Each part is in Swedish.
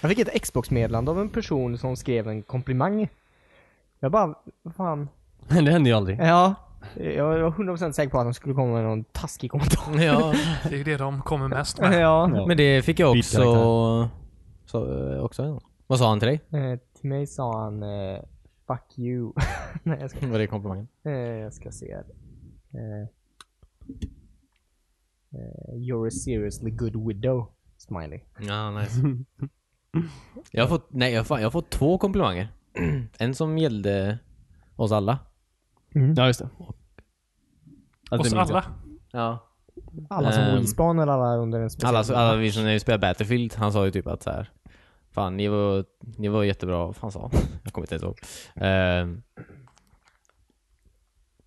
Jag fick ett Xbox-meddelande av en person som skrev en komplimang. Jag bara, vad fan. Det händer ju aldrig. Ja. Jag var 100% säker på att de skulle komma med någon taskig kommentar. Ja. Det är ju det de kommer mest med. Ja. Men det fick jag Byt också... Så, eh, också en. Vad sa han till dig? Eh, till mig sa han eh, 'fuck you' Nej jag ska, Vad är komplimangen? eh, jag ska se här. Eh, eh, 'You're a seriously good widow' Smiley. Ja, nice. jag har fått, nej, jag, har fan, jag har fått två komplimanger. en som gällde oss alla. Mm. Ja, just det. Alltså, Oss det minns jag. alla. Ja. Alla som Ehm, Wingspan eller alla under en speciell... Alla, alla vi som när vi spelade Battlefield, han sa ju typ att så här. Fan, ni var, ni var jättebra. Vad fan sa han? Jag kommer inte ens ihåg. Ehm,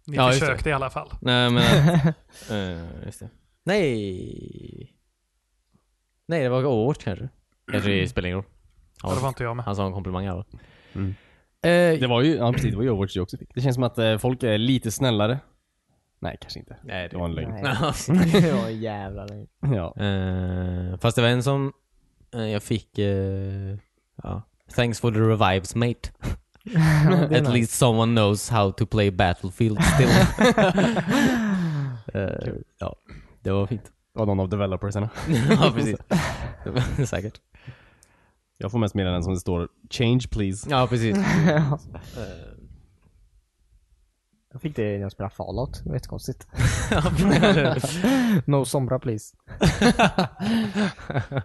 Ni Ja, just försökte i alla fall. nej, men att, eh, just det. Nej! Nej, det var Overwatch kanske. Jag tror det spelar ingen roll. Ja, det var inte jag med. Han sa en komplimang i alla fall. Mm. Eh, Det var ju, ja precis, det var ju Overwatch jag också fick. Det känns som att eh, folk är lite snällare. Nej, kanske inte. nej, Det var en lögn. Nej. ja jävlar. nej. Ja. Eh, fast det var en som eh, jag fick... eh, ja. Thanks for the revives mate. Ja, det är At nice. least someone knows how to play Battlefield still. Eh, ja, det var fint. Det var någon av developersarna. ja, precis. Det var- Säkert. Jag får mest meddelanden som det står 'Change please' Ja, precis. Ja. Jag fick det när jag spelade Fallout. Det var jättekonstigt. no sombra please.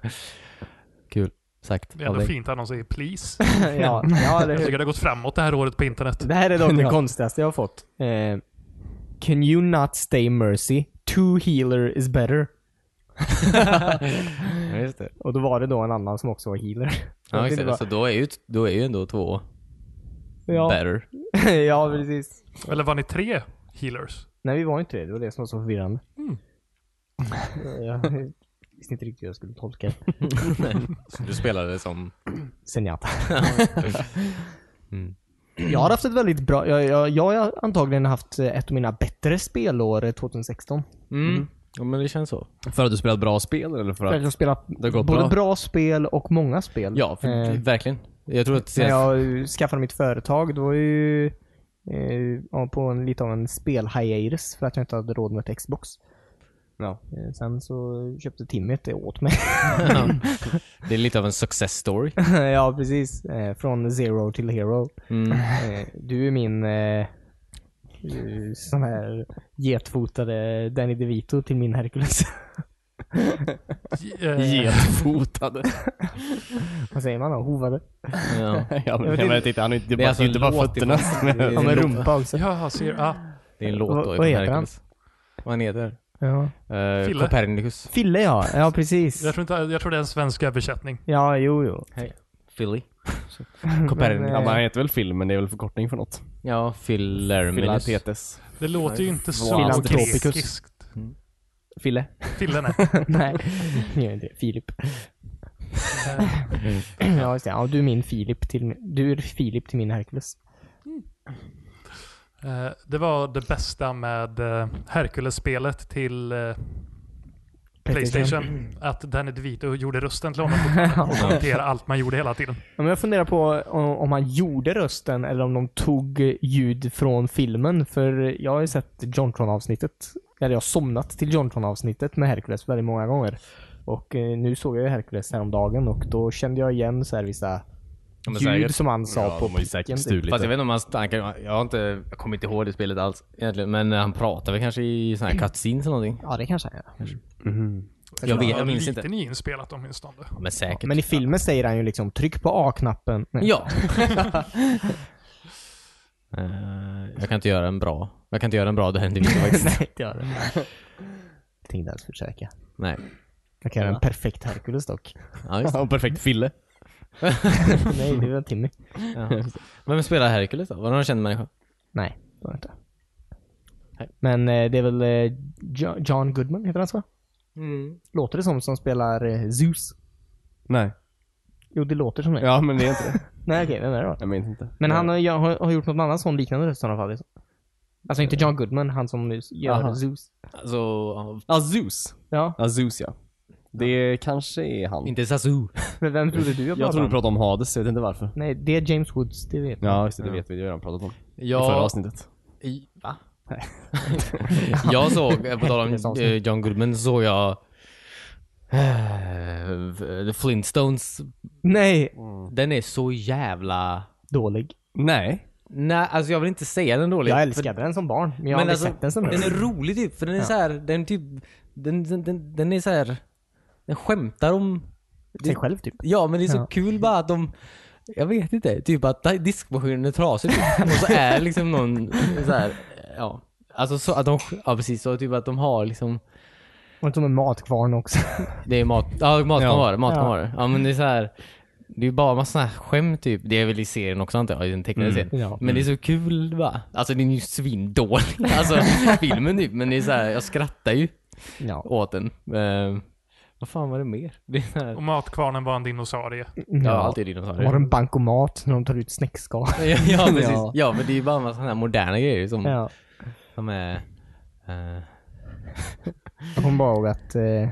Kul. Sagt. Det är ändå av dig. fint att någon säger 'please'. ja, ja, eller hur? Jag tycker det har gått framåt det här året på internet. Det här är dock det Ja. konstigaste jag har fått. Eh, Can you not stay mercy? Two healer is better. Ja, just det. Och då var det då en annan som också var healer. Ja, Jag just tyckte det. Alltså, Så bara- då är ju, då är ju ändå två ja, better. ja, precis. Eller var ni tre healers? Nej, vi var inte det. Det var det som var så förvirrande. Mm. Jag visste inte riktigt hur jag skulle tolka det. Så du spelade som... Senjata. Mm. Jag har haft ett väldigt bra... Jag, jag, jag har antagligen haft eh, ett av mina bättre spelår eh, 2016. Mm. Ja, men det känns så. För att du spelat bra spel eller för Jag att... har spelat har både gått bra. bra. spel och många spel. Ja, för, Eh, verkligen. Jag tror att När senast... jag skaffade mitt företag, då var jag ju eh, ja, på en, lite av en spel-hiatus för att jag inte hade råd med ett Xbox. Ja. Eh, sen så köpte Timmy ett det åt mig. Det är lite av en success story. ja, precis. Eh, från zero till hero. Mm. Eh, du är min eh, eh, sån här getfotade Danny DeVito till min Hercules. Ge- eh, Getfotade. Vad säger man då? Hovade? Ja. ja, men vet jag inte. vet inte, han är inte, det är Det är bara, alltså det är inte bara en låt fötterna. Det är Ja, en med låt. rumpa också. Jaha, ser ah, Det är en låt Vad- då vad ifrån heter han? Hercules. Vad han heter? Ja. Eh, Fille. Copernicus. Fille ja, ja precis. jag, tror inte, jag tror det är en svensk översättning. Ja, jo, jo. Philly. Men, Copernicus. eh, Ja, men han heter väl Phil, men det är väl förkortning för något. Ja, Philerminus. Filatetes. Det låter ju inte så Filantropicus. grekiskt. Fille? Fillen är. Nej, jag gör inte det. Filip. Eh, Mm. Ja, just det. Ja, du är min Filip till min... Du är Filip till min Hercules. eh, Det var det bästa med eh, Hercules-spelet till eh, Playstation. Att Danny DeVito gjorde rösten till honom fortfarande och kommenterade allt man gjorde hela tiden. Ja, men jag funderar på om, om han gjorde rösten eller om de tog ljud från filmen. För jag har ju sett John Tron-avsnittet. Eller jag har somnat till John Tron-avsnittet med Hercules väldigt många gånger. Och eh, nu såg jag ju Hercules häromdagen och då kände jag igen så här vissa Ja, men ljud säkert. som han sa Ja, på de har ju picken, säkert typ. stulit Fast jag det. vet inte om han stankar. Jag har inte... Jag kommer inte ihåg det spelet alls egentligen. Men eh, han pratar väl kanske i såna här cutscenes eller någonting. Ja, det kanske han gör. Mm. Jag, vet, jag minns lite inte. nyinspelat åtminstone. Men säkert. Men i filmen säger han ju liksom tryck på A-knappen. Nej. Ja. Eh, jag kan inte göra en bra. Jag kan inte göra en bra Danny DeVito faktiskt. Nej, det gör det Jag tänkte ens försöka. Nej. Jag kan göra en perfekt Hercules dock. Ja, just det. Ja, perfekt Fille. Nej, det var Timmy. Ja. Vem spelar Hercules då? Var det någon känd människa? Nej, det var det inte. Nej. Men eh, det är väl eh, Jo- John Goodman, heter han så? Låter det som, som spelar eh, Zeus? Nej. Jo, det låter som det. Ja, men det är inte det. Nej, okej, vem är det då? Jag minns inte. Men han har, jag har, har gjort någon annan sån liknande röst i alla fall. Liksom. Alltså inte John Goodman, han som gör Aha. Zeus. Alltså, Azus. Ja. Azus, ja. Det kanske är han. Inte Sasu. Men vem trodde du jag Jag pratade tror du om? pratade om Hades, jag vet inte varför. Nej, det är James Woods, det vet jag. Ja, just det. Det vet vi. Det har vi redan pratat om. I förra Ja, avsnittet. I- Va? jag såg, eh, på tal Helvetes om eh, avsnitt. John Goodman, så såg jag eh, The Flintstones. Nej, Den är så jävla... dålig. Nej. Nej, alltså jag vill inte säga den dåligt. Jag älskade den som barn, men jag har aldrig alltså- sett den som den är barn. rolig typ, för den är så här, den typ, den, den, den, den är så här, den skämtar om... Sig själv typ. Ja, men det är så Ja. kul bara att de, jag vet inte, typ att diskmaskinen är trasig typ. och så är liksom någon så här, ja. Alltså så att de, ja precis, så typ att de har liksom, Och som en matkvarn också. det är mat, ja Ja. matkonvarer, matkonvarer. Ja. Ja. men det är så här, det är ju bara massa såna här skämt typ. Det är väl i serien också antar jag, i den tecknade serien. Mm. Ja. Men det är så kul va? Alltså den är ju svindålig, alltså filmen typ. Men det är så här, jag skrattar ju Ja. åt den. Eh, vad fan var det mer? Det är så här, Och matkvarnen var en dinosaurie. ja, alltid dinosaurier. De har en bankomat när de tar ut snäckskal. ja, ja, precis. Ja. Ja. men det är ju bara en massa sådana här moderna grejer som, Ja. som är... eh, Jag kommer bara ihåg att eh,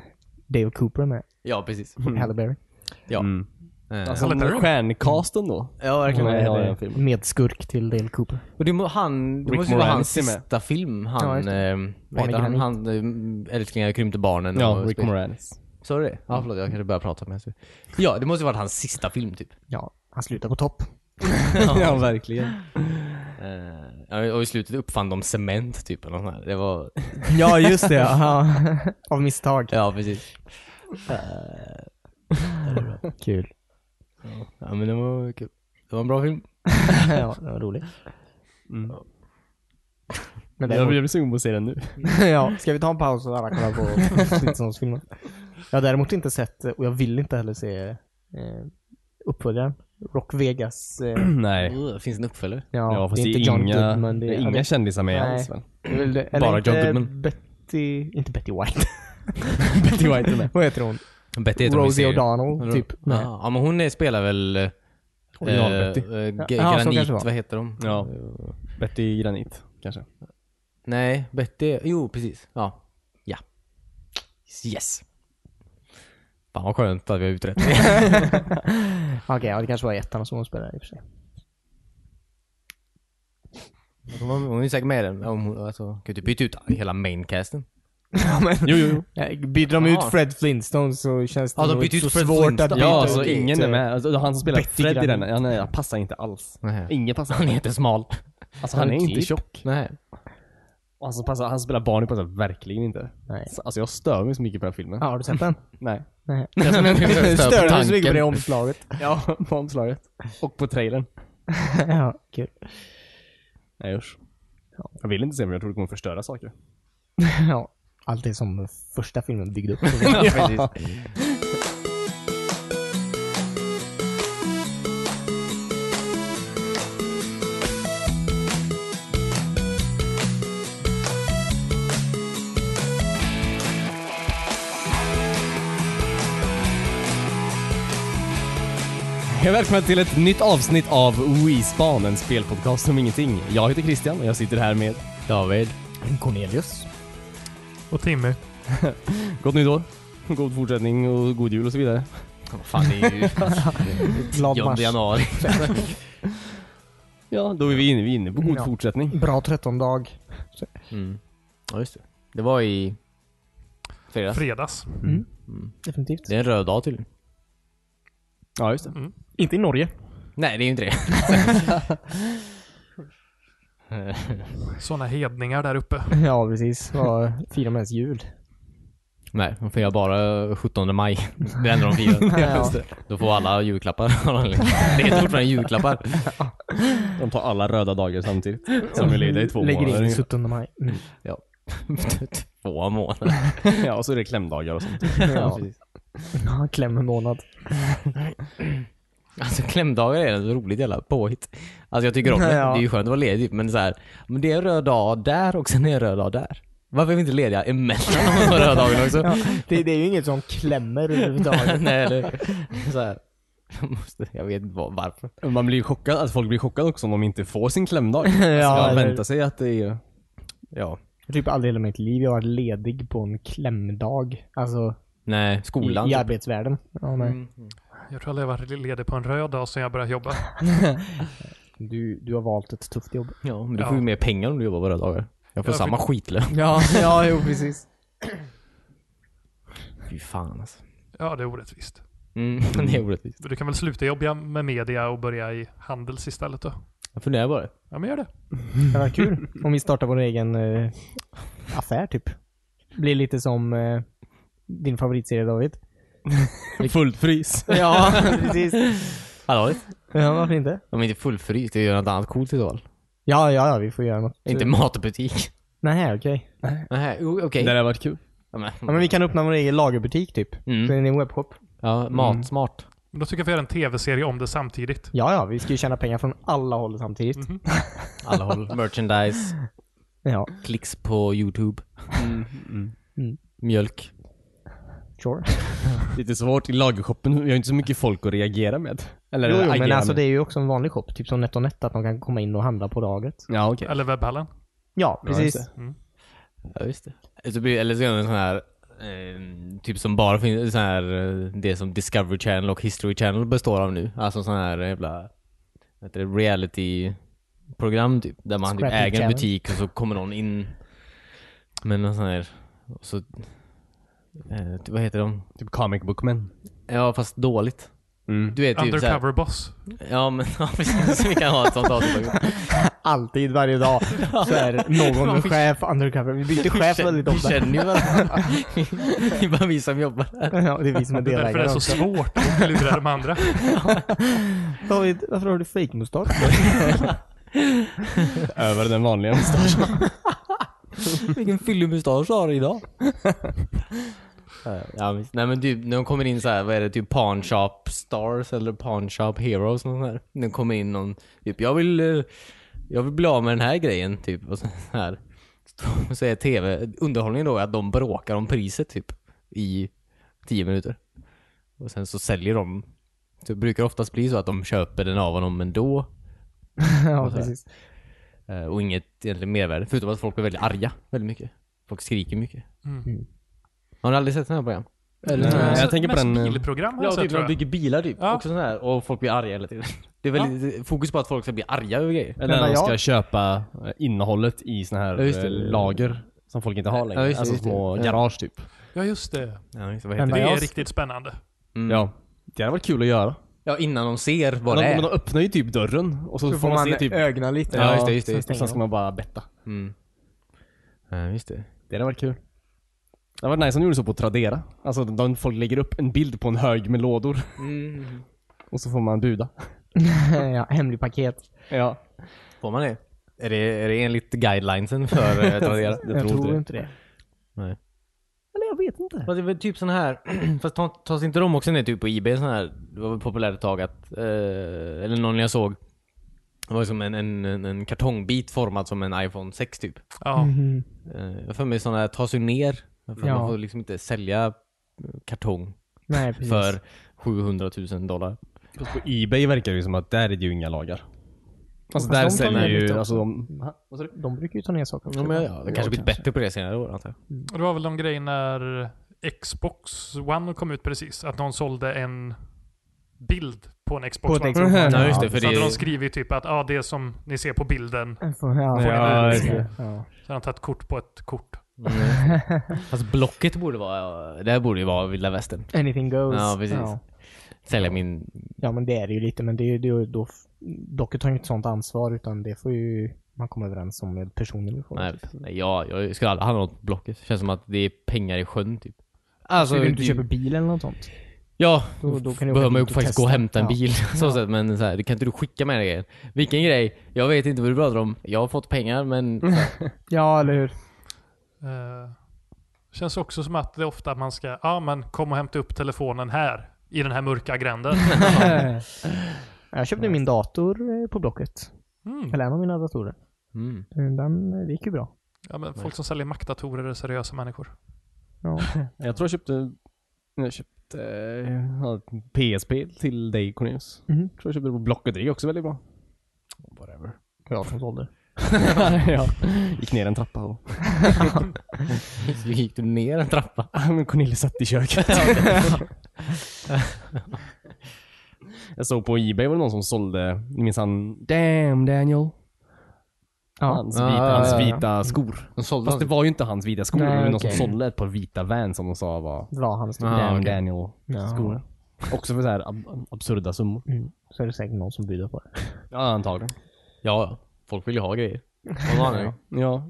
Dave Cooper är med. ja, precis. Halle Berry. Ja. Mm. Eh, Alltså, Eller hur? stjärncasten då. ja, verkligen. Hon är- Nej, ja, det är den filmen. Medskurk till Dale Cooper. Och det, må, han, det Rick måste ju vara hans Moranis är med. sista film. Ja, just Han, det. eh, vad heter han? Granit. han eh, Älsklingar krympte barnen. Ja, och Rick Moranis. Sa du det? Ja, förlåt. Jag kanske börjar prata med henne. Ja, det måste ju varit hans sista film typ. Ja, han slutar på topp. ja, verkligen. Eh, ja, och i slutet uppfann de cement typ eller nåt sånt där. Det var... Ja, just det. Ja. Av misstag. Ja, precis. Kul. Ja, men det var kul. Det var en bra film. Ja, det var roligt. Mm. Men Jag däremot, blir sugen på att se den nu. ja, ska vi ta en paus och alla kollar på Flintstones-filmen? Jag har däremot inte sett, och jag vill inte heller se eh, uppföljaren. Rock Vegas. Eh, Nej. Uh, finns det en uppföljare? ja, Ja, fast det är inte John inga, Goodman. det är inga kändisar med Nej. alls väl? det är väl det- eller bara inte John Goodman. Betty, inte Betty White. Betty White är med. Vad heter hon? Betty heter hon i Rosie serien. O'Donnell, typ. Ja, ja, men hon är, spelar väl... eh, Original-Betty. eh, Ga- Ja, så Granit, kanske det var. vad heter de? Ja. Betty Granit, kanske. Nej, Betty... Jo, precis. Ja. Ja. Yes. Fan vad skönt att vi har utrett det. Ah, Okej, ja, det kanske var i ettan som hon spelade i och för sig. Hon hon är säkert med i den. Om hon- Alltså, kan ju inte byta ut hela maincasten. Jo, jo, jo. Ja, Byter de Jaha. Ah. ut Fred Flintstone så känns det Ja, de nog byter inte ut så Fred svårt att Flintstone. byta Ja, ut alltså det. ingen är med. Alltså, han som spelar Betty Fred i den, Granit. ja, nej, han passar inte alls. Nej. Ingen passar. Han är jättesmal. Alltså, han, han är är inte klippt. tjock. Nej. Och han, som passar, han spelar barn, det passar verkligen inte. Nej. Så- Alltså jag stör mig så mycket på den här filmen. Ja, har du sett den? Nej. Nej. Men Jag störde mig så mycket på det tanken. omslaget. Ja, på omslaget. Och på trailern. ja, kul. Nej usch. Jag vill inte se den, jag tror det kommer förstöra saker. Ja, allt det som första filmen byggde upp. Ja, precis. Hej och välkomna till ett nytt avsnitt av WeSpan, en spelpodcast om ingenting. Jag heter Christian och jag sitter här med David. Cornelius. Och Timmy. Gott Nytt År, god fortsättning och god jul och så vidare. Vad fan, det är ju Glad 10 mars. januari. Ja, då är vi inne, vi är inne på god Ja. fortsättning. Bra trettondag. Mm. Ja, just det. Det var i fredags. Fredags. Definitivt. Det är en röd dag tydligen. Ja, just det. Inte i Norge. Nej, det är ju inte det. Sådana hedningar där uppe. Ja, precis. Vad Firar med ens jul. Nej, de firar bara 17 maj. Det är ändå de firar. Ja, just Då får alla julklappar. det heter fortfarande julklappar. De tar alla röda dagar samtidigt. Som vi leder i två Lägger in månader. i 17 maj. Mm. Två månader. Ja, och så är det klämdagar och sånt. Ja. Ja, kläm en månad. Alltså klämdagar är ett roligt jävla påhitt. Alltså jag tycker om det. Ja. Det är ju skönt att vara ledig men så här, men det är en röd dag där och sen är det en röd dag där. Varför är vi inte lediga emellan de här röda dagarna också? Ja, det, det är ju inget som klämmer överhuvudtaget. Nej, det, så här. Jag, måste, jag vet inte vad- varför. Man blir ju chockad, alltså folk blir chockade också om de inte får sin klämdag. Ja, ja, man eller- väntar sig att det är... Ja. Jag har typ aldrig i hela mitt liv jag har varit ledig på en klämdag. Alltså, Nej, I, skolan. i typ. arbetsvärlden. Ja, nej. Mm. Jag tror jag har varit ledig på en röd dag sedan jag började jobba. Du, du har valt ett tufft jobb. Ja, men du Ja. får ju mer pengar om du jobbar våra dagar. Jag får Ja, samma skitlön. Ja, ja jo precis. Fy fan alltså. Ja, det är orättvist. Mm, det är orättvist. Du kan väl sluta jobba med media och börja i Handels istället då? Jag funderar bara. Ja, men gör det. Det var kul om vi startar vår egen eh, affär typ. Blir lite som eh, din favoritserie David. Fullt frys. Ja, precis. Allvarligt. Ja, varför inte? De är inte fullfryst, det gör något annat coolt i så fall. Ja, ja, ja, vi får göra något. Inte matbutik. Nej, okej. Nej, okej. Det hade varit kul. Ja, men- Ja, men vi kan öppna vår egen lagerbutik typ. Mm. Så är det en webbshop. Ja, matsmart. Men då tycker jag vi gör en tv-serie om det samtidigt. Ja, ja, vi ska ju tjäna pengar från alla håll samtidigt. Alla håll. Merchandise. Ja, Klicks på YouTube. Mm. Mjölk. sure. Lite svårt i lagershoppen. Vi har inte så mycket folk att reagera med. Eller Jo, jo agera men alltså med. det är ju också en vanlig shop. Typ som NetOnNet, att de kan komma in och handla på lagret. Ja, okej. Eller webbhallen. Ja, precis. just Ja, just det. Eller så blir- Eller så gör de en sån här, eh, typ som bara finns, sån här, eh, det som Discovery Channel och History Channel består av nu. Alltså sån här jävla, vad heter det, reality-program typ. Där man typ Scrappy äger en Channel. butik och så kommer någon in med någon sån här, och så, eh, typ, vad heter de? Typ comic book men. Ja fast dåligt. Mm. Du vet typ så här, Undercover boss. Ja men ja, precis, vi kan ha ett sånt avsnitt. Alltid, varje dag. Så är någon chef undercover. Vi byter chef väldigt Vi ofta. känner ju varandra. Det är bara vi som jobbar här. Ja, det är vi som är Det är därför det delägare är så också. svårt att lura de andra. David, varför har du fejkmustasch? Över den vanliga mustaschen. Vilken fyllig mustasch du har idag. Eh, ja, visst. Nej men typ, när de kommer in så här, vad är det, typ Pawn Shop Stars eller Pawn Shop Heroes något sånt här. När de kommer in någon, typ jag vill, eh, jag vill bli av med den här grejen typ. Och så här. Så är tv, underhållningen då är att de bråkar om priset typ i tio minuter. Och sen så säljer de. Så Det brukar oftast bli så att de köper den av honom ändå. ja, precis. eh, Och inget egentligen mervärde. Förutom att folk blir väldigt arga väldigt mycket. Folk skriker mycket. Mm. Har ni aldrig sett den här program? Eller Nej. sån här- jag tänker på Mest den, eh, bilprogram har Ja, jag sett typ när tror de jag. bygger bilar typ. Ja. Också sån här. Och folk blir arga hela tiden. Det är väldigt fokus på att folk ska bli arga över grejer. Eller när Men de jag- ska köpa eh, innehållet i såna här Ja, just det. eh, lager. Som folk inte har längre. Ja, just det, alltså just det. små Ja. garage typ. Ja, just det. Ja, just det, vad Men heter Det Ja, är jag- riktigt spännande. det? Mm. Ja. Det hade varit kul att göra. ja, innan de ser vad Men det de, är. men de öppnar ju typ dörren och så, Då får man se typ... ögna lite. Ja, just det, just det, sen just det. och sen ska stänger man bara betta. Mm. Ja, just det. Det hade varit kul. Det hade varit nice om de gjorde så på Tradera. Alltså de, folk lägger upp en bild på en hög med lådor Mm. och så får man buda. de. ja, hemlig paket. Ja. Får man det? Är det, är det enligt guidelinesen för eh, Tradera? Jag, tror, inte det. Nej. Eller jag vet inte. Fast det är väl typ sån här, fast ta- tas inte de också ner typ på IB sån här, det var väl populärt ett tag att, eh, eller någon jag såg. Det var som en, en, en, en kartongbit formad som en iPhone 6 typ. Mm. Ja. Mhm. Eh, Jag har för mig sådana här tas ju ner. Jag har För Ja. Man får liksom inte sälja eh, kartong Nej, precis. för 700 000 dollar. Fast på Ebay verkar det ju som att där är det ju inga lagar. Alltså Fast där de säljer tar ju ju... lite Alltså också. de, De brukar ju ta ner saker också. Ja, men, ja, det kanske blivit bättre på det senare år antar jag. Och det var väl de grejerna när Xbox One kom ut precis. Att någon sålde en bild på en Xbox På ett One. Xbox One. Ja, just det, Så för hade de det, skrivit typ att ah, det som ni ser på bilden. Ja, Ja, ja, just det. ja. Så hade de tagit kort på ett kort. Mm. Mm. Fast Blocket borde vara, det här borde ju vara vilda västern. Anything goes. Ja, precis. Ja. Sälja min, Ja, men det är det ju lite. Men det är ju det är ju då... Docket tar ju inte sånt ansvar utan det får ju man komma överens om med personen. nej, nej jag, jag skulle aldrig handla något på Blocket. Känns som att det är pengar i sjön typ. Så Alltså, du inte det- köper bil eller något sånt? Ja, Då- då då, kan du åka behöver man ju dit och faktiskt gå och testa. hämta en Ja. bil. Så sätt, men så här, kan inte du skicka med den grejen? Vilken grej? Jag vet inte vad du pratar om. Jag har fått pengar men... Ja, eller hur? Eh, känns också som att det är ofta man ska, ja ah, men kom och hämta upp telefonen här. I den här mörka gränden. jag köpte min dator eh, på Blocket. Mm. Eller en av mina datorer. Mm. Den, det gick ju bra. Ja, men folk som säljer maktdatorer är seriösa människor. Ja. jag tror jag köpte... Jag köpte... eh, ja, PSP till dig Cornelius. Mhm. Jag tror jag köpte det på Blocket. Det är också väldigt bra. Whatever. Bra som sålde. ja. Gick ner en trappa och Så gick du ner en trappa? Men Cornelis satt i köket. jag såg på Ebay var det någon som sålde, ni minns han Damn Daniel? Ja. Hans, Ja, vita, ja, hans ja, ja. vita skor. De sålde Fast det var ju inte hans vita skor, Nej, men någon som okej. sålde ett par vita Vans som de sa var Det var hans Ja, ah. Damn okej. Daniel Ja. skor. Också för så här ab- absurda summor. mm. Så är det säkert någon som bjuder på det. Ja, antagligen. Ja, folk vill ju ha grejer. Vad var det? Ja.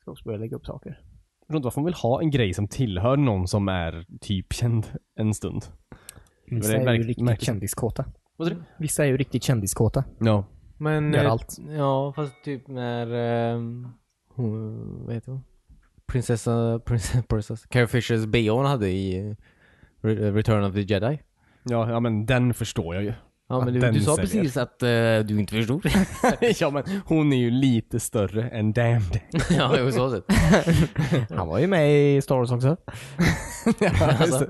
Ska också börja lägga upp saker. Jag förstår inte varför man vill ha en grej som tillhör någon som är typ känd en stund. Vissa är, det är ju märk- riktigt märkligt. kändiskåta. Vad sa du? Vissa är ju riktigt kändiskåta. Ja. Men... Gör eh, allt. Ja, fast typ när... ehm, hon, vad heter hon? Prinsessa... Prinsessa... prinsessa Carrie Fishers bhn hade i eh, Re- Return of the Jedi. Ja, ja, men den förstår jag ju. Ja, Att men du, den du sa säljer. precis att eh, du inte förstod. ja, men hon är ju lite större än Damn Daniel. ja, jo, så sett. Han var ju med i Star Wars också. Alltså,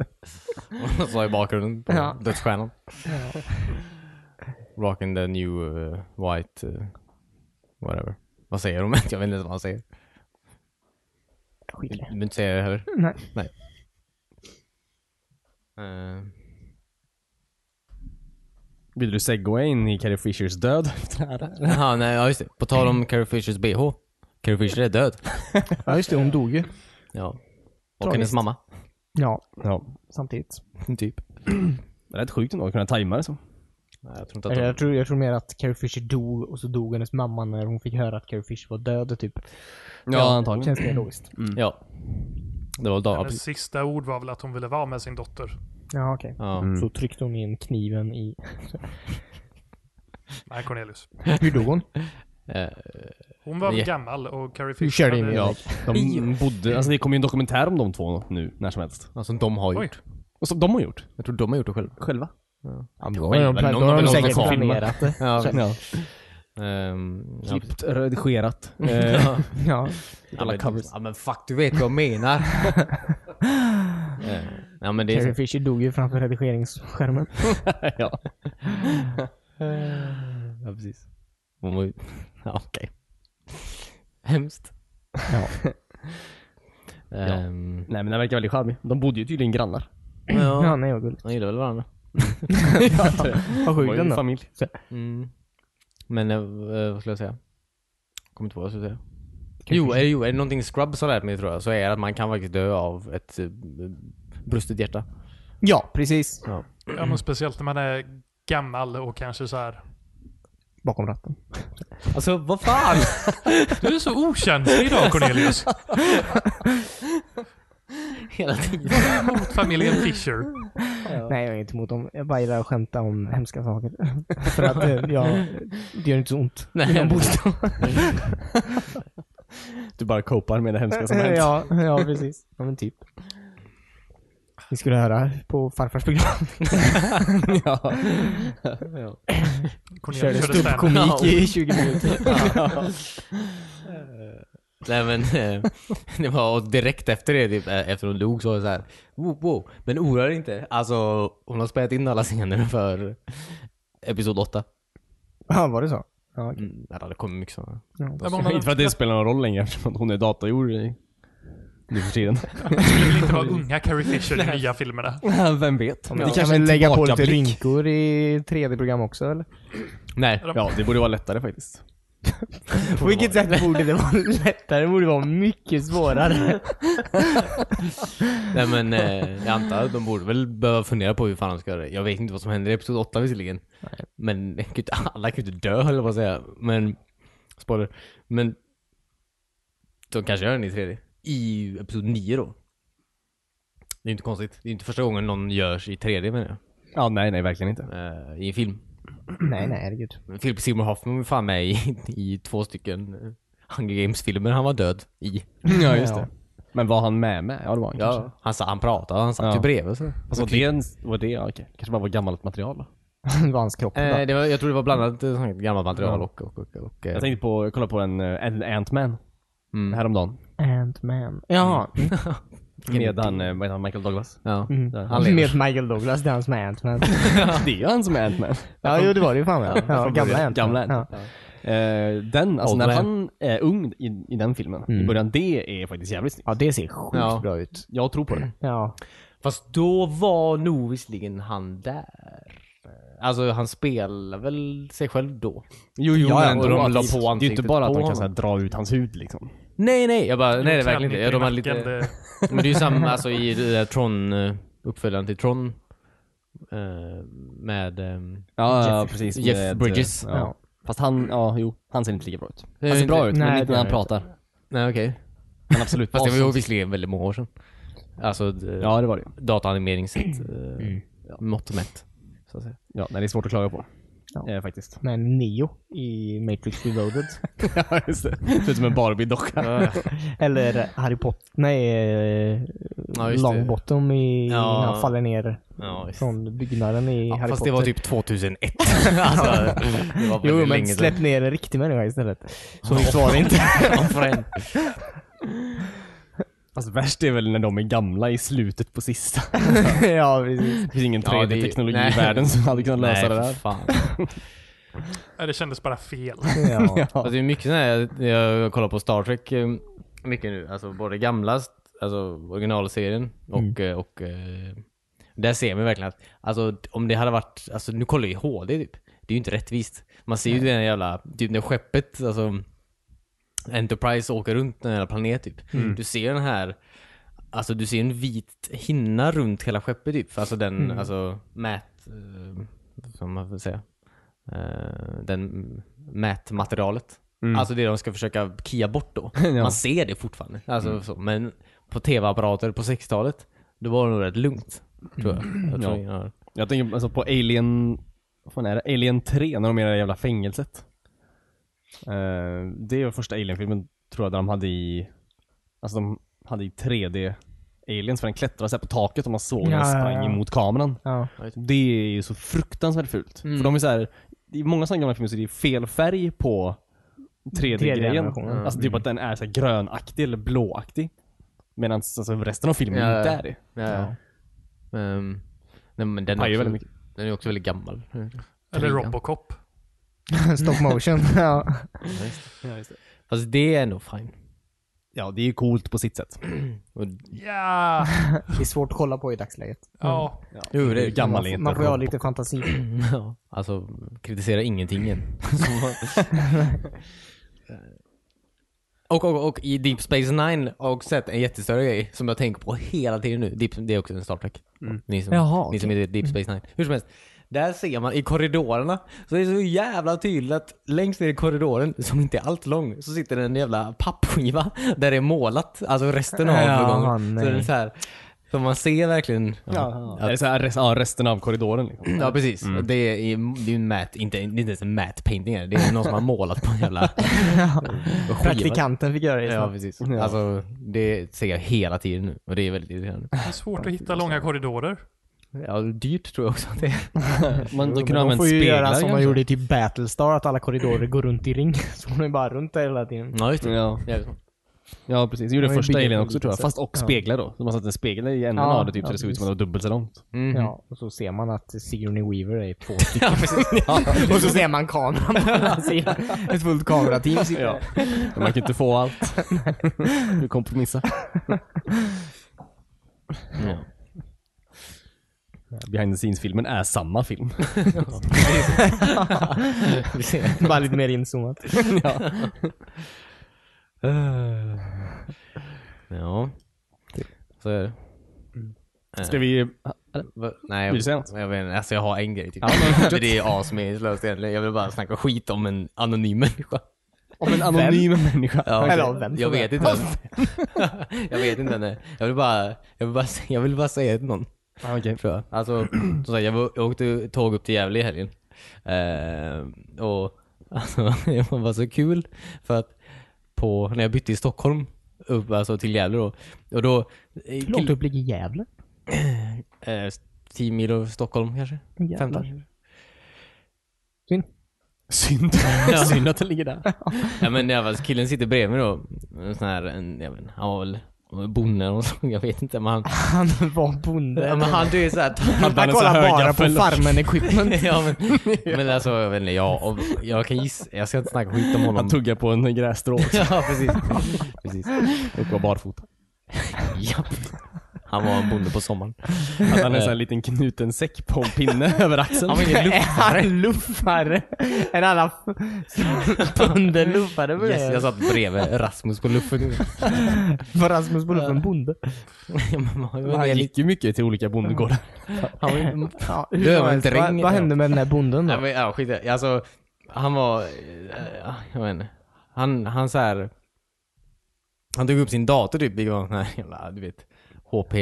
hon sa i bakgrunden på Ja. dödsstjärnan. Rocking the new eh, white... eh, whatever. Vad säger de? Jag vet inte ens vad han säger. Skit i Du det. behöver inte säga det heller. Nej. Eh, Vill du segway in i Carrie Fishers död? Jaha, nej, ja just det. På tal om Carrie Fishers bh. Carrie Fisher är död. Ja just det, hon dog ju. Ja. Och Tragiskt. Mm, hennes mamma. Ja, ja. samtidigt. Typ. Det är rätt sjukt ändå att kunna tajma det så. Nej, jag tror inte att Eller, de... Jag tror, jag tror mer att Carrie Fisher dog och så dog hennes mamma när hon fick höra att Carrie Fisher var död typ. Känns mer logiskt. Ja. Det var dag. Hennes sista ord var väl att hon ville vara med sin dotter. Ja okej. Ja. Så tryckte hon in kniven i... Nej, Cornelius. Hur dog hon? Eh, Hon var väl Ja. gammal och Carrie Hur Fisher körde in hade- i Ja, de bodde, alltså det kommer ju en dokumentär om de två nu, när som helst. alltså de har gjort. Oj. Och som de har gjort. Jag tror de har gjort det själva. Själva. Ja, men då har de, Någon- då har någon de som säkert kom. planerat det. Ja. Så- Ja. Ehm, ja. Klippt, redigerat. Ja. Ja. Ja, men- covers. Ja men fuck, du vet vad jag menar. Eh, ja men det är Carrie så. Fisher dog ju framför redigeringsskärmen. ja. Ja precis. Hon var ju... Ja okej. Hemskt. Ja. Ehm, Nej men den verkar väldigt charmig. De bodde ju tydligen grannar. Ja, ja. nej vad gulligt. De gillar väl varandra. Vad De var sjukt ju ändå. familj. Mm. Men eh, eh, vad skulle jag säga? Kommer inte på vad jag skulle säga. Kanske- Jo, eh- är, jo, är det någonting Scrubs har lärt mig tror jag så är det att man kan faktiskt dö av ett eh, brustet hjärta. Ja, precis. Ja, men speciellt när man är gammal och kanske så här. Bakom ratten. Alltså vad fan! Du är så okänslig idag Cornelius. Hela tiden. Mot familjen Fisher. Nej, jag är inte emot dem. Jag bara gillar att skämta om hemska saker. För att eh, jag, det gör inte så ont. Nej, Du bara copar med det hemska som hänt. ja, ja, precis. Ja, men typ. Vi skulle höra på farfars program. ja. Körde ja. Cornelius körde stand-up. stubbkomik i 20 minuter. Nej men, eh, det var och direkt efter det, typ, eh, efter hon dog så var det såhär wow, wow, men oroa dig inte. Alltså hon har spelat in alla scener för Episod 8. Ja, var det så? Ja, okej. Mm, ja, det hade kommit mycket sådana. Ja, men hon hade- Inte för att det spelar någon roll längre eftersom hon är datagjord i- nu för tiden. skulle väl inte vara unga Carrie Fisher i nya filmerna. Vem vet? Det kan väl lägga på lite rynkor i 3D-program också eller? Nej. Ja, det borde vara lättare faktiskt. På vilket sätt borde det vara lättare? Det borde vara mycket svårare. Nej men eh, jag antar att de borde väl behöva fundera på hur fan de ska göra det. Jag vet inte vad som händer i Episod 8 visserligen. Men gud, alla kan ju inte dö höll jag på att säga. Men, spoiler. Men, de kanske gör den i 3D. I Episod 9 då. Det är ju inte konstigt. Det är inte första gången någon görs i 3D menar jag. Ja, nej, nej, verkligen inte. Eh, I en film. nej, nej, herregud. Men Philip Seymour Hoffman var fan med i, i två stycken eh, Hunger Games-filmer han var död i. Ja, just det. Men var han med med? Ja, det var han kanske. Ja, han, sa, han pratade, han satt Ja. ju bredvid. Så. Alltså, var det, en, var det ja, okej. kanske bara var gammalt material då? Det var hans kropp. Eh, det var, jag tror det var blandat eh, sånt gammalt material och... och, och, och eh, Jag tänkte på, jag kollade på en, eh, en Ant-Man Mm. häromdagen. Eh, Ant-Man. Ja. Med han, eh, vad heter han, Michael Douglas? ja. Mm. Han lever. Med Michael Douglas, det är han som är Ant-Man. det är ju han som är Ant-Man. Ja, jo det var det ju fan med. Ja, från gamla början. Ant-Man. Ja. Gamla Ant-Man. Eh, den, alltså när Åldrar. Mm. han är ung i, i den filmen, i början, det är faktiskt jävligt snyggt. Ja, det ser sjukt Ja. bra ut. Jag tror på det. Ja. Fast då var nog visserligen han där. Alltså han spelar väl sig själv då? Jo, jo, Ja, ja, men och de då- la på Det är ju inte ansiktet bara att på de kan honom. så här, dra ut hans hud liksom. Nej, nej. Jag bara, nej det är verkligen Klänning inte. Ja, de har i nacken, lite... det- Men det är ju samma alltså, i det där Tron, eh, uppföljaren till Tron. eh, Med... ehm, Ja, ja precis. Jeff med, Bridges. eh, Ja. Ja. Fast han, ja jo, han ser inte lika bra ut. Det är Han ser inte- bra ut, nej, men det inte när han är pratar. Nej okej. Men absolut. Fast det var ju avsnitt- visserligen väldigt många år sedan. Alltså d- Ja, Mm. det var det ju. dataanimeringssätt. eh, ja, Mått mätt. Så att säga. Ja, nej, det är svårt att klaga på. Ja. Eh, faktiskt. Men Neo i Matrix Reloaded. ja, just det. Ser ut som en Barbie-docka. Eller Harry Potter. Nej, eh, Ja, just det. Longbottom i, Ja. när han faller ner Ja, visst. från byggnaden i Ja, Harry fast Potter. det var typ 2001. alltså, det var Jo, väldigt men länge släpp ner en riktig människa istället. Så försvarar inte. sedan. Alltså värst är väl när de är gamla i slutet på sista. ja, precis. Det finns ingen Ja, det är ju- 3D-teknologi nej. i världen som hade kunnat Nej, lösa det för där. fan. Nej, det kändes bara fel. Ja. Alltså, det är mycket när jag, jag kollar på Star Trek eh, mycket nu. Alltså både gamla, alltså originalserien och, eh, och eh, där ser man verkligen att alltså, om det hade varit, alltså nu kollar jag i HD typ. Det är ju inte rättvist. Man ser ju den jävla, typ när skeppet, alltså Enterprise åker runt den här planeten typ. Du ser den här, alltså du ser en vit hinna runt hela skeppet typ. Alltså den, alltså mät, eh, som man får säga, eh, den mätmaterialet. Alltså det de ska försöka kia bort då. Man ser det fortfarande. Alltså, så, men på tv-apparater på 60-talet, då var det nog rätt lugnt. Tror jag. jag tror Ja. ingen har- Jag tänker alltså på Alien... Vad fan är det? Alien 3, när de är i det där jävla fängelset. Eh, det är första Alien-filmen, tror jag, där de hade i... Alltså de hade i 3D-aliens, för den klättrade så här på taket och man såg Ja, den ja, sprang ja. emot kameran. Ja. Det är ju så fruktansvärt fult. Mm. För de är så här, I många sådana gamla filmer så är det fel färg på 3D-grejen. Tredje-generationen. Alltså typ att den är så här grönaktig eller blåaktig. Medan alltså, resten av filmen Ja, ja, inte ja. är det. Ja. Ehm, nej, men den, är Pajar också, väldigt mycket. den är också väldigt gammal. Eller Trean. Robocop. Stop motion. ja. Fast det är nog fine. Ja, det är ju coolt på sitt sätt. Och, Ja, Det är svårt att kolla på i dagsläget. ja. jo, det är gammal Man, är får- inte man får ju ha lite fantasi. Ja, alltså kritisera ingenting än. och, och, och i Deep Space Nine har jag också sett en jättestörre grej som jag tänker på hela tiden nu. Deep, det är också en Star Trek. Ni, som, Jaha, ni som är Deep Space Nine. Hur som helst. Där ser man i korridorerna, så det är så jävla tydligt att längst ner i korridoren, som inte är allt lång, så sitter det en jävla pappskiva där det är målat, alltså resten av Jaha, övergången. Så nej. det är så här, så man ser verkligen Ja. Eller så här, rest, ja, resten av korridoren liksom. Ja precis. Det är ju det är ju en mat, inte, det är inte ens en matte painting här. Det är någon som har målat på en jävla skiva. Praktikanten fick göra det. Ja Ja. precis. Alltså det ser jag hela tiden nu och det är väldigt irriterande. Det är svårt att hitta långa korridorer. Ja, dyrt tror jag också att det är. Man då Men kunde de använt får ju speglar göra som man kanske. gjorde i typ Battlestar, att alla korridorer går runt i ring. Så går de bara runt där hela tiden. Ja just det. Ja. Jävligt sant. ja, precis. Det gjorde Det var ju första billigt Alien på också lite tror jag. sätt. Fast och Ja. speglar då. Så man satte en spegel i änden Ja, av det typ ja, så det såg ut som precis. att det var dubbelt så långt. Mhm. Ja, och så ser man att Sigourney Weaver är på Ja, precis. Och så ser man kameran på den här sidan. Ett fullt kamerateam sitter Ja. där. Men man kan inte få allt. Du kompromissar. Ja. Behind the scenes-filmen är samma film. Vi ser. Bara lite mer inzoomat. Ja. Så är det. Ska vi... Va? Nej, jag, Vill du säga något? Jag vet inte. Alltså jag har en grej typ. Men det är asmeningslöst egentligen. Jag vill bara snacka skit om en anonym människa. Om en anonym människa. Ja, Eller jag- av vem jag som vet inte ens. jag vet inte ännu. Jag vill bara, jag vill bara, se- jag vill bara säga till någon. Ah, okay. Tror jag. Alltså, som sagt, jag, var, jag åkte tåg upp till Gävle i helgen. Eh, och alltså, det var bara så kul. För att på, när jag bytte i Stockholm upp alltså till Gävle då. Och då, Långt upp ligger Gävle. eh, 10 mil över Stockholm kanske? Jävlar. 15? Synd. Synd. Synd att den ligger där. Ja men i alla fall, killen sitter bredvid då. En sån här, en, jag vet inte, han var väl bonden och så, jag vet inte men Han han... var bonde. Ja, men han du är såhär... Hade han han en så kollar hög bara på gaffel? farmen equipment. ja, men, men alltså jag vet inte, jag, och, jag kan gissa, jag ska inte snacka skit om honom. Han tuggar på en grässtrå ja precis. precis. och går barfota. Japp. Han var en bonde på sommaren. Att han är en sån här liten knuten säck på en pinne över axeln. Han var ingen Är luft. han luffare? Är alla bönder luffare för Yes, jag det? satt bredvid Rasmus på luffen. Var Rasmus på luffen bonde? Ja, men man- man- han gick ju mycket till olika bondgårdar. han var ju- Ja, hur Det var som en helst, dräng, vad, vad ja. hände med den där bonden Nej då? men ja, skit i det. Alltså, han var, eh, jag vet inte. Han, han så här. Han tog upp sin dator typ, vilket var en sån här jävla, du vet, HP,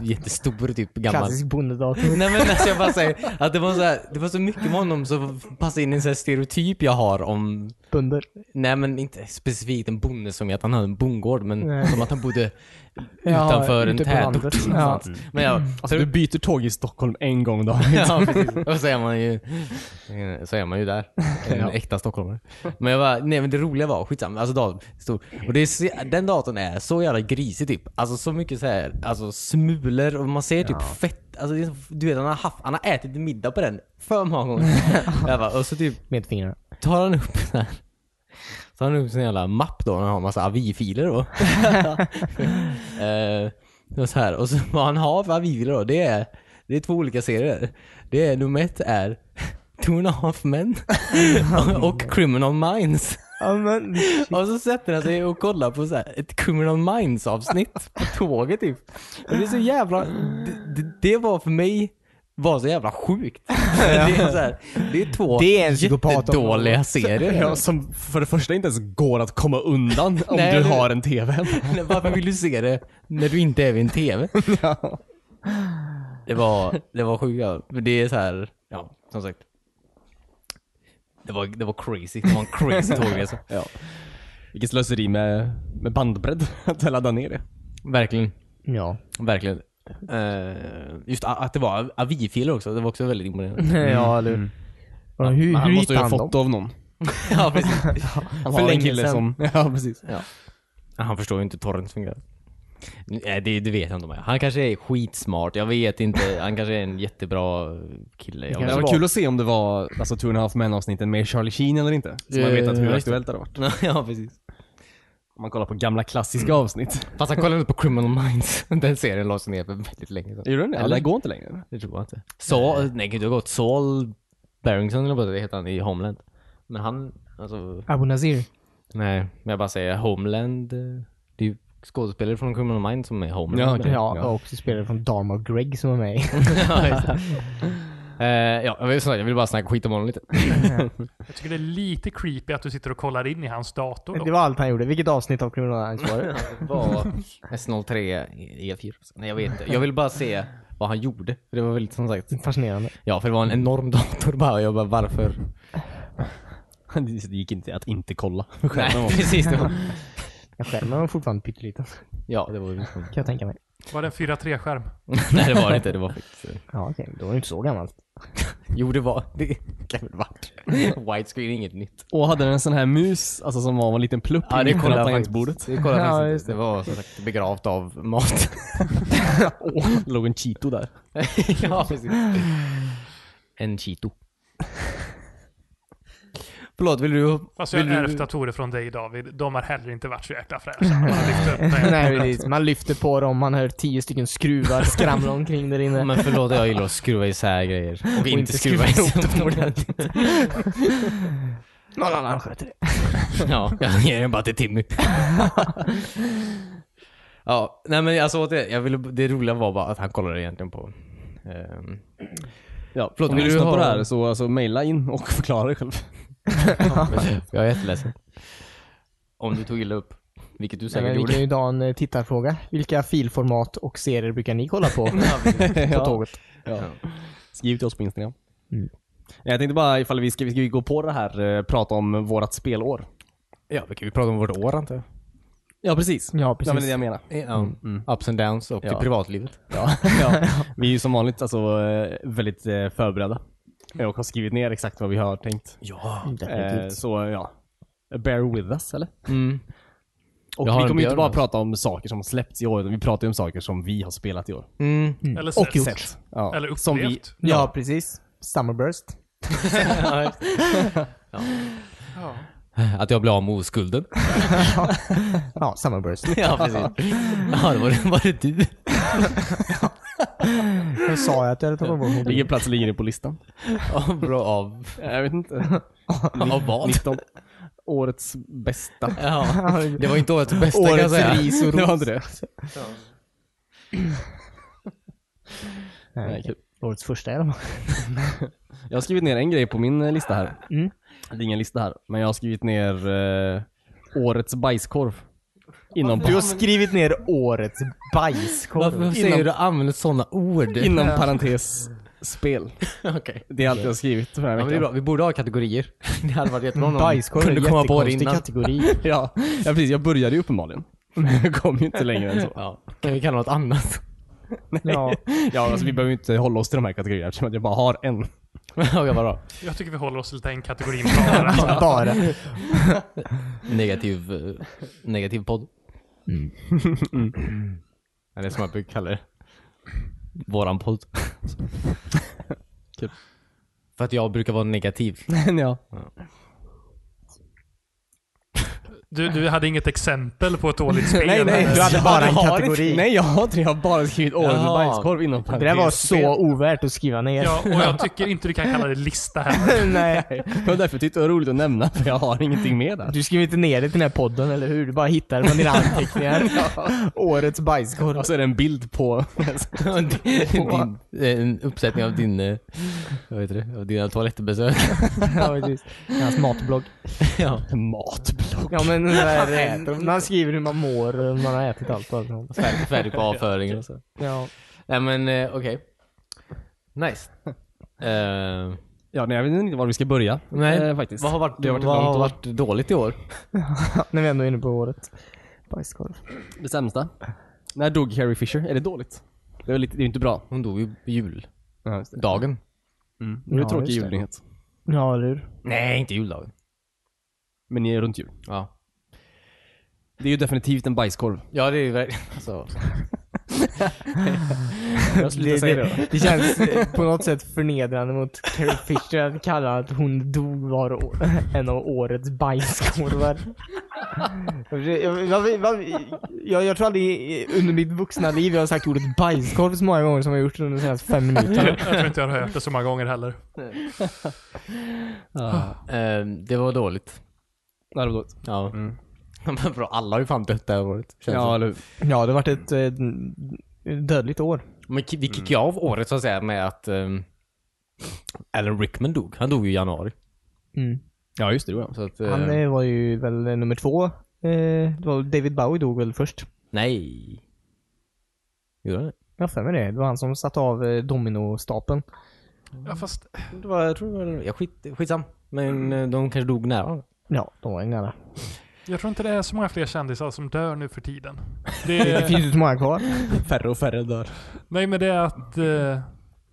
jättestor typ, gammal. Klassisk bondedator. Nej men alltså jag bara säger att det var så här, det var så mycket med honom som passade in i en sån här stereotyp jag har om, Bönder. nej men inte specifikt en bonde som i att han hade en bondgård men Nej. som att han bodde Ja, utanför en ute på tätort. landet. Ja. någonstans. Men jag, Alltså du byter tåg i Stockholm en gång då. Ja, precis. Och så är man ju, så är man ju där. En äkta stockholmare. Men jag bara, nej men det roliga var, skitsamma, alltså datorn är stor. Och det är, så- den datorn är så jävla grisig typ. Alltså så mycket så här, alltså smulor och man ser typ fett, alltså det är, så- du vet han har, haft, han har ätit middag på den för många gånger. jag bara, och så typ Med fingrarna. tar han upp den här. Så har han upp sin jävla mapp då, han har en massa avi-filer då. eh, och så här. Och så, vad han har för avi-filer då, det är, det är två olika serier. Det är, nummer ett är Two and a half men och, och Criminal Minds. Ja men, Och så sätter han sig och kollar på så här ett Criminal Minds avsnitt på tåget typ. Och det är så jävla, det, det, det var för mig, var så jävla sjukt. det, är så här, det är två Det är en psykopat om- jättedåliga serier. Ja, som för det första inte ens går att komma undan om Nej, du det- har en TV. Eller Varför vill du se det när du inte är vid en TV? Det var, det var sjukt. ja. Men Det är så här, ja, som sagt. Det var, det var crazy. Det var en crazy alltså. tågresa. Ja. Vilket slöseri med, med bandbredd att ladda ner det. Verkligen. ja. Verkligen. Eh, just a- att det var avi-filer också. Det var också väldigt imponerande. Ja eller hur? Och Hur, Men hur han måste hittade ju han ha fått dem? det av någon. ja, precis. Han För har en länge kille sedan. som... Ja, precis. Ja. Han förstår ju inte hur torrent fungerar. Nej, det, det vet jag inte om jag. Han kanske är skitsmart. Jag vet inte. Han kanske är en jättebra kille. Jag kanske Det vet var var- kul att se om det var alltså, Two and a half men-avsnitten med Charlie Sheen eller inte. Så man Eh, vet att hur just aktuellt det har varit. inte. ja, precis. Om man kollar på gamla klassiska avsnitt. Fast han kollade på Criminal Minds. Den serien lades ner för väldigt länge sedan. Gör du det? Eller? Det går inte längre. Det tror jag inte. Saul, nej gud det har gått. Saul Barrington eller vad det heter han i Homeland. Men han, alltså, Abu Nazir. nej. Men jag bara säger Homeland. eh, Det är ju skådespelare från Criminal Minds som är Homeland. Ja, Ja, okej. och också spelare från Dharma och Greg som var med i. ja, just det. Eh, ja, jag vill, jag vill bara snacka skit om honom lite. Jag tycker det är lite creepy att du sitter och kollar in i hans dator. Det Då. var allt han gjorde. Vilket avsnitt av Criminal Minds var det? Var S03 E4. E alltså. Nej jag vet inte. Jag vill bara se vad han gjorde. För det var väldigt som sagt. Fascinerande. Ja, för det var en enorm dator bara. Jag bara varför? Det gick inte att inte kolla. Nej, precis. Det var, Jag skärmen var fortfarande pytteliten. ja, det var ju liksom- Kan jag tänka mig. Var det en 4.3-skärm? Nej det var det inte, det var faktiskt... eh, Ja okej, då är det inte så gammalt. Jo det var, det kan väl varit. Widescreen är inget nytt. Och hade den en sån här mus, alltså som var en liten plupp i mitten av tangentbordet. Det kollade Ja, jag just faktiskt. Det var som sagt begravt av mat. Åh, låg en Cheeto där. ja precis. En Cheeto. Förlåt, vill du... Fast jag vill har du... ärvt datorer från dig David. De har heller inte varit så jäkla fräscha. Man har lyft upp den. Nej precis, man lyfter på dem, man hör tio stycken skruvar skramla omkring där inne. Men förlåt, jag gillar att skruva isär grejer. Och, inte, skruva, ihop dem ordentligt. Någon annan sköter det. Ja, jag ger den bara till Timmy. ja, nej men alltså återigen, jag ville, det roliga var bara att han kollade egentligen på... ehm, Ja, förlåt, Om vill du du lyssna har- på det här så alltså, mejla in och förklara dig själv. jag är jätteledsen. Om du tog illa upp. Vilket du Nej, säkert men vi gjorde. kan ju ta en eh, tittarfråga. Vilka filformat och serier brukar ni kolla på? på tåget? Ja. Skriv till oss på Instagram. Mm. Nej, Jag tänkte bara ifall vi ska, vi ska gå på det här, eh, prata om vårat spelår. Ja, vi kan ju prata om vårt år antar jag. Ja, precis. Ja, precis. Ja, men det är det jag menar. Ja, mm. Ups and downs och det Ja. privatlivet. Ja. ja. Vi är ju som vanligt alltså, eh, väldigt eh, förberedda. Och har skrivit ner exakt vad vi har tänkt. Ja. Eh, Definitivt. så ja, bear with us eller? Mm. Och Jag har vi en kommer ju björn inte bara alltså. prata om saker som släppts i år, utan vi pratar ju om saker som vi har spelat i år. Mm. Eller Och sett. gjort. Sett. Ja. Eller upplevt. Som vi, Ja, precis. Summerburst. Ja. Att jag blir av med oskulden. Ja, Summerburst. ja, precis. Ja, det var det, var det du? Jag sa jag att jag hade tagit bort mobilen. vilken plats ligger ni på listan? Ja, bra av... Jag vet inte. Av vad? 19. Årets bästa. Ja. Det var inte årets bästa kan jag Årets säga. ris och Det var ros. inte det. Nej, Nej, okej. Årets första är de. Jag har skrivit ner en grej på min eh, lista här. Mm. Det är ingen lista här, men jag har skrivit ner eh, årets bajskorv. Inom, Du har par- skrivit ner årets bajskorv. Mm. Varför säger du använt sådana ord? inom parentes spel. Okej. Det är allt jag har skrivit för den här Ja, men det är bra. veckan. Vi borde ha kategorier. Det hade varit jättebra om någon Bajskorv är en kunde komma på det jättekonstig innan. kategori. Ja, ja, precis. Jag började ju uppenbarligen. Men jag kom ju inte längre än så. Ja. Kan vi kalla något annat? Ja. Ja, alltså, vi behöver ju inte hålla oss till de här kategorierna eftersom att jag bara har en. Okej, vad bra. Jag tycker vi håller oss lite en kategori bara. Bara. Negativ, eh, negativ podd. Eller som jag brukar kalla Mm. det. Våran podd. Kul. Typ. För att jag brukar vara negativ. ja. Du, du hade inget exempel på ett dåligt spel? Nej, nej. eller? Du hade Jag bara en har inte- kategori. Nej, jag har inte. Jag har bara skrivit årets Jaha. bajskorv inom Det där var parentes. så ovärt att skriva ner. Ja, och jag tycker inte du kan kalla det lista här. Nej. Det var därför jag tyckte det var roligt att nämna, för jag har ingenting mer där. Du skrev inte ner det till den här podden, eller hur? Du bara hittade det bland dina anteckningar. Årets bajskorv. Och så är det en bild på... din, eh, en uppsättning av din, eh, vad heter det, av dina toalettbesök. Ja, precis. Hans matblogg. ja. Matblogg. Ja, men den där, man skriver hur man mår, och hur man har ätit allt och allt sånt. Färg, färg på avföringen och så. Ja. Nej men eh, okej. Nice. Eh, Ja, nej, jag vet inte var vi ska börja. nej, eh, faktiskt. vad har varit, Det har varit ett vad långt har år. varit dåligt i år? När vi ändå är inne på året. Bajskorv. Det sämsta? När dog Carrie Fisher? Är det dåligt? Det är, lite, det är ju inte bra. Hon dog ju på juldagen. Ja, just det. Det är Ja, en tråkig just det. julnyhet. Ja, eller hur? Nej, inte juldagen. Men ni är runt jul. Ja, Det är ju definitivt en bajskorv. ja det är ju verkligen alltså. Jag Det, det, det känns eh, på något sätt förnedrande mot Carrie Fisher att kalla att hon dog var å- en av årets bajskorvar. Jag, jag, jag, jag, jag tror aldrig under mitt vuxna liv jag har sagt ordet bajskorv så många gånger som jag gjort under de senaste fem minuterna. Jag tror inte jag har hört det så många gånger heller. Ah. Eh, det var dåligt. Ja, det var dåligt. Ja. Men bra, alla har ju fan dött det här året. känns det. eller hur? Ja, det har varit ett eh, dödligt år. Men ki- vi kickade av året så att säga med att um, Alan Rickman dog. Han dog ju i januari. Mm. Ja, just det. det var jag. Så att, Han eh, eh, var ju väl eh, nummer två. Eh, det var David Bowie dog väl först? Nej. Gjorde han det? Jag har för mig det. Det var han som satte av eh, dominostapeln. Ja, fast det var, jag tror det var, jag skit, skitsam. Men eh, de kanske dog nära honom. Ja, de var ju nära. jag tror inte det är så många fler kändisar som dör nu för tiden. Det Det finns ju inte många kvar. Färre och färre dör. Nej, men det är att eh,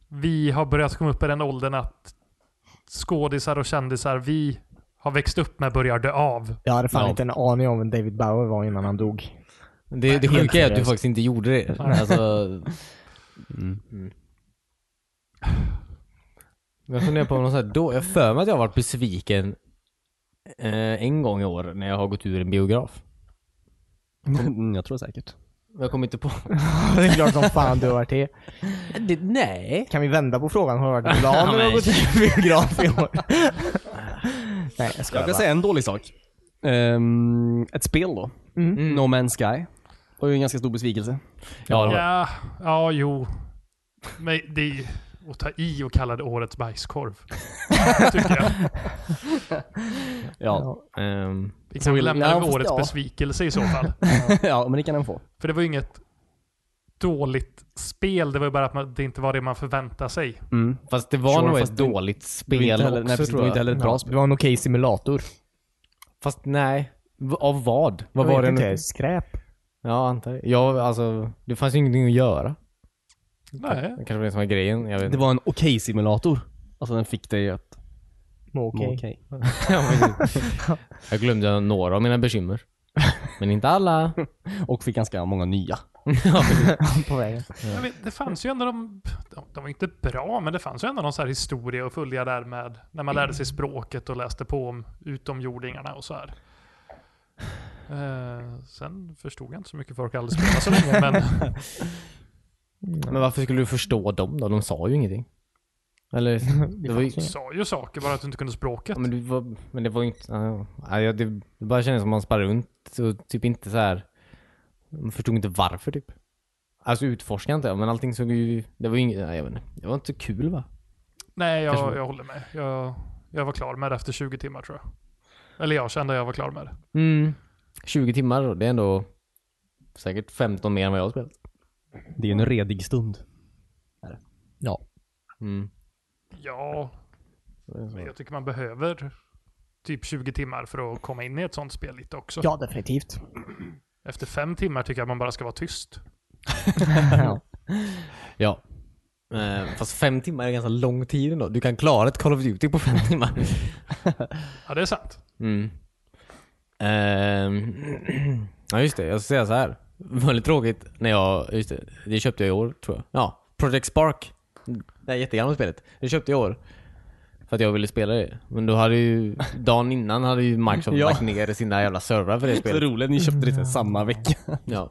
vi har börjat komma upp i den åldern att skådisar och kändisar vi har växt upp med börjar dö av. Jag hade fan Ja. inte en aning om vem David Bowie var innan han dog. Det, det helt sjuka är att du seriöst. faktiskt inte gjorde det. Alltså... Mm. Jag funderar på något så här, då, jag för mig att jag har varit besviken eh, en gång i år när jag har gått ur en biograf. Mm, jag tror säkert. Jag kommer inte på... Det är klart som fan du har varit det. Äh, nej. Kan vi vända på frågan? Har du varit glad när du har Nej. gått till biograf i år? Nej, jag skojar bara. Jag kan säga en dålig sak. Ehm, ett spel då. Mm. No Man's Sky. Det var ju en ganska stor besvikelse. Ja, det var. Ja, ja, jo. Men det är att ta i och kalla det årets bajskorv. Tycker jag. Ja, Ehm, Vi kan väl lämna ja, över fast årets ja. besvikelse i så fall. ja men det kan den få. För det var ju inget dåligt spel, det var ju bara att man, det inte var det man förväntade sig. Mm. fast det var Sure, nog fast ett det- dåligt Det var spel inte heller, också nej, precis, det tror var jag. inte heller ett bra Ja, spel. det var en okej simulator. Fast nej. V- Av vad? Vad Jag var vet det inte. nu? Skräp. Ja, antar jag. Ja, alltså, det fanns ju ingenting att göra. Nej. Det kanske var det som var grejen. Jag vet Det inte. var en okej-simulator. Alltså den fick dig att Må må Okej. okej. Ja, precis. jag glömde några av mina bekymmer. Men inte alla. Och fick ganska många nya. Ja, precis. på vägen. Jag vet, det fanns ju ändå de, de, de var inte bra, men det fanns ju ändå någon så här historia att följa där med när man lärde sig språket och läste på om utomjordingarna och så här. Eh, sen förstod jag inte så mycket för jag aldrig spela så länge, men Men varför skulle du förstå dem då? De sa ju ingenting. Eller? Det var ju, du sa ju saker bara att du inte kunde språket. ja, men, du var, men det var ju inte... ja, ja. Ja, det, det bara kändes som man sparrade runt och typ inte så här. Man förstod inte varför typ. Alltså utforska inte, men allting såg ju... Det var ju inget... ja, Jag vet inte. Det var inte så kul va? Nej, jag, Kanske- jag håller med. Jag, jag var klar med det efter 20 timmar tror jag. Eller jag kände att jag var klar med det. Mm. 20 timmar, och det är ändå säkert 15 mer än vad jag har spelat. Det är en redig stund. Mm. Ja, men jag tycker man behöver typ 20 timmar för att komma in i ett sånt spel lite också. Ja, definitivt. Efter fem timmar tycker jag man bara ska vara tyst. ja. Ja. Eh, fast fem timmar är ganska lång tid ändå. Du kan klara ett Call of Duty på fem timmar. Ja, det är sant. Mm. Ehm, ja just det, jag ska säga så här. Väldigt tråkigt när jag, just det, det köpte jag i år tror jag. Ja, Project Spark. Det här jättegamla spelet. Det köpte jag i år. För att jag ville spela det. Men då hade ju, dagen innan hade ju Microsoft Ja. lagt ner sina jävla servrar för det Så spelet. roligt, ni köpte det samma vecka. Ja.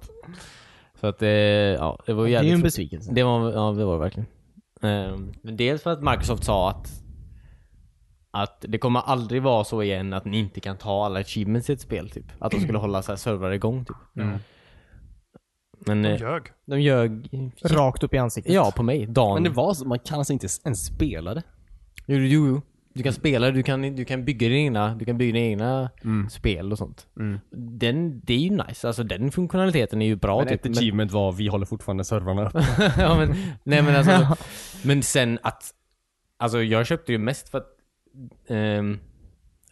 Så att det, ja det var ju Det är jävligt ju en tråkigt. besvikelse. Det var, ja, det var det verkligen. Ehm, Men dels för att Microsoft sa att att det kommer aldrig vara så igen att ni inte kan ta alla achievements i ett spel typ. Att de skulle hålla så här servrar igång typ. Mm. Men De eh, ljög. de ljög Rakt upp i ansiktet. Ja, på mig. Men Dan. det var så, man kan alltså inte ens spela det. Jo, jo, jo. Du kan spela, du kan, du kan bygga dina egna, du kan bygga dina egna Mm. spel och sånt. Den, det är ju nice. Alltså den funktionaliteten är ju bra typ. Men ett achievement var vi håller fortfarande servrarna uppe. ja, men, nej men alltså, men sen att, alltså jag köpte ju mest för att ehm,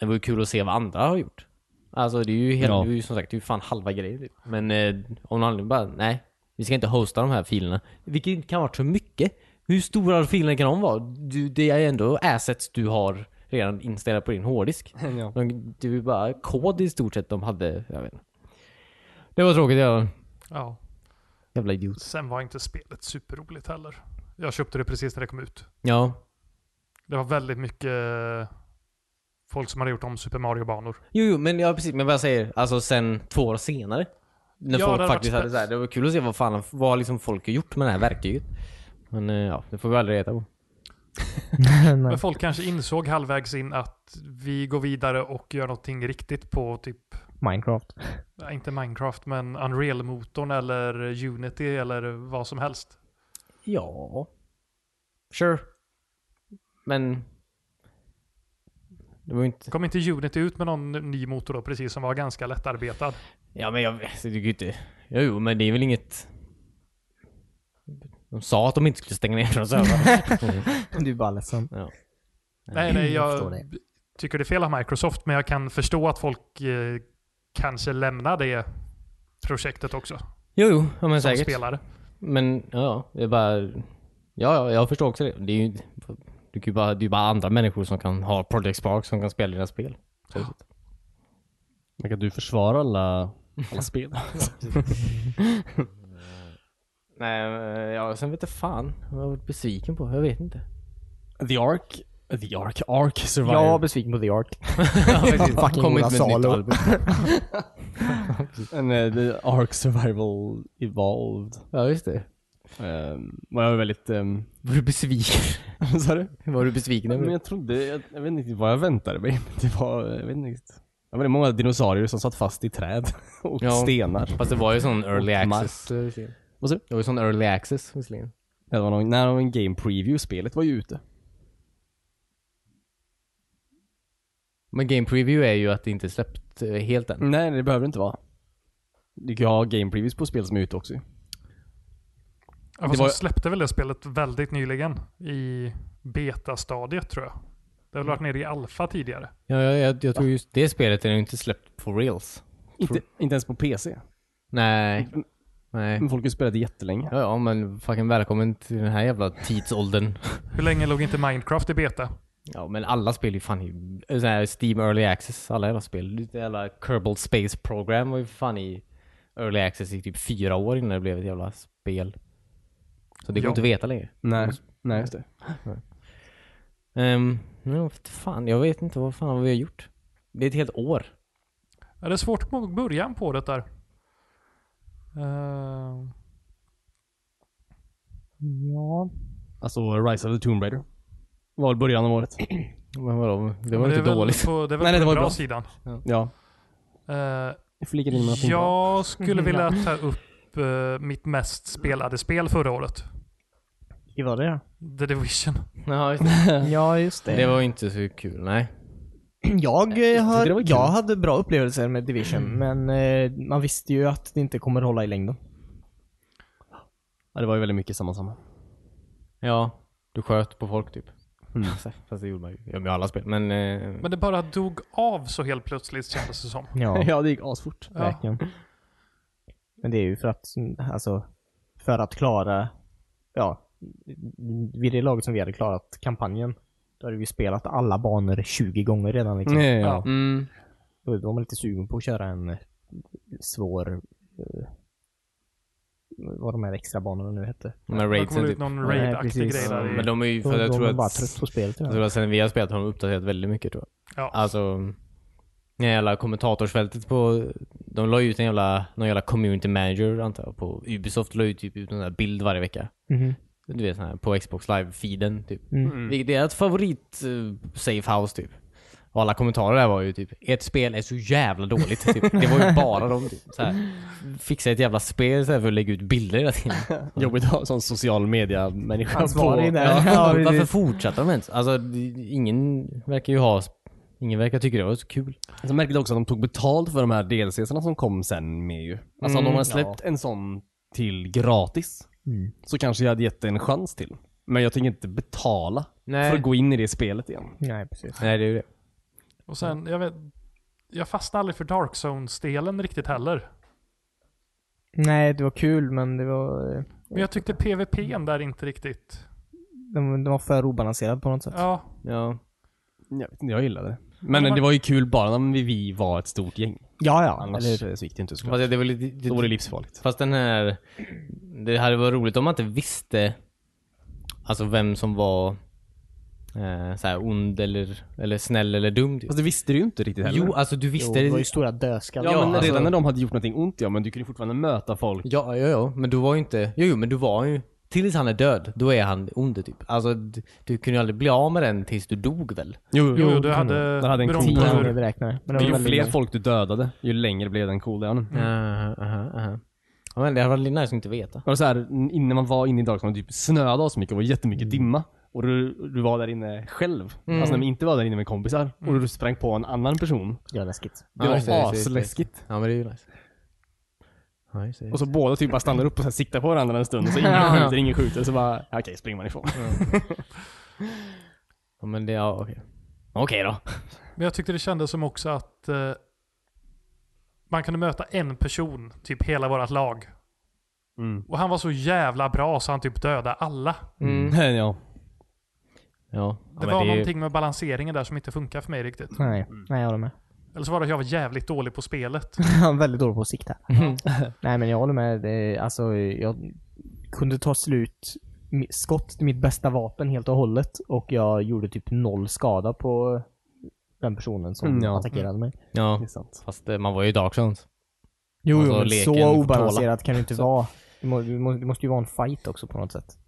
det var ju kul att se vad andra har gjort. Alltså det är ju, helt, Ja. det är ju som sagt, det är ju fan halva grejen typ. Men eh, om någon anledning bara, nej. Vi ska inte hosta de här filerna. Vilket inte kan vara så mycket. Hur stora filerna kan de vara? Du, det är ändå assets du har redan installerat på din hårddisk. Ja. De, det är ju bara kod i stort sett de hade. Jag vet inte. Det var tråkigt. Jag var en Ja. jävla idiot. Sen var inte spelet superroligt heller. Jag köpte det precis när det kom ut. Ja. Det var väldigt mycket folk som hade gjort om Super Mario-banor. Jo, jo, men ja, precis. Men vad jag säger, alltså sen två år senare. När Ja, det folk hade faktiskt varit hade så här, det var kul att se vad fan, vad liksom folk har gjort med det här verktyget. Men eh, ja, det får vi aldrig reda på. Nej. Men folk kanske insåg halvvägs in att vi går vidare och gör någonting riktigt på typ, Minecraft. nej, inte Minecraft, men Unreal-motorn eller Unity eller vad som helst. Ja. Sure. Men. Det var ju inte... Kom inte Unity ut med någon ny motor då, precis som var ganska lättarbetad? Ja, men jag vet ju inte. Jo, jo, men det är väl inget... De sa att de inte skulle stänga ner från servrar. Du är bara ledsen. ja. Nej, nej, jag förstår jag det. tycker det är fel av Microsoft, men jag kan förstå att folk eh, kanske lämnar det projektet också. Jo, jo, ja, men Som säkert. spelare. Men ja, ja, det är bara... Ja, ja, jag förstår också det. Det är ju, du kan ju bara, det är ju bara andra människor som kan ha Project Spark som kan spela dina spel. Så- Men kan du försvara alla, alla spel? Nej, men, ja, sen vet jag fan vad jag har varit besviken på. Jag vet inte. The Ark, The Ark, Ark Survivor. Jag var besviken på The Ark. Fucking Kommit Ola med ett nytt Salo. album. En, eh, The Ark Survival Evolved. Ja, just det. Um, jag var väldigt... Um, Var du besviken? vad sa du? Var du besviken Men över? jag trodde, jag, jag vet inte riktigt vad jag väntade mig. men Det var, jag vet inte riktigt. Det var väldigt många dinosaurier som satt fast i träd och Ja. stenar. Fast det var ju sån early Och Mars. access. eh, Vad sa du? Det var ju sån early access visserligen. Det var någon, när det var en game preview, spelet var ju ute. Men game preview är ju att det inte är släppt eh, helt än. Nej, det behöver det inte vara. Du kan ju ha game previews på spel som är ute också ju. Ja, fast Det var- de släppte väl det spelet väldigt nyligen i betastadiet tror jag. Det har väl varit nere i alfa tidigare. Ja, jag, jag, jag tror just det spelet är ju inte släppt på reels. Inte, inte ens på PC. Nej. Nej. Men folk har ju spelat det jättelänge. Ja, ja, men fucking välkommen till den här jävla tidsåldern. Hur länge låg inte Minecraft i beta? Ja men alla spel är ju fan i sån här Steam Early Access, alla jävla spel. Det jävla Kerbal Space Program var ju fan i Early Access i typ fyra år innan det blev ett jävla spel. Så det går Ja. inte att veta längre. Nej, nej just det. Um, no, fan, jag vet inte vad fan vi har gjort. Det är ett helt år. Ja, det är svårt att komma ihåg början på det där. Eh, Ja. Alltså Rise of the Tomb Raider. Var väl början av året. Men vadå, det men var är inte väl dåligt. På, det är väl på Nej, det den var bra, bra. sidan. Ja. Eh, Jag flikar in någonting. jag skulle vilja ta upp eh, mitt mest spelade spel förra året. Det var det The Division. Ja, just ja. Ja, just det. det. det var ju inte så kul, nej. Jag, eh, har, det var kul. jag hade bra upplevelser med Division, men eh, man visste ju att det inte kommer hålla i längden. Ja, det var ju väldigt mycket samma samma. Ja, du sköt på folk typ. Fast det gjorde man ju. Ja, med alla spel. Men, eh, Mm. Men det bara dog av så helt plötsligt kändes det som. Ja, ja, det gick asfort. Ja. verkligen. Men det är ju för att, alltså, för att klara, ja, vid det laget som vi hade klarat kampanjen, då hade vi spelat alla banor 20 gånger redan liksom. Ja, ja, Ja. ja. mm, Då var man lite sugen på att köra en eh, svår, eh, vad de här extra banorna nu hette. med Det kommer raidsen ut typ. någon Nej, raid-aktig precis. grej Ja, där. Men i- de är ju, Då, för då jag var tror man bara att, trött på spelet jag tyvärr. tror att sen vi har spelat har de uppdaterat väldigt mycket tror jag. Ja. Alltså, det jävla kommentatorsfältet på, de la ju ut en jävla, någon jävla community manager antar jag, på Ubisoft la ju typ ut en där bild varje vecka. Mhm. Du vet sån här, på Xbox live-feeden typ. Mm. Vilket är ett favorit eh, safe house typ. Och alla kommentarer där var ju typ ert spel är så jävla dåligt. Typ. Det var ju bara de typ, så här, fixa ett jävla spel istället för att lägga ut bilder hela tiden. Jobbigt att ha en sån social media-människa Ansvarig där. Ja, Ja, varför precis. fortsätter de ens? Alltså det- ingen verkar ju ha Ingen verkar tycka det var så kul. Så märkligt också att de tog betalt för de här DLCsarna som kom sen med ju. Alltså om de hade släppt en sån till gratis Mm. så kanske jag hade gett det en chans till. Men jag tänker inte betala Nej. för att gå in i det spelet igen. Nej, precis. Nej det är ju det. Och sen, jag vet... Jag fastnade aldrig för Dark Zones-delen riktigt heller. Nej, det var kul men det var... eh, Men jag tyckte PVP'n där inte riktigt... Den, den var för obalanserad på något sätt. Ja, Ja. Jag vet inte, jag gillade det. Men det var ju kul bara när vi- vi var ett stort gäng. Ja, ja. Annars Eller, Eller... så gick det inte såklart. Fast det var lite, Då var det livsfarligt. Fast den här, det hade varit roligt om man inte visste alltså vem som var eh, så här ond eller, eller snäll eller dum. Typ. Fast det visste du ju inte riktigt heller. Jo, alltså du jo, visste. det var ju stora dödskallar. ja, men alltså- redan när de hade gjort någonting ont ja, men du kunde ju fortfarande möta folk. Ja, ja, ja, men du var ju inte, jo, jo, men du var ju, tills han är död, då är han ond typ. Alltså d- du kunde ju aldrig bli av med den tills du dog väl? jo, du hade... mm. Den hade en beroende cool på Tio hur- gånger beräknade. Men det var Ju väldigt fler långt. folk du dödade, ju längre blev den cooldownen. Mm. Aha, Uh-huh, aha, aha. Ja, men det hade varit lite nice att inte veta. Det var så här, innan man var inne i Dark Zone, typ snöade oss mycket och det var jättemycket dimma. Och du, du var där inne själv. Alltså när vi inte var där inne med kompisar. Och du sprang på en annan person. Det var läskigt. Det Ja, var just det, just det, just det. asläskigt. Ja, men det är ju nice. Ja, just det. Och så båda typ bara stannar upp och så här siktar på varandra en stund. Och så ingen skjuter, ingen skjuter. Så bara, ja, okej, springer man ifrån. Ja, men det, ja, okej. Okej då. Men jag tyckte det kändes som också att eh, man kunde möta en person, typ hela vårt lag. Mm. Och han var så jävla bra så han typ dödade alla. Mm. ja. Ja, ja, Det men var är ju- någonting med balanseringen där som inte funkar för mig riktigt. Nej, nej jag håller med. Eller så var det att jag var jävligt dålig på spelet. Han är väldigt dålig på att sikta. nej men jag håller med. Det, alltså, jag kunde ta slut mi- skott till mitt bästa vapen helt och hållet och jag gjorde typ noll skada på den personen som Mm, ja. attackerade mig. Ja, Det är sant. fast eh, man var ju i Dark Zones. Jo, Alltså, jo men leken så får tåla. obalanserat kan det inte vara. Det må- det må- det måste ju vara en fight också på något sätt.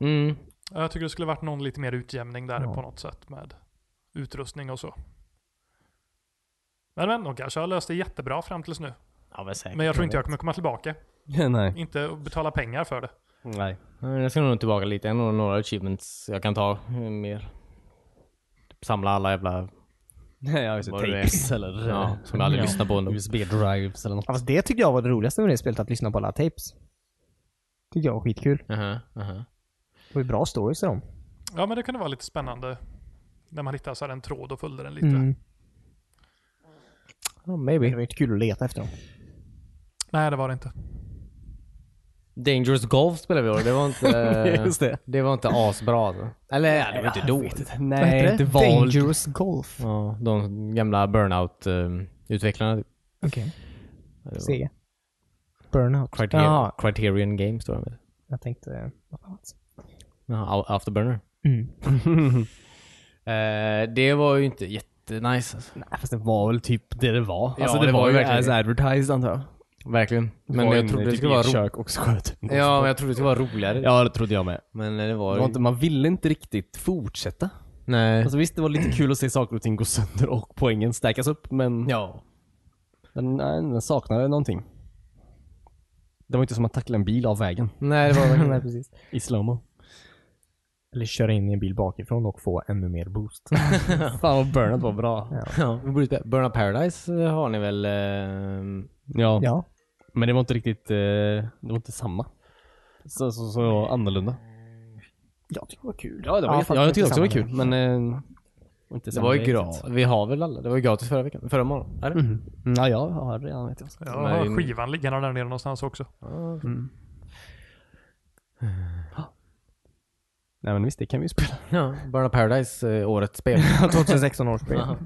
Mm. Ja, Jag tycker det skulle varit någon lite mer utjämning där Ja. på något sätt med utrustning och så. Men men, de kanske har löst det jättebra fram tills nu. Ja, men säkert. Men jag tror inte jag kommer komma tillbaka. Nej. Inte att betala pengar för det. Nej. Ja, Jag ska nog tillbaka lite. Jag har nog några achievements jag kan ta eh, mer. Typ Samla alla jävla... Ja, just det. Vad det är. Alltså, Tapes eller Ja, som jag aldrig Ja. lyssnar på ändå. USB-drives eller något. Alltså det tyckte jag var det roligaste med det spelet, att lyssna på alla tapes. Tyckte jag var skitkul. Aha, aha. Det var ju bra stories i dem. Ja, men det kunde vara lite spännande. När man hittar så här en tråd och följde den lite. Mm. Ja, maybe. Det var ju inte kul att leta efter dem. Nej, det var det inte. Dangerous Golf spelade vi då. Det var inte, eh, Just det. det var inte asbra alltså. Eller ja, det var inte Jag vet dåligt. inte. Vad heter Nej, det? det var väl- Dangerous Golf. Ja, de gamla eh, Burnout-utvecklarna. typ. Okej. Det var Sega. Burnout. Criter- Jaha, Criterion Games tror jag de heter. jag tänkte... Vad fan var det? Jaha, Au- Afterburner. Mm. Eh, det var ju inte jättenice alltså. Nej, fast det var väl typ det det var. Ja, alltså det, det var, var ju ju verkligen as det. advertised antar jag. Verkligen. Det Men var jag en, trodde det typ skulle i vara ett roligt. kök och sköt. Ja, men jag trodde det skulle vara roligare. Ja, det trodde jag med. Men eh, det var, Det ju... var inte, man ville inte riktigt fortsätta. Nej. Alltså visst, det var lite kul att se saker och ting gå sönder och poängen stärkas upp, men Ja. den, nej, den saknade någonting. Det var inte som att tackla en bil av vägen Nej, det var verkligen Nej, precis. i slowmo. Eller köra in i en bil bakifrån och få ännu mer boost. Fan vad burnout var bra. Ja, vi borde spela. Burn Up Paradise eh, har ni väl? ehm, Ja, ja. men det var inte riktigt, eh, det var inte samma. Så, så, så annorlunda. Jag tycker det var kul. Ja, det var Ja, jätte- fast ja jag inte tyckte också det var samma. kul, men... Eh, inte det samma var ju grej riktigt. gratis. Vi har väl alla? Det var ju gratis förra veckan. Förra månaden. Är det? Mm. Ja, jag har redan vet jag. Jag Den här har in- skivan liggande där nere någonstans också. Mm. Nej men visst, det kan vi ju spela. Ja. Burn Up Paradise, eh, årets spel. 2016 års spel. Jaha.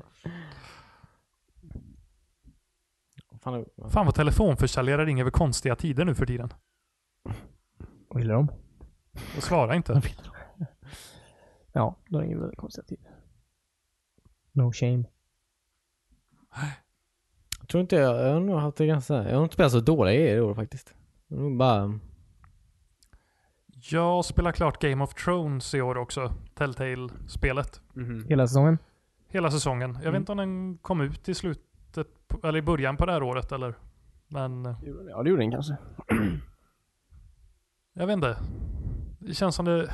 Fan, det- Fan vad telefonförsäljare ringer vid konstiga tider nu för tiden. Vad gillar de? Och svarar inte. Ja, de är väldigt konstiga tider. No shame. Jag tror inte jag, jag har nog haft det ganska, jag har inte spelat så dåliga grejer i år faktiskt. Jag har nog bara, Jag spelar klart Game of Thrones i år också. Telltale-spelet. Mm. Hela säsongen? Hela säsongen. Jag vet inte om den kom ut i slutet, på- eller i början på det här året eller. Men eh, Ja det gjorde den kanske. jag vet inte. Det känns som det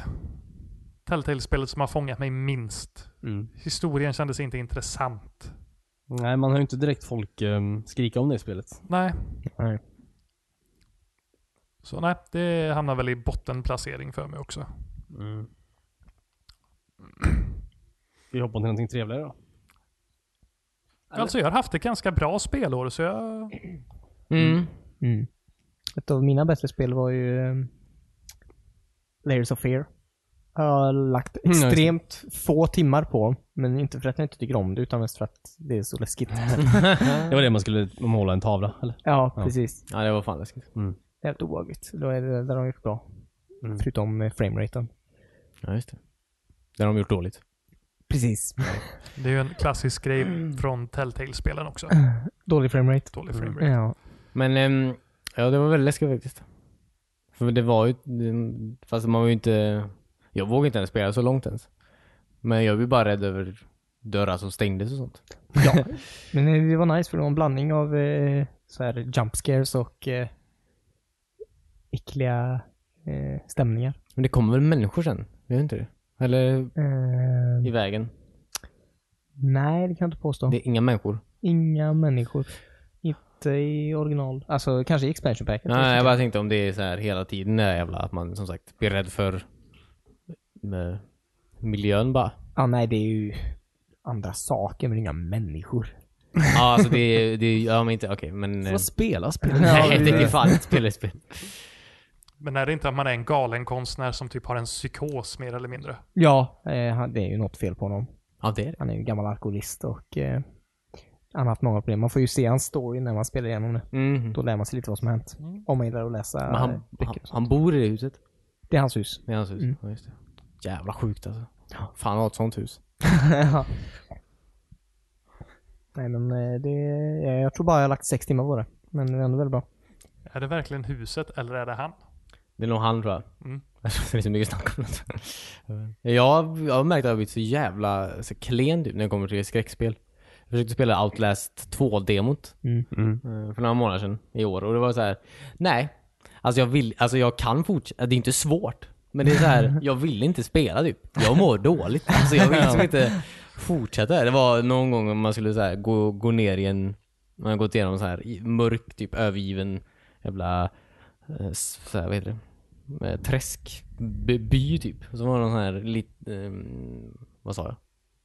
Telltale-spelet som har fångat mig minst. Mm. Historien kändes inte intressant. Nej man har ju inte direkt folk um, skrika om det i spelet. Nej. Nej. Så nej, det hamnar väl i bottenplacering för mig också. Mm. Vi hoppar till någonting trevligare då. Alltså jag har haft ett ganska bra spelår så jag... mm. Mm. Ett av mina bästa spel var ju ehm, Layers of Fear. Jag har lagt just det. extremt få timmar på, men inte för att jag inte tycker om det, utan mest för att det är så läskigt. Det var det man skulle måla en tavla eller? ja, precis. Ja det var fan läskigt. Jävligt obehagligt. Då är det där de gjort bra. Förutom eh, frameraten. Ja just det. Det har de gjort dåligt. Precis. Det är ju en klassisk grej från Telltale-spelen också. Dålig framerate. Dålig framerate. Ja. Men ehm, ja det var väldigt läskigt faktiskt. För det var ju, fast man var ju inte, jag vågade inte ens spela så långt ens. Men jag blev bara rädd över dörrar som stängdes och sånt. ja. Men eh, det var nice för det var en blandning av eh, så här jump scares och eh, äckliga eh, stämningar. Men det kommer väl människor sen? Gör inte det? Eller Eh, i vägen? Nej, det kan jag inte påstå. Det är inga människor. Inga människor. Inte i original. Alltså kanske i expansion packet. Nej, jag bara tänkte om det är så här hela tiden det här jävla att man som sagt blir rädd för eh, miljön bara. Ja, Ah, nej, det är ju andra saker, men inga människor. Ja, alltså det är, det är ja men inte, okej men... eh, Vad spela spel? Nej, det är fan inte spel, spel. Men är det inte att man är en galen konstnär som typ har en psykos mer eller mindre? Ja, eh, han- det är ju något fel på honom. Ja, det är det. Han är ju en gammal alkoholist och eh, han har haft många problem. Man får ju se hans story när man spelar igenom det. Mhm. Då lär man sig lite vad som har hänt. Om man gillar att läsa Men han, eh, han, böcker. han bor i det huset. Det är hans hus. Det är hans hus. Ja, just det. Jävla sjukt alltså. Fan ha ett sånt hus. Ja. Nej, men eh, det... eh, Jag tror bara jag har lagt sex timmar på det. Men det är ändå väldigt bra. Är det verkligen huset eller är det han? Det är nog han tror jag. Mm. det är så mycket snack om det. jag, jag har märkt att jag har blivit så jävla så klen typ när det kommer till skräckspel. Jag försökte spela Outlast 2-demot. Mm. Eh, för några månader sedan i år och det var så här. nej. Alltså jag vill, alltså jag kan fortsätta, det är inte svårt. Men det är så här, jag vill inte spela typ. Jag mår dåligt. Alltså jag vill liksom inte fortsätta. Det var någon gång om man skulle så här, gå, gå ner i en, man har gått igenom så här i- mörk, typ övergiven jävla, eh, s- så här, vad heter det? Eh, Träskby by, typ. Och så var det någon sån här lit, eh, vad sa jag?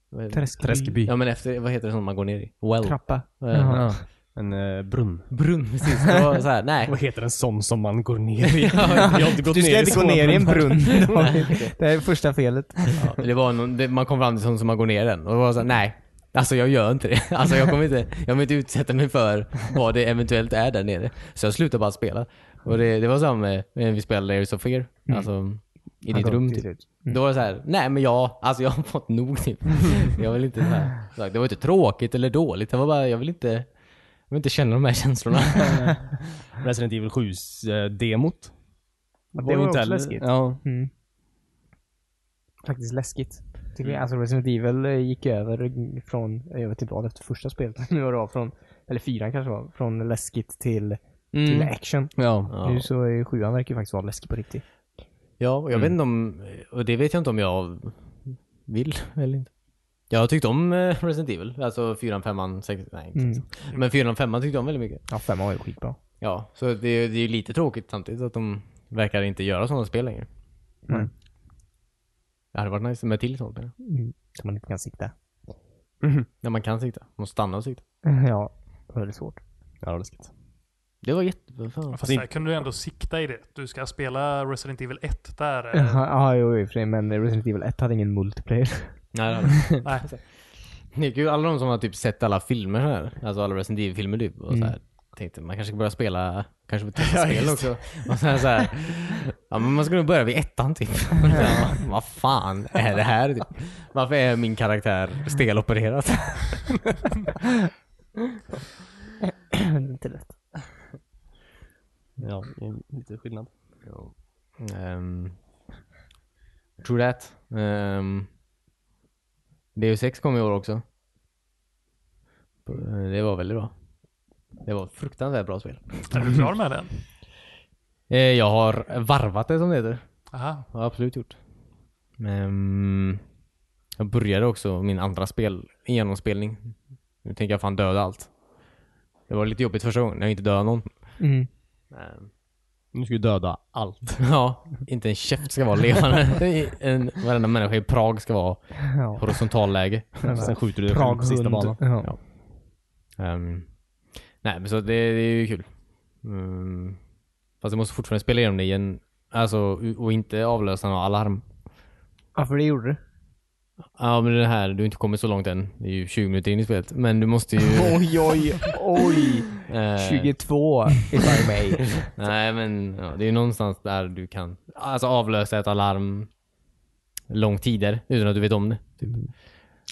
Vad heter det? Träskby. Träskeby. Ja men efter, vad heter det som man går ner i? Well. Trappa. Eh, Jaha. ja. En eh, brunn. Brunn precis. Det var så här, nej. Vad heter en sån som man går ner i? Ja, Jag har inte gått Du ska ner i inte gå sådana ner i en brunnar. brunn. David. det är första felet. ja, det var någon, det, man kom fram till sånt som man går ner i den. Och det var så här, nej. Alltså jag gör inte det. Alltså jag kommer inte, jag kommer inte utsätta mig för vad det eventuellt är där nere. Så jag slutade bara spela. Och det, det var samma med när vi spelade Layers of Fear. Alltså i ditt rum typ. Då var det så här, nej men jag, alltså jag har fått nog typ. Jag vill inte så här, så här, det var inte tråkigt eller dåligt, det var bara, jag vill inte, jag vill inte känna de här känslorna. Resident Evil eh, 7-demot. Ja, det var också läskigt. Ja. Mm. Faktiskt läskigt. Tycker jag. Alltså Resident Evil eh, gick över från, över till bra efter första spelet. Nu var det av från, eller fyran kanske var, från läskigt till, till Mm. action. ja. Ja. Nu så är sjuan verkar ju faktiskt vara läskig på riktigt. Ja, och jag vet inte om, och det vet jag inte om jag vill eller inte. Jag har tyckt om eh, Resident Evil, alltså 4, 5, 6, nej inte Mm. sex. Men 4, 5 tyckte jag om väldigt mycket. Ja, femman var ju skitbra. Ja, så det, är- det är ju lite tråkigt samtidigt att de verkar inte göra sådana spel längre. Mm. Nej. Det hade varit nice med till sådana spel. Mm. Som man inte kan sikta. När man kan sikta, man stannar och sikta. ja, det var väldigt svårt. Ja, det var läskigt. Det var jätte... vad fan. Fast där kunde du ändå sikta i det. Du ska spela Resident Evil 1 där. eh, Jaha, Ja, jo, i och för sig, men Resident Evil 1 hade ingen multiplayer. Nej, det hade jag inte. Nej. Det är kul, alla de som har typ sett alla filmer så här, alltså alla Resident Evil-filmer typ, och så här, tänkte man kanske ska börja spela, kanske på testspel också. Och sen så här, ja men man ska nog börja vid ettan typ. Ja, Vad fan är det här typ? Varför är min karaktär stelopererad? inte lätt. Ja, det är lite skillnad. Um, true that. Um, Deus Ex kom i år också. Det var väldigt bra. Det var ett fruktansvärt bra spel. Är du klar med den? Eh, Jag har varvat det som det heter. Aha. Har jag absolut gjort. Ehm, jag började också min andra spel, genomspelning. Nu tänker jag fan döda allt. Det var lite jobbigt första gången när jag inte dödade någon. Mm. Ehm, Nu ska du döda allt. ja, inte en käft ska vara levande. en, varenda människa i Prag ska vara Ja. horisontalläge. Sen skjuter du dig själv Prag på sista banan. Ja. Ja. Ehm, nej, men så det, det är ju kul. Mm, fast jag måste fortfarande spela igenom det igen. Alltså, u- och inte avlösa några alarm. ja, för det gjorde du. Ja men det här, du har inte kommit så långt än. Det är ju 20 minuter in i spelet. Men du måste ju... Oj, oj, oj. eh, 22 if I may. Nej men ja, det är ju någonstans där du kan alltså, avlösa ett alarm lång tider utan att du vet om det. Typ.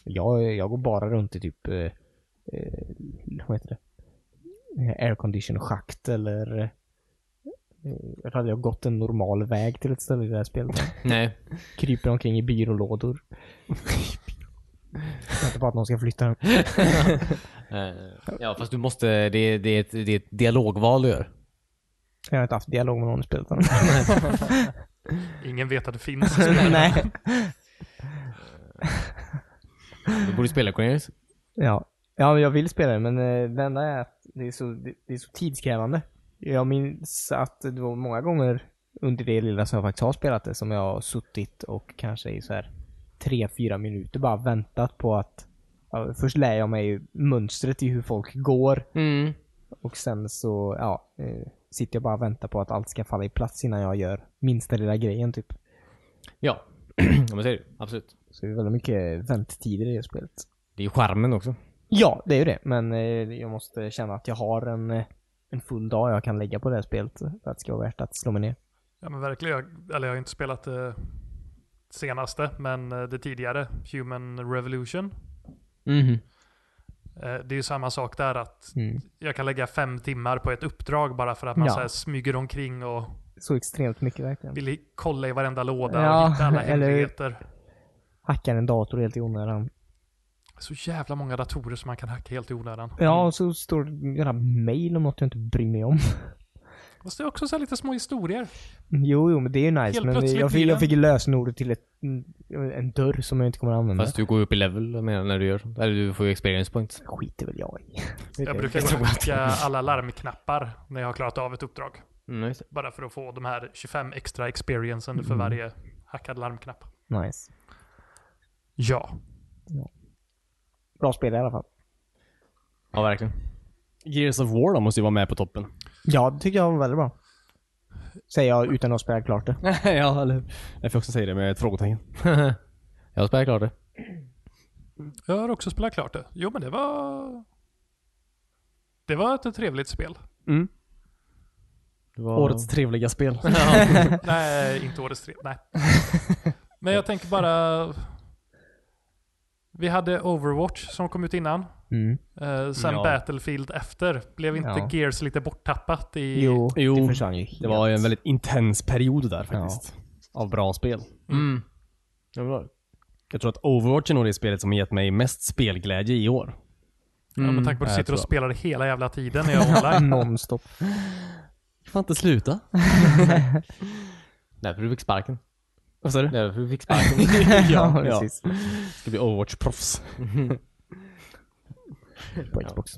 Jag, jag går bara runt i typ, eh, eh, vad heter det? Eh, Aircondition schakt eller eh, jag hade jag gått en normal väg till ett ställe i det här spelet. Nej. Kryper omkring i byrålådor. Väntar på att någon ska flytta den. Eh, ja fast du måste, det, det, är ett, det är ett dialogval du gör. Jag har inte haft dialog med någon i spelet än. Ingen vet att det finns. Nej. Du borde spela Cornelius. Ja. ja, men jag vill spela det, men eh, det enda är att det är så, det, det är så tidskrävande. Jag minns att det var många gånger under det lilla som jag faktiskt har spelat det som jag har suttit och kanske i så här tre, fyra minuter bara väntat på att ja, Först lär jag mig mönstret i hur folk går Mm. och sen så ja, eh, sitter jag bara och väntar på att allt ska falla i plats innan jag gör minsta lilla grejen typ. Ja. ja men så är det ju. Absolut. Så det är väldigt mycket väntetider i det spelet. Det är ju charmen också. Ja, det är ju det. Men eh, jag måste känna att jag har en, eh, en full dag jag kan lägga på det här spelet för att det ska vara värt att slå mig ner. Ja, men verkligen. Jag, eller jag har inte spelat det senaste, men eh, det tidigare. Human Revolution. Mhm. Eh, Det är ju samma sak där att Mm. jag kan lägga fem timmar på ett uppdrag bara för att man Ja. så här smyger omkring och Så extremt mycket verkligen. vill i- kolla i varenda låda Ja, och hitta alla eller- hemligheter. Hackar en dator helt i onödan. Så jävla många datorer som man kan hacka helt i onödan. Ja, och så står det jävla mail om något jag inte bryr mig om. Fast det är också så här lite små historier. Jo, jo, men det är ju nice. Helt men plötsligt jag blir fick, jag det- fick lösenordet till ett, mm, en dörr som jag inte kommer att använda. Fast du går ju upp i level jag menar, när du gör sånt. Eller du får ju experience points. Skiter väl jag i. Jag brukar gå och hacka alla larmknappar när jag har klarat av ett uppdrag. Mm, just det. Bara för att få de här 25 extra experiencen Mm. för varje hackad larmknapp. Nice. Ja. Bra spel i alla fall. ja verkligen. Gears of War då måste ju vara med på toppen. Ja, det tycker jag var väldigt bra. Säger jag utan att ha spelat klart det. ja, eller hur? Jag får också säga det med ett frågetecken. Jag spelar klart det. Jag har också spelat klart det. Jo men det var... Det var ett trevligt spel. Mm. det var... Årets trevliga spel. nej, inte årets tre. Nej. Men jag tänker bara... Vi hade Overwatch som kom ut innan. Mm. Eh, sen Ja. Battlefield efter. Blev inte Ja. Gears lite borttappat i... Jo, Jo, det försvann ju Det var ju en väldigt intens period där faktiskt. Av bra spel. Mm. Det var bra. Jag tror att Overwatch är nog det spelet som har gett mig mest spelglädje i år. Ja, Mm. med tanke på att du jag sitter och tror- spelar det hela jävla tiden när jag är online. Nonstop. Jag får inte sluta. Därför du fick sparken. Eh, Vad sa du? Därför du fick sparken. ja, ja. precis. Ska bli Overwatch-proffs. På Xbox.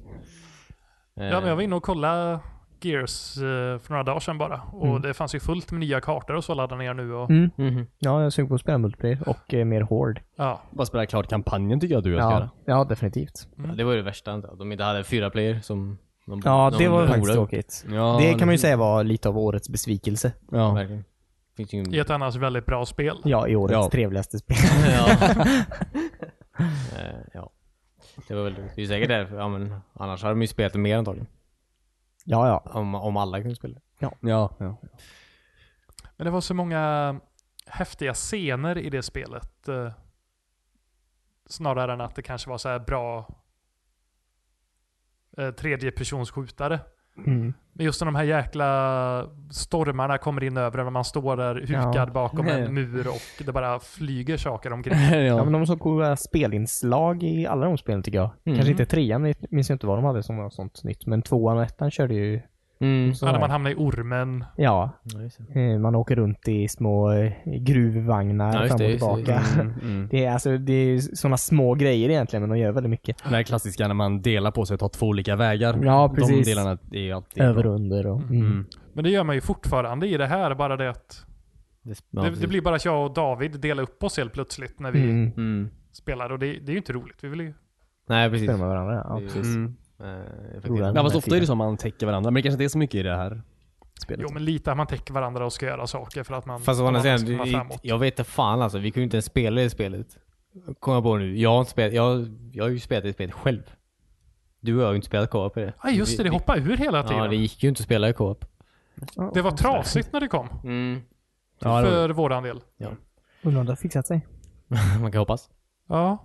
ja, men jag var inne och kollade Gears eh, för några dagar sedan bara. Och det fanns ju fullt med nya kartor och så laddade ner nu. Och, Mm. Mhm. Ja, jag är sugen på att spela multiplayer och eh, mer hård. ja. Bara spela klart kampanjen tycker jag du ska Ja, göra. ja, definitivt. Ja, det var ju det värsta inte, att de inte hade fyra player som de Mm. Ja, de det var borde- faktiskt tråkigt. Ja, Det kan man ju säga var lite av årets besvikelse. Ja. Verkligen. Finns ju ingen... I ett annars väldigt bra spel. Ja, i årets Ja. trevligaste spel. ja. Eh, ja. Det var väl det. är ju säkert därför. Ja, men annars hade de ju spelat det mer antagligen. Ja, ja. Om, om alla kunde spela. Ja, ja. Men det var så många häftiga scener i det spelet. Eh, snarare än att det kanske var så här bra eh, tredjepersonsskjutare. Mm. Men just när de här jäkla stormarna kommer in över en och man står där hukad Ja. bakom en mur och det bara flyger saker omkring. Ja, men de har så coola spelinslag i alla de spelen tycker jag. Kanske inte trean, jag minns jag inte vad de hade som var sånt nytt. Men tvåan och ettan körde ju Mm. så Ja, när här. man hamnar i ormen. Ja, Ja, just det. eh, man åker runt i små eh, gruvvagnar Ja, just fram och det, just det, Mm. tillbaka. just det. är alltså, det är sådana små grejer egentligen, men de gör väldigt mycket. Den här klassiska när man delar på sig och tar två olika vägar. Ja, De precis. delarna är ju alltid Över bra. och under och... Mm. Men det gör man ju fortfarande i det här. Bara det att Det, det, det blir bara att jag och David delar upp oss helt plötsligt när vi Mm. Mm. spelar. Och det, det är ju inte roligt. Vi vill ju... Nej, precis. Spelar med varandra, ja. Det är ju- precis. Mm. Eh, faktiskt. Roligare. Ja, fast ofta är det så att man täcker varandra. Men det kanske inte är så mycket i det här spelet. Jo men lite att man täcker varandra och ska göra saker för att man... typ, liksom. Fast å för andra att man ska sidan, komma vi- framåt. jag vet inte fan alltså. Vi kunde inte ens spela det spelet. Kom jag på nu. Jag har, inte spelat, jag, jag har ju spelat det spelet själv. Du och jag har ju inte spelat co-op i det. Ja just det, det hoppar ur hela tiden. Ja, det det... gick ju inte att spela i co-op. var trasigt när det kom. Ja, det var- för våran del. Undrar om det har fixat sig. Man kan hoppas. Ja.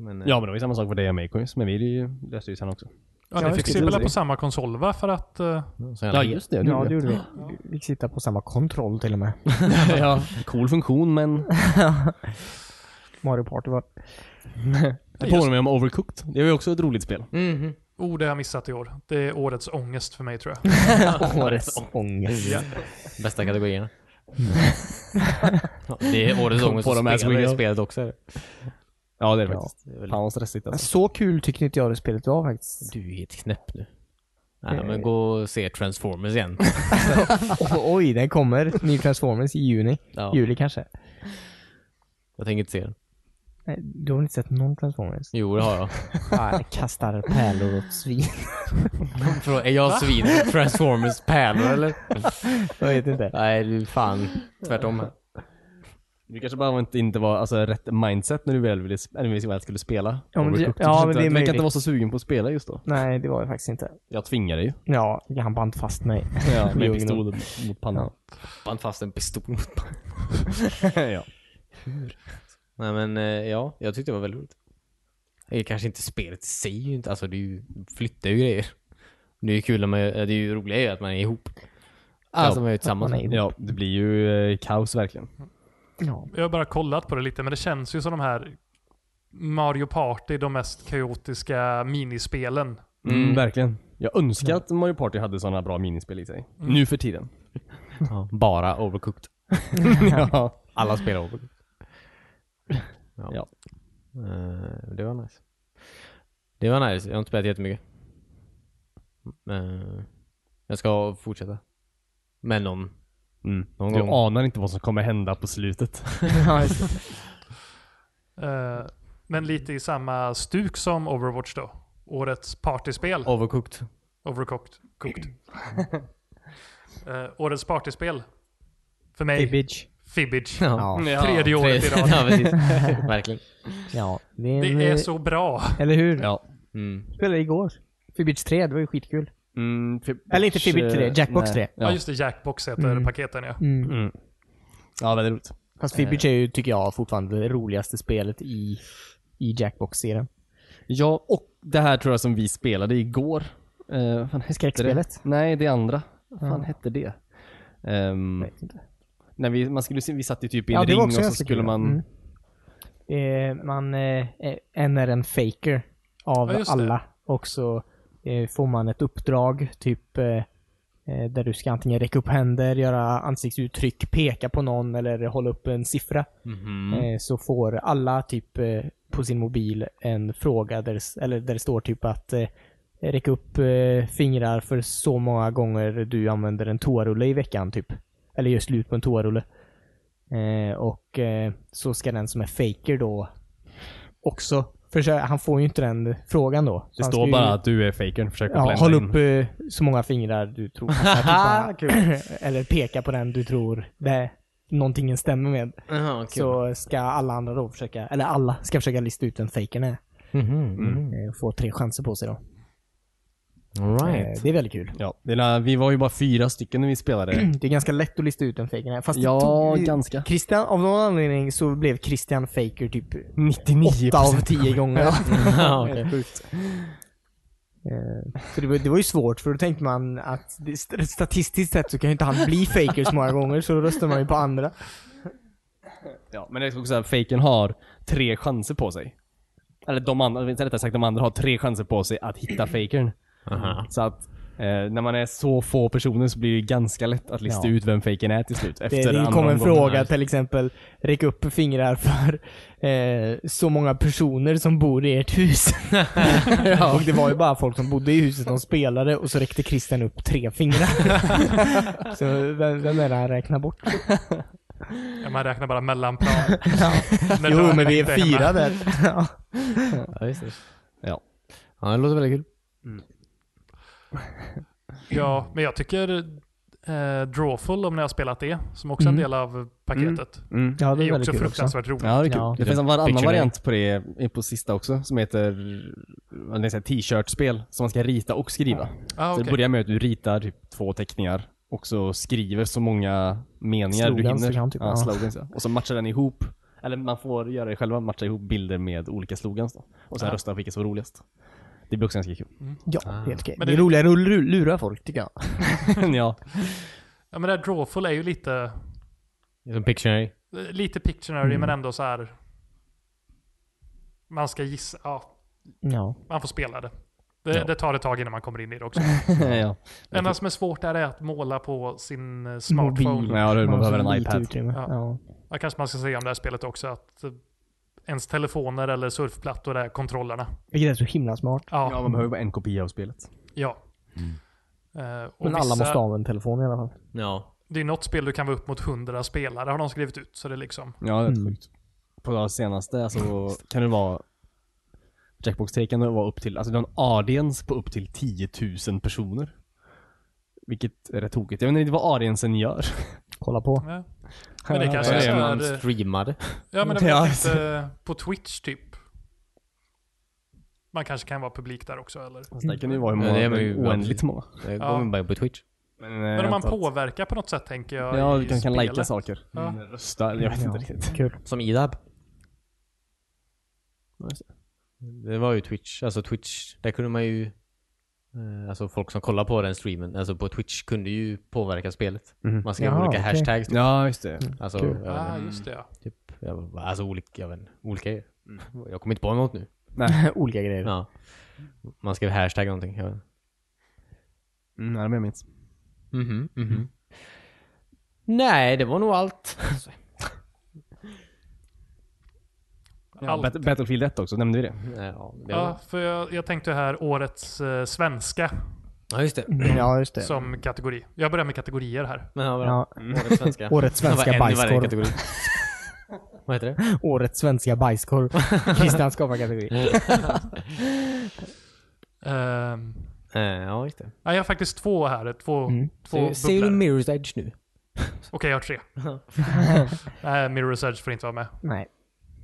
Men, eh, ja, men det var ju samma sak för dig och mig Kojs, Men vi är ju- löste ju sen också. Ja, Ja, ni fick just det, spela det. på samma konsol va? För att... eh, så jävla- just det. Ja, det gjorde vi. Vi fick sitta på samma kontroll till och med. ja. Cool funktion men Mario Party var... det påminner mig om Overcooked. Det var ju också ett roligt spel. Mhm. Oh, det har jag missat i år. Det är årets ångest för mig tror jag. Årets ångest. Bästa kategorierna. Ja, det är årets Kom ångest på dem att as we spela i go. spelet också. är det? Ja, det är det Ja. faktiskt. Det är väl- Fan vad stressigt Men alltså. Så kul tyckte inte jag det spelet var faktiskt. Du är helt knäpp nu. Nej, Eh. men gå och se Transformers igen. O- oj, den kommer. Ny Transformers i juni. Ja, Juli kanske. jag tänker inte se den. Nej, du har väl inte sett någon Transformers? Jo, det har jag. Nej, kastar pärlor åt svin. Förlåt, Är jag svin? Transformers pärlor eller? Jag vet inte. Nej, du fan. Tvärtom. här. Du kanske bara inte, inte var alltså, rätt mindset när du väl, ville, sp- eller när vi väl skulle spela. Ja, men det- Overcooked. Du ja, kanske men inte- det är Du verkar möjligt. inte vara så sugen på att spela just då. Nej, det var det faktiskt inte. Jag tvingade ju. Ja, han band fast mig. Ja, Jo, med jo. pistol mot pannan. Band fast en pistol mot mig. ja. Nej men eh, ja, jag tyckte det var väldigt roligt. Det är kanske inte spelet i sig, inte- alltså det är ju, flyttar ju grejer. Det är ju kul när man, eh, det är ju roliga är ju att man är ihop. Alltså man är ju tillsammans. man är ihop. ja, det blir ju eh, kaos verkligen. Ja. Jag har bara kollat på det lite, men det känns ju som de här Mario Party, de mest kaotiska minispelen. Mm, Verkligen. Mm. Jag önskar att Mario Party hade sådana bra minispel i sig. Nu för tiden. Ja, bara overcooked. ja. Alla spelar overcooked. Ja. Ja. Eh, det var nice. Det var nice, jag har inte spelat jättemycket. Uh, jag ska fortsätta. Men någon, Mm. Någon du gång. anar inte vad som kommer hända på slutet. Eh, men lite i samma stuk som Overwatch då. Årets partyspel. overcooked. Overcooked. Cooked. Eh, årets partyspel. För mig, Cabbage. Fibbage. Ja. Ja. Tredje året i rad. ja, precis. Verkligen. ja. Det är Mm. så bra. Eller hur? Ja. Mm. Spelade igår. Fibbage 3, det var ju skitkul. Mm, eh, Eller inte Fibbage 3, Jackbox 3. Ja. Ja. just det, Jackbox heter Mm. paketen ja. Mm. Mm. Ja, väldigt roligt. Fast Eh. Fibbage är ju, tycker jag, fortfarande det roligaste spelet i, i Mm. Jackbox-serien. Ja, och det här tror jag som vi spelade igår. Uh, fan hette Skräckspelet? Det? Nej, det andra. Vad fan Ja. hette det? Ehm, Jag vet inte. när vi, man skulle, se- vi satt ju typ i en Ja, det ring var och också så ganska skulle kul. man... Mm. Eh, man eh, eh, en är en faker av Ja, just det. alla. Och så eh, får man ett uppdrag, typ eh, eh, där du ska antingen räcka upp händer, göra ansiktsuttryck, peka på någon eller hålla upp en siffra. Mm-hmm. Mm. Eh, så får alla typ eh, på sin mobil en fråga där, det- eller där det står typ att eh, räcka upp eh, fingrar för så många gånger du använder en toarulle i veckan typ. Eller gör slut på en toarulle. Eh, och eh, så ska den som är faker då också försöka. Han får ju inte den frågan då. Så Det han står ska bara ju, att du är fakern, försök Ja, att håll blända upp in. eh, så många fingrar du tror. Typ bara- eller peka på den du tror det, någonting stämmer med. Jaha, kul. Så ska alla andra då försöka, eller alla ska försöka lista ut vem fejken är. Mm-hmm, Mm. Eh, och Få tre chanser på sig då. All Eh, right. Det är väldigt kul. Ja, det är när, vi var ju bara fyra stycken när vi spelade. Mm. Det är ganska lätt att lista ut vem fejken är. Fast Ja, det tog, ganska. Christian, av någon anledning så blev Christian faker typ 99 8 av 10 gånger. Mm. Ja, okej. Helt sjukt. Eh, Så det var, det var ju svårt för då tänkte man att det- st- statistiskt sett så kan ju inte han bli faker så många gånger så då röstar man ju på andra. Ja, men det är också såhär, fejken har tre chanser på sig. Eller de andra, eller rättare sagt de andra har tre chanser på sig att hitta fejkern. Aha. Så att eh, när man är så få personer så blir det ganska lätt att lista Ja. ut vem fejken är till slut. Efter Det, det andra kom en omgången. fråga till exempel, räck upp fingrar för eh, så många personer som bor i ert hus. Och det var ju bara folk som bodde i huset de spelade och så räckte Christian upp tre fingrar. så vem, vem är det han räknar bort? Ja, Man räknar bara mellanplan. Mm. Men jo, då men vi är inte hemma. fyra där. ja. Ja, just det. Ja. Ja, det låter väldigt kul. Ja, men jag tycker eh, Drawful, om ni har spelat det, som också är en Mm. del av paketet, Mm. ja, det det är är också väldigt kul också. fruktansvärt roligt. Ja, det är kul. Ja. Det finns en varannan Pictionary. variant på det eh, på sista också som heter vad det är, t-shirt-spel som man ska rita och skriva. Ah, Så det okej. börjar med att du ritar typ två teckningar och så skriver så många meningar du Slogans hinner. du kan, typ. ja, Ja. slogans, ja. Och så matchar den ihop, eller man får göra det själva, matcha ihop bilder med olika slogans då. Och sen Ja. rösta på vilka som var roligast. Det blir också ganska kul. Ja, Ah. helt okej. Men Det är det- roligare att lu- lura folk tycker jag. ja. Ja, men det här Drawful är ju lite, Som Pictionary. lite Pictionary, Mm. men ändå så här. Man ska gissa. Ja, Ja. man får spela det. Det, Ja. det tar ett tag innan man kommer in i det också. ja. Det enda som är svårt där är att måla på sin eh, smartphone. Mobil. Ja, det, man har behöver så en lite iPad. Utrymme. Ja. Ja. Ja, kanske man ska säga om det här spelet också att eh, ens telefoner eller surfplattor är kontrollerna. Vilket är så himla smart. Ja. Ja, man behöver bara en kopia av spelet. ja. Mm. Eh, och Men alla vissa- måste ha en telefon i alla fall. Ja. Det är något spel du kan vara upp mot 100 spelare har de skrivit ut. Så det är liksom, Ja, det är Mm. sjukt. På det senaste alltså, kan det vara Jackbox 3 kan det vara upp till, alltså det har en audience på upp till 10 000 personer. Vilket är rätt tokigt. Jag vet inte vad audiencen gör. Alltså, Kolla på. ja. Men det kanske Så är är så man här, eh, streamade. Ja men Ja, jag alltså. tänkte på Twitch typ. Man kanske kan vara publik där också eller? Fast där kan det ju vara hur många, Ja, det är man ju- oändligt många. Jag Ja. går in bara på Twitch. Men, eh, Men om man på påverkar på något sätt tänker jag Ja, i du kan, kan spelet. lajka saker. Ja. Mm, Rösta, jag vet inte riktigt. Kul. Som IDAB. Det var ju Twitch. Alltså Twitch, där kunde man ju... eh, Alltså folk som kollar på den streamen, alltså på Twitch kunde ju påverka spelet. Mhm. Man skrev Jaha, olika okej. hashtags. Ja, just det. Alltså, Kul. jag vet inte, Ah, just det ja. typ, jag, vet inte, alltså olika, jag vet, inte, olika grejer. Jag kommer inte på något nu. Olika grejer. Ja. Man skrev hashtag någonting. Jag vet. inte. Mm, ja, det är jag minns. Mhm, mhm. Nej, det var nog allt. Ja, Allt. Bat- Battlefield 1 också, nämnde vi det? ja, det var... ja för jag, jag tänkte här årets eh, svenska ja, just det. Ja, just det. som kategori. Jag börjar med kategorier här. Men, ja, bra. Ja. Årets svenska. Årets Det var svenska en i varje bajskorv. kategori. Vad heter det? Årets svenska bajskorv. Christian skapar kategori. Ehm, Eh, ja, just det. Nej, jag har faktiskt två här. Två, Mm. två Ser du bubblor. Mirror's Edge nu? Okej, jag har tre. Nej, Mirror's Edge får inte vara med. Nej.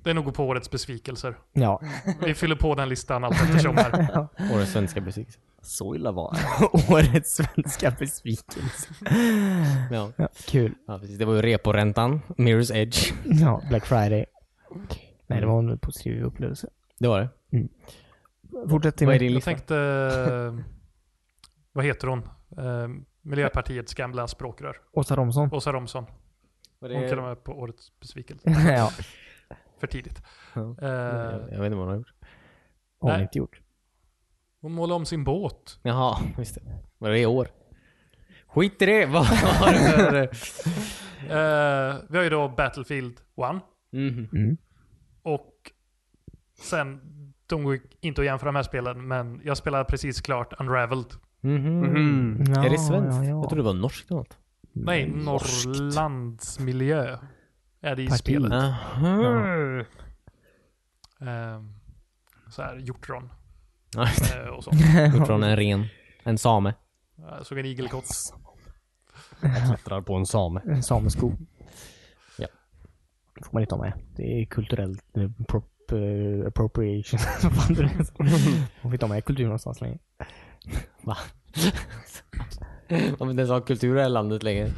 Det är nog på årets besvikelser. Ja. Vi fyller på den listan allt eftersom här. Årets svenska besvikelse. Så illa var Årets svenska besvikelse. Ja. Ja, kul. ja, precis. Det var ju reporäntan. Mirror's Edge. Ja, Black Friday. Nej, det var en positiv upplevelse. Det var det. Fortsätt till Vad är din Jag lista? tänkte... eh, Vad heter hon? Eh, Miljöpartiets gamla språkrör. Åsa Romson. Åsa Romson. Var Hon kallar det... mig på årets besvikelse. ja, För tidigt. Ja. Eh, Jag vet inte vad hon har gjort. har hon Nej. inte gjort. hon målade om sin båt. Jaha, just det. Var det i år? Skit i det! Vad har du för... Eh, vi har ju då Battlefield 1. Mhm. Och sen, de går ju inte att jämföra de här spelen, men jag spelade precis klart Unraveled. Mm. Mhm. Ja, Mm. Är det svenskt? ja, ja. Jag trodde det var norskt eller något. Nej, Norrlandsmiljö är det i Parti. spelet. Mm. Aha. Ehm, så här, hjortron Ja, just det. eh, och så. Gjort från en ren. En same. Jag såg en igelkott. Klättrar på en same. En sameskog. Ja. får man inte ha med. Det är kulturellt eh, prop, eh, appropriation. Vad fan är det? man får inte ha med kultur någonstans längre. Va? Om inte ens har kultur i det här landet längre.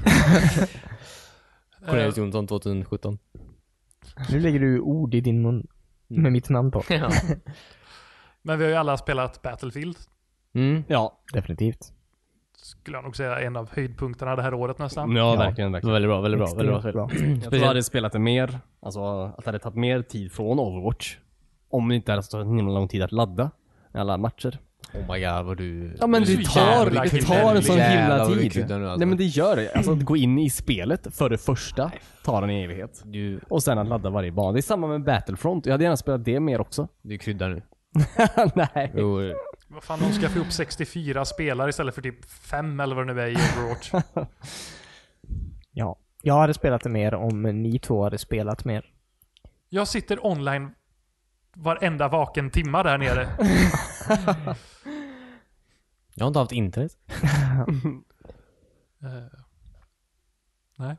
Eh, Cornelius Jonsson 2017. Nu lägger du ord i din mun. Med mitt namn på. Ja. men vi har ju alla spelat Battlefield. Mm. Ja. Definitivt. Skulle jag nog säga är en av höjdpunkterna det här året nästan. Ja, verkligen, verkligen. Väldigt bra, väldigt bra. Väldigt bra. Extremt bra. Jag tror jag hade spelat det mer, alltså att det hade tagit mer tid från Overwatch. Om det inte hade tagit en himla lång tid att ladda alla matcher. Oh my god vad du... liksom- Ja men Du är det så tar, jävla det tar kriminell. en sån Jävlar himla vad du tid. kryddar nu, alltså. Nej men det gör det. Alltså att gå in i spelet för det första tar en evighet. Du, Och sen att ladda varje bana. Det är samma med Battlefront. Jag hade gärna spelat det mer också. du kryddar nu. Nej. Jo, eh, Vad fan, de ska få ihop 64 spelare istället för typ 5 eller vad det nu är i Overwatch. Ja. Jag hade spelat det mer om ni två hade spelat mer. Jag sitter online varenda vaken timma där nere. Eh, jag har inte haft internet. Eh, nej.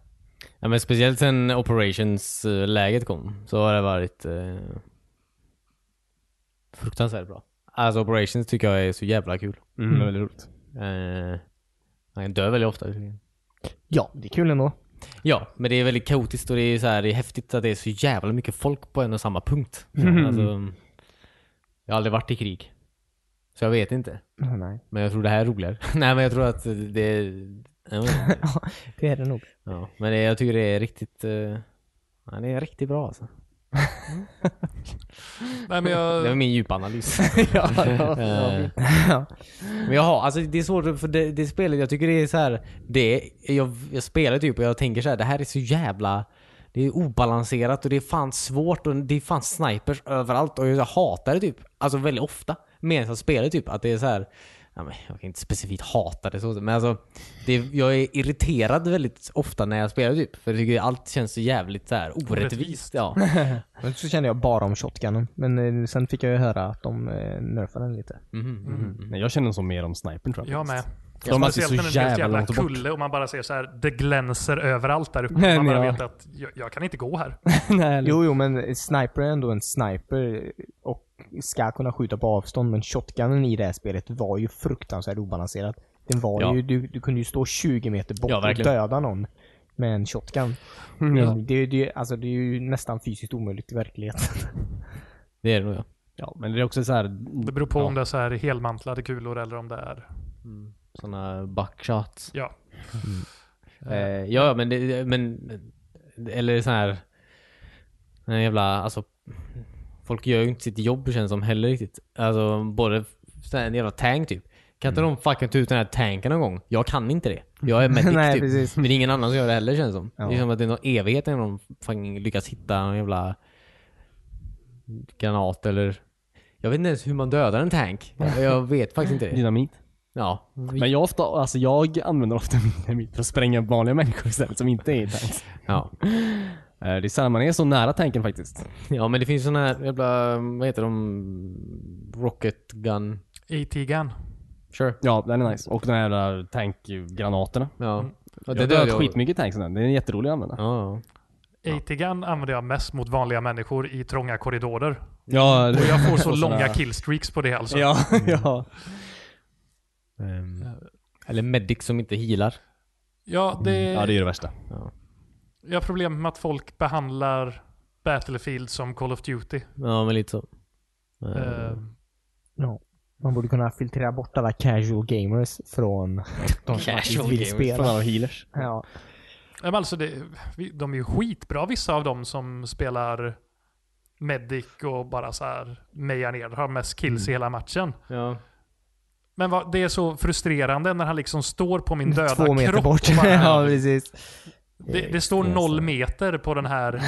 Ja, men speciellt sen operations-läget kom så har det varit eh, fruktansvärt bra. Alltså operations tycker jag är så jävla kul. Mm. Det är väldigt roligt. Eh, man dör väldigt ofta. visserligen. Ja, det är kul ändå. Ja, men det är väldigt kaotiskt och det är, så här, det är häftigt att det är så jävla mycket folk på en och samma punkt. Alltså, jag har aldrig varit i krig. Så jag vet inte. Mm, Nej. Men jag tror det här är roligare. Nej men jag tror att det... Jag vet inte. Det är det nog. Ja, men det, jag tycker det är riktigt... eh, ja, det är riktigt bra alltså. nej men jag... Det var min djupanalys. ja, ja, Eh, ja. men jag har, alltså det är svårt för det, det spelet, jag tycker det är så här, det, jag, jag spelar typ och jag tänker så här, det här är så jävla, det är obalanserat och det är fan svårt och det är fan snipers överallt och jag hatar det typ, alltså väldigt ofta. Medan jag spelar typ att det är så här, ja, men jag kan inte specifikt hata det så, men alltså det, jag är irriterad väldigt ofta när jag spelar typ, för jag tycker allt känns så jävligt så här orättvist. Orättvist. Ja. Men så kände jag bara om shotgunen. Men eh, sen fick jag ju höra att de eh, nerfade den lite. Nej, Jag känner så mer om snipern tror jag. Mm. Jag med. De är alltid Speciellt så när det är ett jävla jävla långt bort. kulle och man bara ser så här, det glänser överallt där uppe. Nej, man men bara ja. vet att jag, jag kan inte gå här. Nej, eller- Jo, jo, men sniper är ändå en sniper och ska kunna skjuta på avstånd. Men shotgunen i det här spelet var ju fruktansvärt obalanserad. Den var Ja. ju, du, du kunde ju stå 20 meter bort Ja, och verkligen. döda någon med en shotgun. ja. Det, är ju- det, är ju- alltså, det är ju nästan fysiskt omöjligt i verkligheten. Det är det nog ja. ja men det är också så här. Det beror på om det är så här helmantlade kulor eller om det är... Sådana buckshots. Ja. Eh, ja, men, det, men eller så här en jävla, alltså folk gör ju inte sitt jobb känns som heller riktigt. Alltså både så här, en jävla tank typ. Kan Mm. inte de fucking ta ut den här tanken någon gång? Jag kan inte det. Jag är medic Nej, typ. precis. Men det är ingen annan som gör det heller känns som. Ja. Det är som att det är någon evighet innan de fucking lyckas hitta någon jävla granat eller jag vet inte ens hur man dödar en tank. Jag, jag vet faktiskt inte det. Dynamit. Ja. Men jag, ofta, alltså jag använder ofta min dynamit för att spränga vanliga människor istället som inte är i tanks. ja. Eh, Det är sällan man är så nära tanken faktiskt. Ja men det finns såna här jävla, vad heter de? Rocket gun. AT-gun. Sure. Ja, den är nice. Och de här jävla tankgranaterna. Ja. ja Jag har dödat skitmycket tanks i den. Den är jätterolig att använda. Ja. 80-gun använder jag mest mot vanliga människor i trånga korridorer. Ja, Och jag får så Och såna- långa killstreaks på det alltså. ja, ja. Eller medic som inte healar. Ja, det, Mm. ja, det är ju det värsta. Jag har problem med att folk behandlar Battlefield som Call of Duty. Ja, men lite så. Mm. Eh, Eh, Ja. Man borde kunna filtrera bort alla casual gamers från de som faktiskt Casual vill gamers. Från spela. alla healers. Ja. men alltså det, vi- de är ju skitbra vissa av dem som spelar Medic och bara så här mejar ner. Har mest kills i hela matchen. Ja. Men vad, det är så frustrande när han liksom står på min döda Två meter kropp. bort. och Bara, ja, precis. det, det står Det är noll så. meter på den här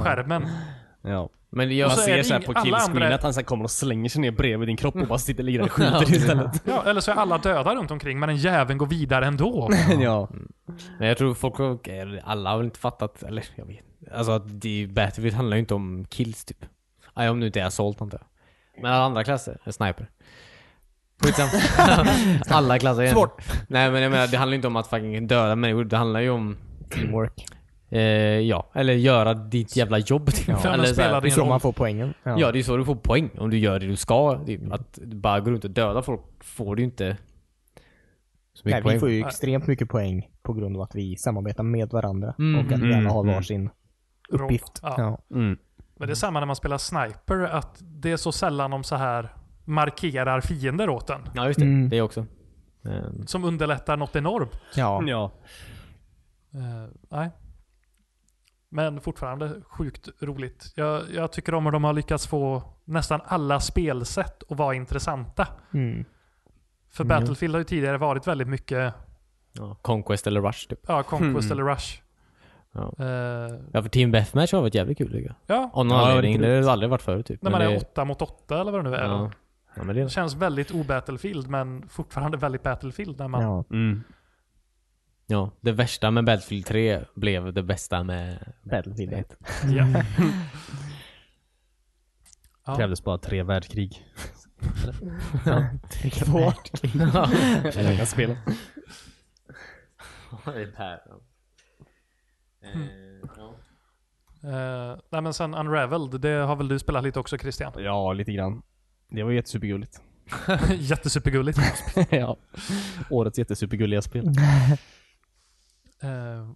skärmen. Ja. Men Man jag... så är ser det såhär ing- på alla killscreen andra- att han så här kommer och slänger sig ner bredvid din kropp och bara sitter och ligger där och skjuter istället. Ja, eller så är alla döda runt omkring men den jäveln går vidare ändå. ja. Men jag tror folk... har- Alla har väl inte fattat, eller jag vet Alltså att det, Battlefield handlar ju inte om kills typ. Nej, om nu inte är assault antar jag. Men alla andra klasser är sniper. Skitsamma. alla klasser igen. Svårt. Nej men jag menar, det handlar ju inte om att fucking döda människor. Det handlar ju om... Teamwork. Eh, ja, eller göra ditt jävla jobb. Typ. men eller så här- spelar Det är din så roll. man får poängen. Ja. Ja, det är så du får poäng om du gör det du ska. Typ. Att du bara gå runt och döda folk får du inte så mycket Nej, poäng. vi får ju extremt mycket poäng på grund av att vi samarbetar med varandra Mm. och att vi alla har varsin uppgift. Ja. Ja. Mm. Men det är samma när man spelar sniper, att det är så sällan de så här markerar fiender åt en. Ja, just det. Mm. Det också. Ehm, Som underlättar något enormt. ja. ja. Eh, nej. Men fortfarande sjukt roligt. Jag, jag tycker om hur de har lyckats få nästan alla spelsätt att vara intressanta. Mm. För Mm. Battlefield har ju tidigare varit väldigt mycket ja, Conquest eller Rush typ. ja, Conquest eller Rush. Ja. Eh, Ja, för Team Deathmatch har varit jävligt kul tycker jag. ja, Av någon Ja, anledning. riktigt. Det har det aldrig varit förut typ. när Men man är det- åtta mot åtta eller vad det nu är. ja. ja, men det Det är känns väldigt obattlefield men fortfarande väldigt Battlefield när man Ja. Mm. Ja, det värsta med Battlefield 3 blev det bästa med... Battlefield 1. Ja. ja. Krävdes bara tre världskrig. Två. Jag kan spela. Eh, nej men sen Unraveled, det har väl du spelat lite också Christian? Ja, lite grann. Det var jättesupergulligt. Jättesupergulligt. ja. Årets jättesupergulliga spel. Eh,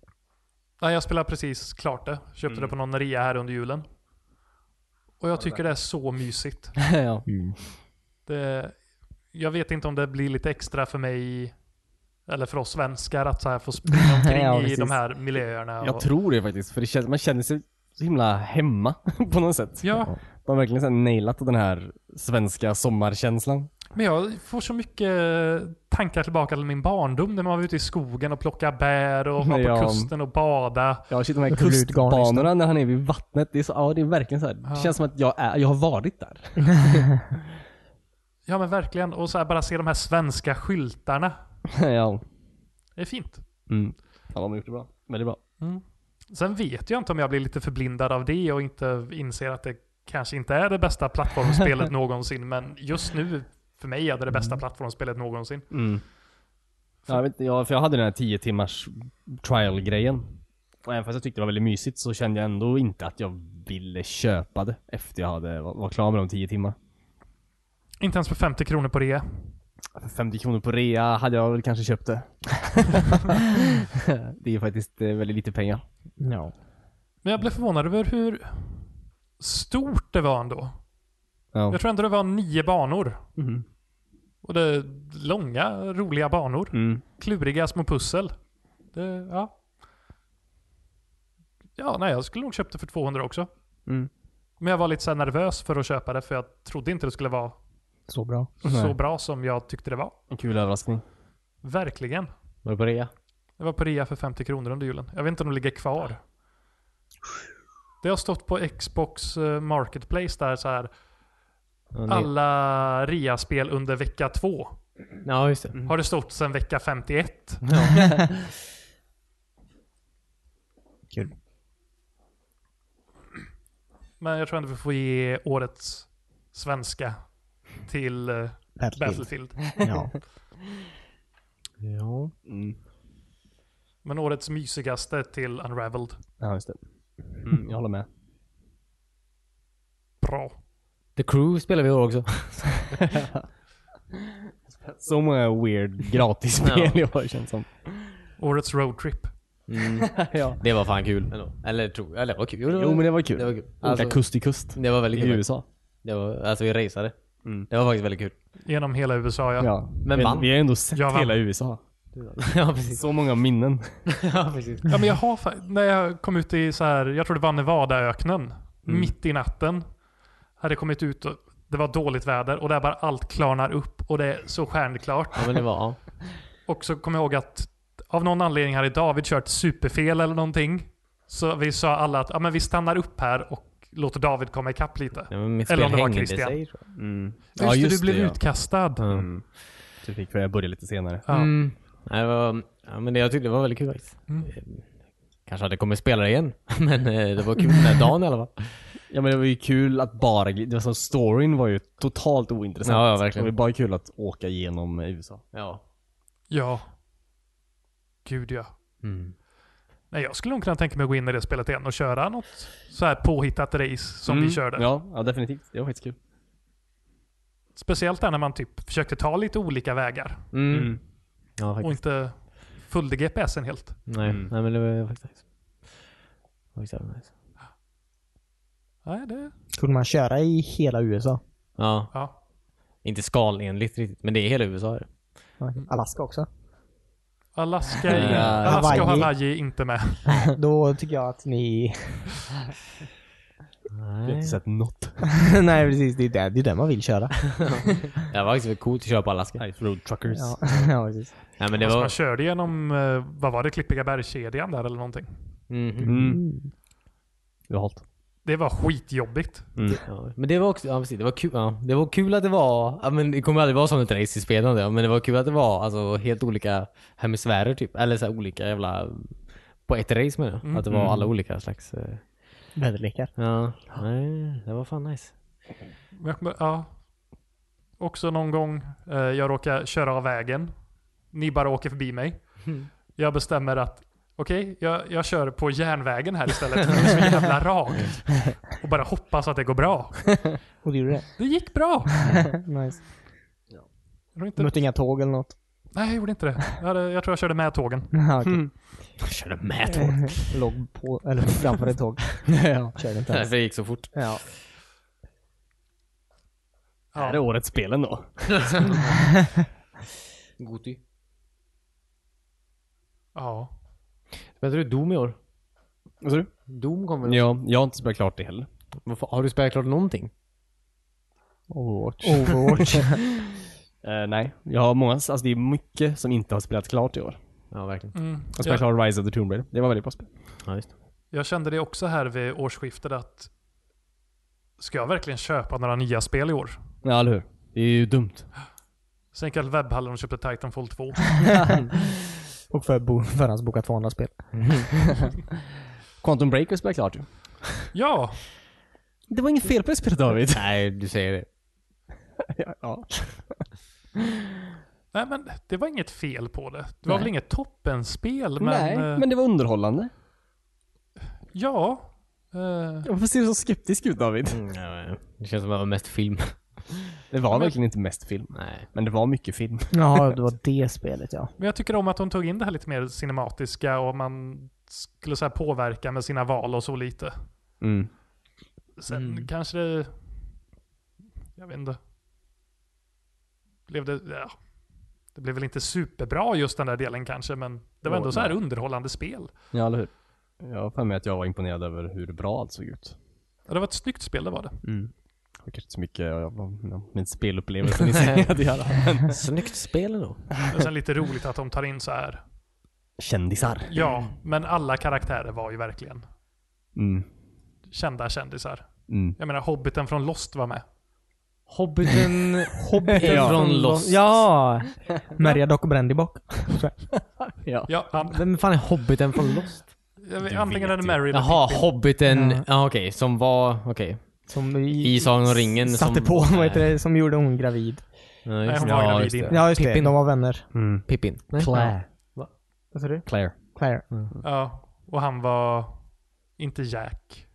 nej, jag spelade precis klart det. Köpte det på någon rea här under julen. Och jag tycker det är så mysigt. ja. Det, jag vet inte om det blir lite extra för mig eller för oss svenskar att så här få springa omkring Ja, i precis. de här miljöerna. Jag och- tror det faktiskt, för det känns, man känner sig så himla hemma på något sätt. Ja, De har verkligen så här nailat den här svenska sommarkänslan. men jag får så mycket tankar tillbaka till min barndom när man var ute i skogen och plockade bär och var på Ja. kusten och bada. Ja, shit, de här Och rullgarn i kustbanorna när han är vid vattnet. Det är, så, ja, det är verkligen så här. Ja. Det känns som att jag, är, jag har varit där. Ja men verkligen. Och så här bara se de här svenska skyltarna. ja. Det är fint. Mm. Ja, de har gjort det bra. Väldigt bra. Sen vet jag inte om jag blir lite förblindad av det och inte inser att det kanske inte är det bästa plattformsspelet någonsin. Men just nu, för mig, är det det bästa plattformsspelet någonsin. Mm. Ja, jag, vet, inte, jag, för jag hade den här 10 timmars trial-grejen. Och även fast jag tyckte det var väldigt mysigt så kände jag ändå inte att jag ville köpa det efter jag hade, var, var klar med de 10 timmar. Inte ens för 50 kronor på rea. För 50 kronor på rea hade jag väl kanske köpt det. det är ju faktiskt eh, väldigt lite pengar. Ja. Men jag blev förvånad över hur stort det var ändå. Ja. Jag tror ändå det var nio banor. Mm. Och det är långa, roliga banor. Mm. kluriga små pussel. Det, ja. Ja, nej, jag skulle nog köpt det för 200 också. Mm. Men jag var lite så här nervös för att köpa det för jag trodde inte det skulle vara Så bra. Nej. så bra som jag tyckte det var. En kul överraskning. Verkligen. Var det på rea? Det var på rea för 50 kronor under julen. Jag vet inte om det ligger kvar. Det har stått på Xbox eh, Marketplace där så här Ja, det- alla rea-spel under vecka två. Ja, just det. Har det stått sedan vecka 51. Kul. Men jag tror ändå vi får ge årets svenska till eh, Battlefield. Battlefield. Ja. Ja. Mm. Men årets mysigaste till Unraveled. Ja, just det. Mm, jag håller med. Bra. The Crew spelar vi i år också. Så många weird gratisspel Ja. i år känns som. Årets roadtrip. Mm. ja. Det var fan kul ändå. Eller tror jag. Eller det var kul. Jo men det var kul. Det var kul. Åka Alltså, kust till kust det var väldigt i kul. USA. Det var, alltså vi raceade. Mm. Det var faktiskt väldigt kul. Genom hela USA ja. Ja. Men vi, vann. vi har ju ändå sett Jag vann. hela USA. ja precis. Så många minnen. ja precis. Ja men jag har fa- när jag kom ut i så här, jag tror det var Nevadaöknen. Mitt i natten. Hade kommit ut och det var dåligt väder och där bara allt klarnar upp och det är så stjärnklart. Ja men det var, ja. Och så kommer jag ihåg att av någon anledning hade David kört superfel eller någonting. Så vi sa alla att ja, men vi stannar upp här och låter David komma ikapp lite. Ja, men mitt Eller spel om det var hängde Christian. sig tror jag. Ja, just, det, du blev utkastad. Mm. Du fick börja börja lite senare. Ja. Mm. Nej, det var, ja, men det, jag tyckte det var väldigt kul faktiskt. Mm. Eh, Kanske hade kommit spelare igen, men eh, det var kul den här dagen i alla fall. Ja men det var ju kul att bara, det var som storyn var ju totalt ointressant. Ja, ja, verkligen. Det var bara kul att åka genom USA. Ja. Ja. Gud ja. Nej, jag skulle nog kunna tänka mig att gå in i det spelet igen och köra något så här påhittat race som Mm. vi körde. Ja, ja definitivt. Det var faktiskt kul. Speciellt där när man typ försökte ta lite olika vägar Mm. Ja, faktiskt. och inte följde GPSen helt. Nej. Mm. Nej, men det var faktiskt nice. Faktiskt jävla nice. Nej, det... Kunde man köra i hela USA? Ja, Ja. inte skalenligt riktigt, men det är hela USA. är det. Nej, Alaska också. Alaska, Nej. Alaska och Hawaii. Hawaii är inte med. Då tycker jag att ni... Jag har inte sett något. Nej precis, det är där, det är där man vill köra. Det var faktiskt väldigt coolt att köra på Alaska. Ice Road Truckers. Ja, ja precis. Nej, men det Alltså var... man körde genom, eh, vad var det, Klippiga bergskedjan där eller någonting. Mhm. Mm. Det var halt. Det var skitjobbigt. Ja, men det var också, ja precis, det var kul, ja, det var kul att det var, ja, men det kommer aldrig vara som ett race i spelande, ja, men det var kul att det var alltså helt olika hemisfärer typ, eller så här, olika jävla, på ett race menar jag. Att det var alla olika slags, eh, Väderlekar. ja, nej, det var fan nice. Men jag kommer- Ja. Också någon gång eh, jag råkar köra av vägen. Ni bara åker förbi mig. Jag bestämmer att okej, jag, jag kör på järnvägen här istället. För det är så jävla rakt. Och bara hoppas att det går bra. Och du gjorde det? Det gick bra. Nice. Jag tror inte, Mötte inga tåg eller något? nej, jag gjorde inte det. Jag, hade, jag tror jag körde med tågen. Ja, okej. Jag körde med tåg. Låg på, eller framför ett tåg. ja. Körde inte Nej, ens. för det gick så fort. Ja. Det här är årets spel ändå. Goti. Ja. Spelar du Doom i år? Vad sa du? Doom kommer väl? Ja, jag har inte spelat klart det heller. Varför- Har du spelat klart någonting? Overwatch. Overwatch. Eh, nej, jag har många, alltså det är mycket som inte har spelats klart i år. Ja, verkligen. Mm. Jag spelade Jag, klart Rise of the Tomb Raider. Det var väldigt bra spel. Ja, just det. jag kände det också här vid årsskiftet att ska jag verkligen köpa några nya spel i år? Ja, eller hur? Det är ju dumt. Sen gick jag till webbhallen och köpte Titanfall 2. Och för bo- förhandsbokat 200 spel. Quantum Break har jag spelat klart ju. Ja, Det var inget fel på det spelet David. Nej, du säger det. ja. Nej men det var inget fel på det. Det var Nej. väl inget toppenspel men... Nej, eh, men det var underhållande. Ja. eh, Varför ser du så skeptisk ut David? Mm, ja, ja. det känns som att det var mest film. Det var verkligen inte mest film. Nej. Men det var mycket film. Jaha, det var det spelet ja. men jag tycker om att hon tog in det här lite mer cinematiska och man skulle så här påverka med sina val och så lite. Mm. Sen Mm. kanske det... Jag vet inte. Blev det... Ja. Det blev väl inte superbra just den där delen kanske men det var Jo, ändå så här nej. underhållande spel. Ja, eller hur? Jag har för mig att jag var imponerad över hur bra allt såg ut. Ja, Det var ett snyggt spel det var det. Det var kanske inte så mycket av av min spelupplevelse ni säger att göra. Men Snyggt spel ändå. Men sen lite roligt att de tar in så här. kändisar. Ja, men alla karaktärer var ju verkligen Mm. kända kändisar. Mm. Jag menar Hobbiten från Lost var med. Hobbiten, Hobbiten från Lost. Ja! Märjadock och Brandybock. Ja, han, Vem fan är Hobbiten från Lost? jag vet, Du antingen vet är det ju. Mary eller Jaha, Pippin. Hobbiten, Ja. ja, okej, som var, okej. Som I Sagan om ringen satte som- på, vad heter det, som gjorde hon gravid. Ja, Nej, just hon det. var Ja, gravid just det. innan. Ja, just det. Pippin. De var vänner. Mm. Pippin. Nej. Claire. Vad sa du? Claire. Claire. Ja, och han var inte Jack.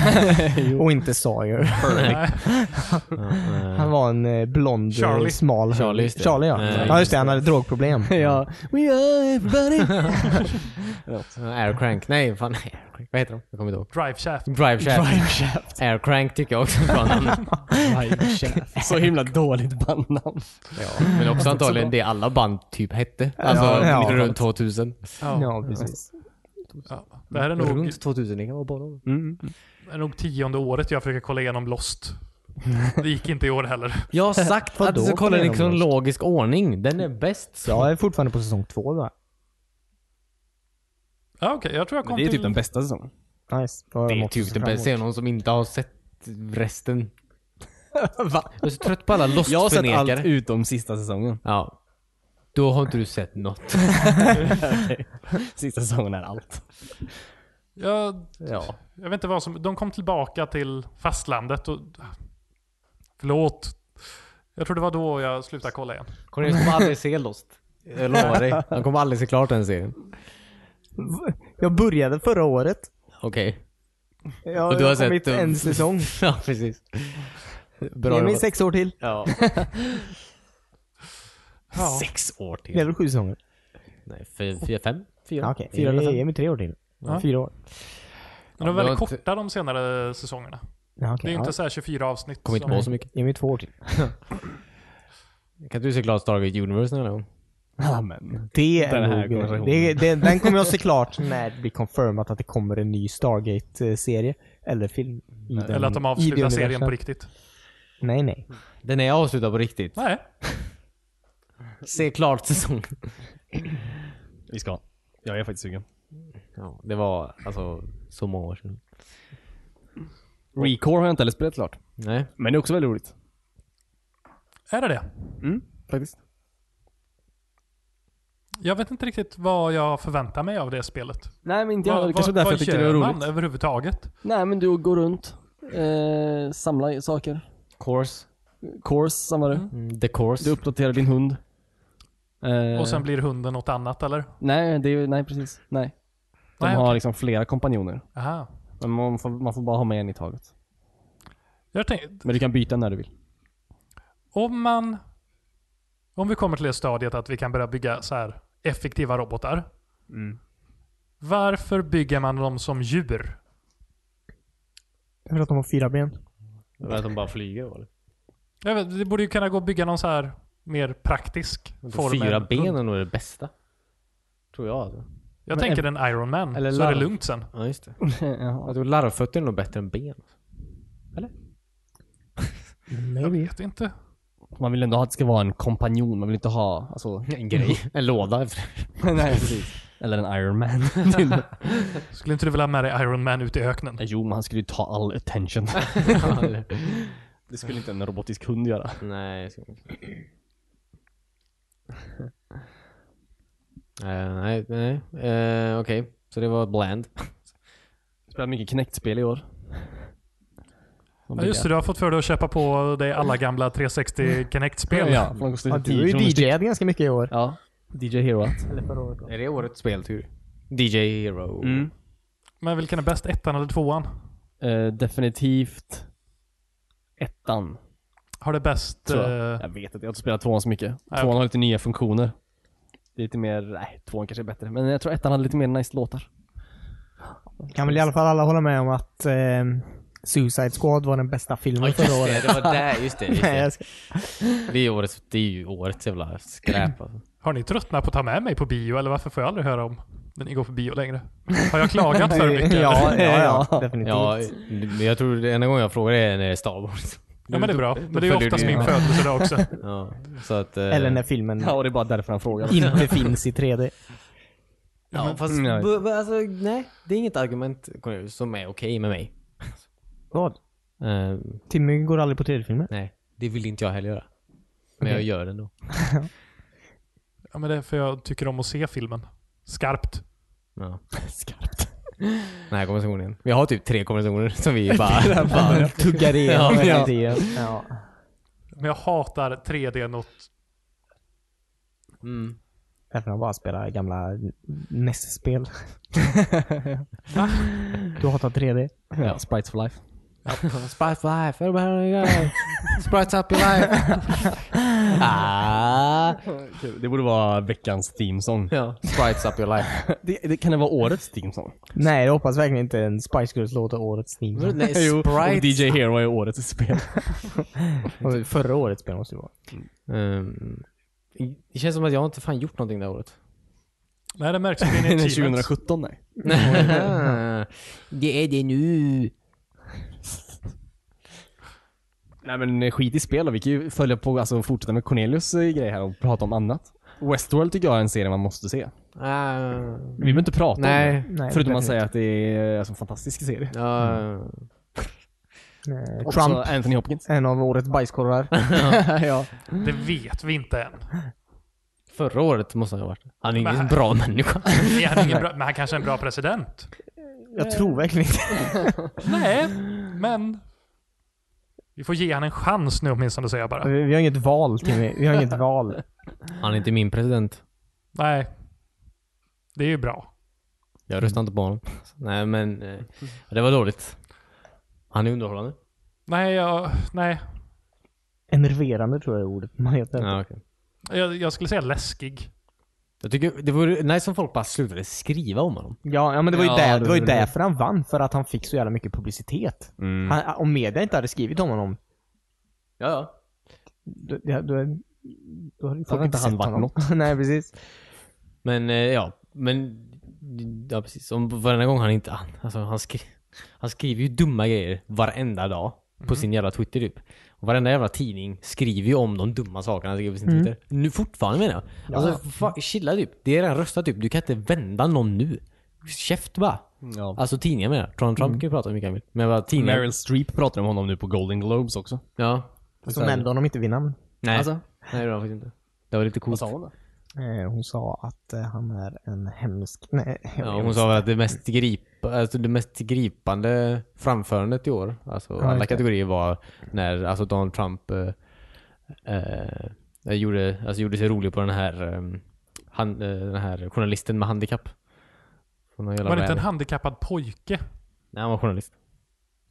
Och inte Sawyer. Nej. Han var en eh, blond, Charlie. Charlie. smal Charlie, just det. Charlie ja. Eh, ja, just det. Han hade drogproblem. ja. We are everybody. Aircrank. Nej, fan. Aircrank. Vad heter de? Jag kommer inte ihåg. Drive Shaft. Drive Shaft. Aircrank tycker jag också var namnet. Så himla dåligt bandnamn. ja, men också antagligen det alla band typ hette. Alltså Ja, ja. runt 2000. Ja. Ja, precis. Ja. Det här är nog, Runt 2000, det kan vara bara Mm. är nog tionde året jag försöker kolla igenom Lost. Det gick inte i år heller. Jag har sagt att du ska Vadå? kolla den i Vad menar du? kronologisk ordning. Den är bäst. Jag är fortfarande på säsong två då. Ja, okej. Jag tror jag kom Det är typ till... den bästa säsongen. Nice. Då har Det de är också typ det fram bästa. Ser emot. någon som inte har sett resten. Jag är så trött på alla Jag har sett lost-förnekare. allt utom sista säsongen. Ja. Då har inte du sett något. Sista säsongen är allt. Jag, Ja. jag vet inte vad som... De kom tillbaka till fastlandet och... Förlåt. Jag tror det var då jag slutade kolla igen. Cornelius kommer aldrig se Lost. Jag lovar dig. Han kommer aldrig se klart den serien. Jag började förra året. Okej. Jag Och har, du har sett kommit dem. en säsong. Ja, precis. Bra Ge mig jobbat. sex år till. Ja. Ja. Sex år Det är till. väl sju säsonger? Nej, fyra, fyra fem? Fyra? Ja, okej. Fyra eller Ge- Ge fem? mig tre år till. Ja. Fyra år. Men de Ja, var det väldigt var inte- korta de senare säsongerna. Ja, okej. Det är ju ja. inte så här 24 avsnitt. Kommer inte som- på så mycket. Ge mig två år till. Kan inte du se klart Stargate Universe någon gång? Amen. Det Den är här nog konversationen. grejen. det, det, Den kommer jag se klart när det blir confirmat att det kommer en ny Stargate-serie. Eller film. I den, Eller att de i det avslutar serien universet. på riktigt. Nej, nej. Den är avslutad på riktigt. Nej. Se klart säsongen. Vi ska. Jag är faktiskt sugen. Ja, det var alltså så många år sedan. Recore har jag inte heller spelat klart. Nej, Men det är också väldigt roligt. Är det det? Mm, Faktiskt. Jag vet inte riktigt vad jag förväntar mig av det spelet. Nej men inte Vad- jag. Det kanske vad- var därför vad jag tyckte det var gör roligt. man överhuvudtaget? Nej men du går runt. Eh, samlar saker. course. Course samlar du. Mm, The course. Du uppdaterar din hund. Eh, Och sen blir hunden något annat eller? Nej, det är, ju- nej precis. Nej. De Nej, har okej. liksom flera kompanjoner. Aha. Men man får, man får bara ha med en i taget. Jag tänkte, Men du kan byta när du vill. om man... Om vi kommer till det stadiet att vi kan börja bygga så här effektiva robotar. Varför bygger man dem som djur? För att de har fyra ben. Att de bara flyger eller? Jag vet, det borde ju kunna gå att bygga någon så här mer praktisk form. Fyra än- ben är nog det bästa. Tror jag alltså. Jag Men tänker en Iron Man, eller så är det larv. lugnt sen. Ja, just det. Jaha. Jag tror larvfötter är nog bättre än ben. Jag vet inte. Man vill ändå ha att det ska vara en kompanjon. Man vill inte ha, alltså... En grej. En låda. nej, precis. Eller en Iron Man. Skulle inte du vilja ha med dig Iron Man ut i öknen? jo, men han skulle ju ta all attention. det skulle inte en robotisk hund göra. Nej, ska man inte. Eh, nej, nej. Eh, Okej, så det var bland. Jag spelar mycket knäktspel i år. Ja, just det, du har fått för dig att köpa på dig alla gamla 360 Kinect-spel. Ja, för de kostar Ja, ju du har 10 ju kronor styck. DJat ganska mycket i år. Ja. DJ Heroat. Eller förra året. Är det årets speltur? DJ Hero. Mm. Men vilken är bäst, ettan eller tvåan? Eh, definitivt ettan. Har det bäst... Tror eh, jag. jag vet inte, jag har inte spelat tvåan så mycket. Nej, tvåan okej. har lite nya funktioner. Det är lite mer, nej, tvåan kanske är bättre. Men jag tror ettan hade lite mer nice låtar. Kan väl i alla fall alla hålla med om att eh, Suicide Squad var den bästa filmen förra året. det var där, just det. Just Nej, det. jag ska... det, är årets, det är ju årets jävla skräp alltså. Har ni tröttnat på att ta med mig på bio eller varför får jag aldrig höra om när ni går på bio längre? Har jag klagat för mycket? eller? ja, ja, ja, definitivt. Ja, men jag tror det enda gången jag frågar är när det är Star Wars. ja, men det är bra. Men det är följer ju oftast du- min ja. födelsedag också. Ja, så att, eh, Eller när filmen Ja, och det är bara därför han frågar. inte finns i 3D. Ja, fast Mm, jag vet. bu- bu- alltså, nej, det är inget argument Cornelius, som är okej med mig. Vad? Eh, Timmy går aldrig på 3D-filmer. nej, det vill inte jag heller göra. Men jag gör det ändå. Ja, men det är för jag tycker om att se filmen. Skarpt. Ja. Skarpt. Den här konversationen. Vi har typ tre konversationer som vi bara... bara Tuggar i Ja, hela ja. tiden. Ja. Men jag hatar 3D något. Mm. Därför han bara spelar gamla E NES-spel. du hatar 3D? Ja, Sprites for life. Sprite for life, everybody go. Sprite up your life. ah. Det borde vara veckans themesång. Ja, Sprites up your life. Det, det, kan det vara årets themesång? Nej, jag hoppas verkligen inte en Spice Girls-låt är årets theme. Nej, Jo, och Sprite. DJ Hero är årets spel. Förra årets spel måste det vara. Ehm, det känns som att jag inte fan gjort någonting det här året. Nej, det märks på din Nej, achievements. 2017 nej. det är det nu. Nej men eh, skit i spel då. Vi kan ju följa på, alltså fortsätta med Cornelius eh, grej här och prata om annat. Westworld tycker jag är en serie man måste se. Ah. Vi behöver inte prata om Nej. det. Nej, Förutom att definitivt. säga att det är eh, alltså, en fantastisk serie. Ja. Eh, Också Trump, Anthony Hopkins. en av årets bajskorvar. ja. Det vet vi inte än. Förra året måste han ha varit. Han är ingen Men- bra människa. Är han ingen bra, men han kanske är en bra president. Jag tror verkligen inte Nej, men... Vi får ge han en chans nu åtminstone säger jag bara. Vi vi har inget val, Timmy. Vi har inget val. Han är inte min president. Nej. Det är ju bra. Jag röstar inte på honom. Nej men, eh, det var dåligt. Han är underhållande. Nej, jag, nej. Enerverande tror jag är ordet man heter. Ja, okej. Jag, jag skulle säga läskig. Jag tycker det vore nice om folk bara slutade skriva om honom. Ja, ja men det var ju, Ja, där, det det- var ju det- därför han vann. För att han fick så jävla mycket publicitet. Han, om media inte hade skrivit om honom, Ja, ja. då, då, då, då hade ju hade folk inte inte han sett varit honom. Nej, precis. Men, eh, ja. Men, ja precis. Om varenda gång han inte, han, alltså han, skri, han skriver ju dumma grejer varenda dag. På sin jävla Twitter typ. Och varenda jävla tidning skriver ju om de dumma sakerna han skriver på sin Twitter. Nu fortfarande menar jag. Alltså fa, chilla typ. Det är redan röstat typ. Du kan inte vända någon nu. Käft bara. Mm, Ja. Mm. Alltså tidningar menar jag. Trump, Trump kan ju prata hur mycket han vill. Men vad tidningar. Meryl Streep pratar om honom nu på Golden Globes också. Ja. Så nämnde honom inte vid namn. Nej. Alltså? Nej det var faktiskt inte. Det var lite Vad coolt. sa hon då? Eh, hon sa att eh, han är en hemsk... Nej, jag Ja, vet hon inte. sa väl att det mest, grip, alltså det mest gripande framförandet i år, alltså just alla det. kategorier var när alltså Donald Trump eh, eh, gjorde, alltså gjorde sig rolig på den här, eh, han, eh, den här journalisten med handikapp. Från någon jävla Var det inte en värld. handikappad pojke? Nej, han var journalist.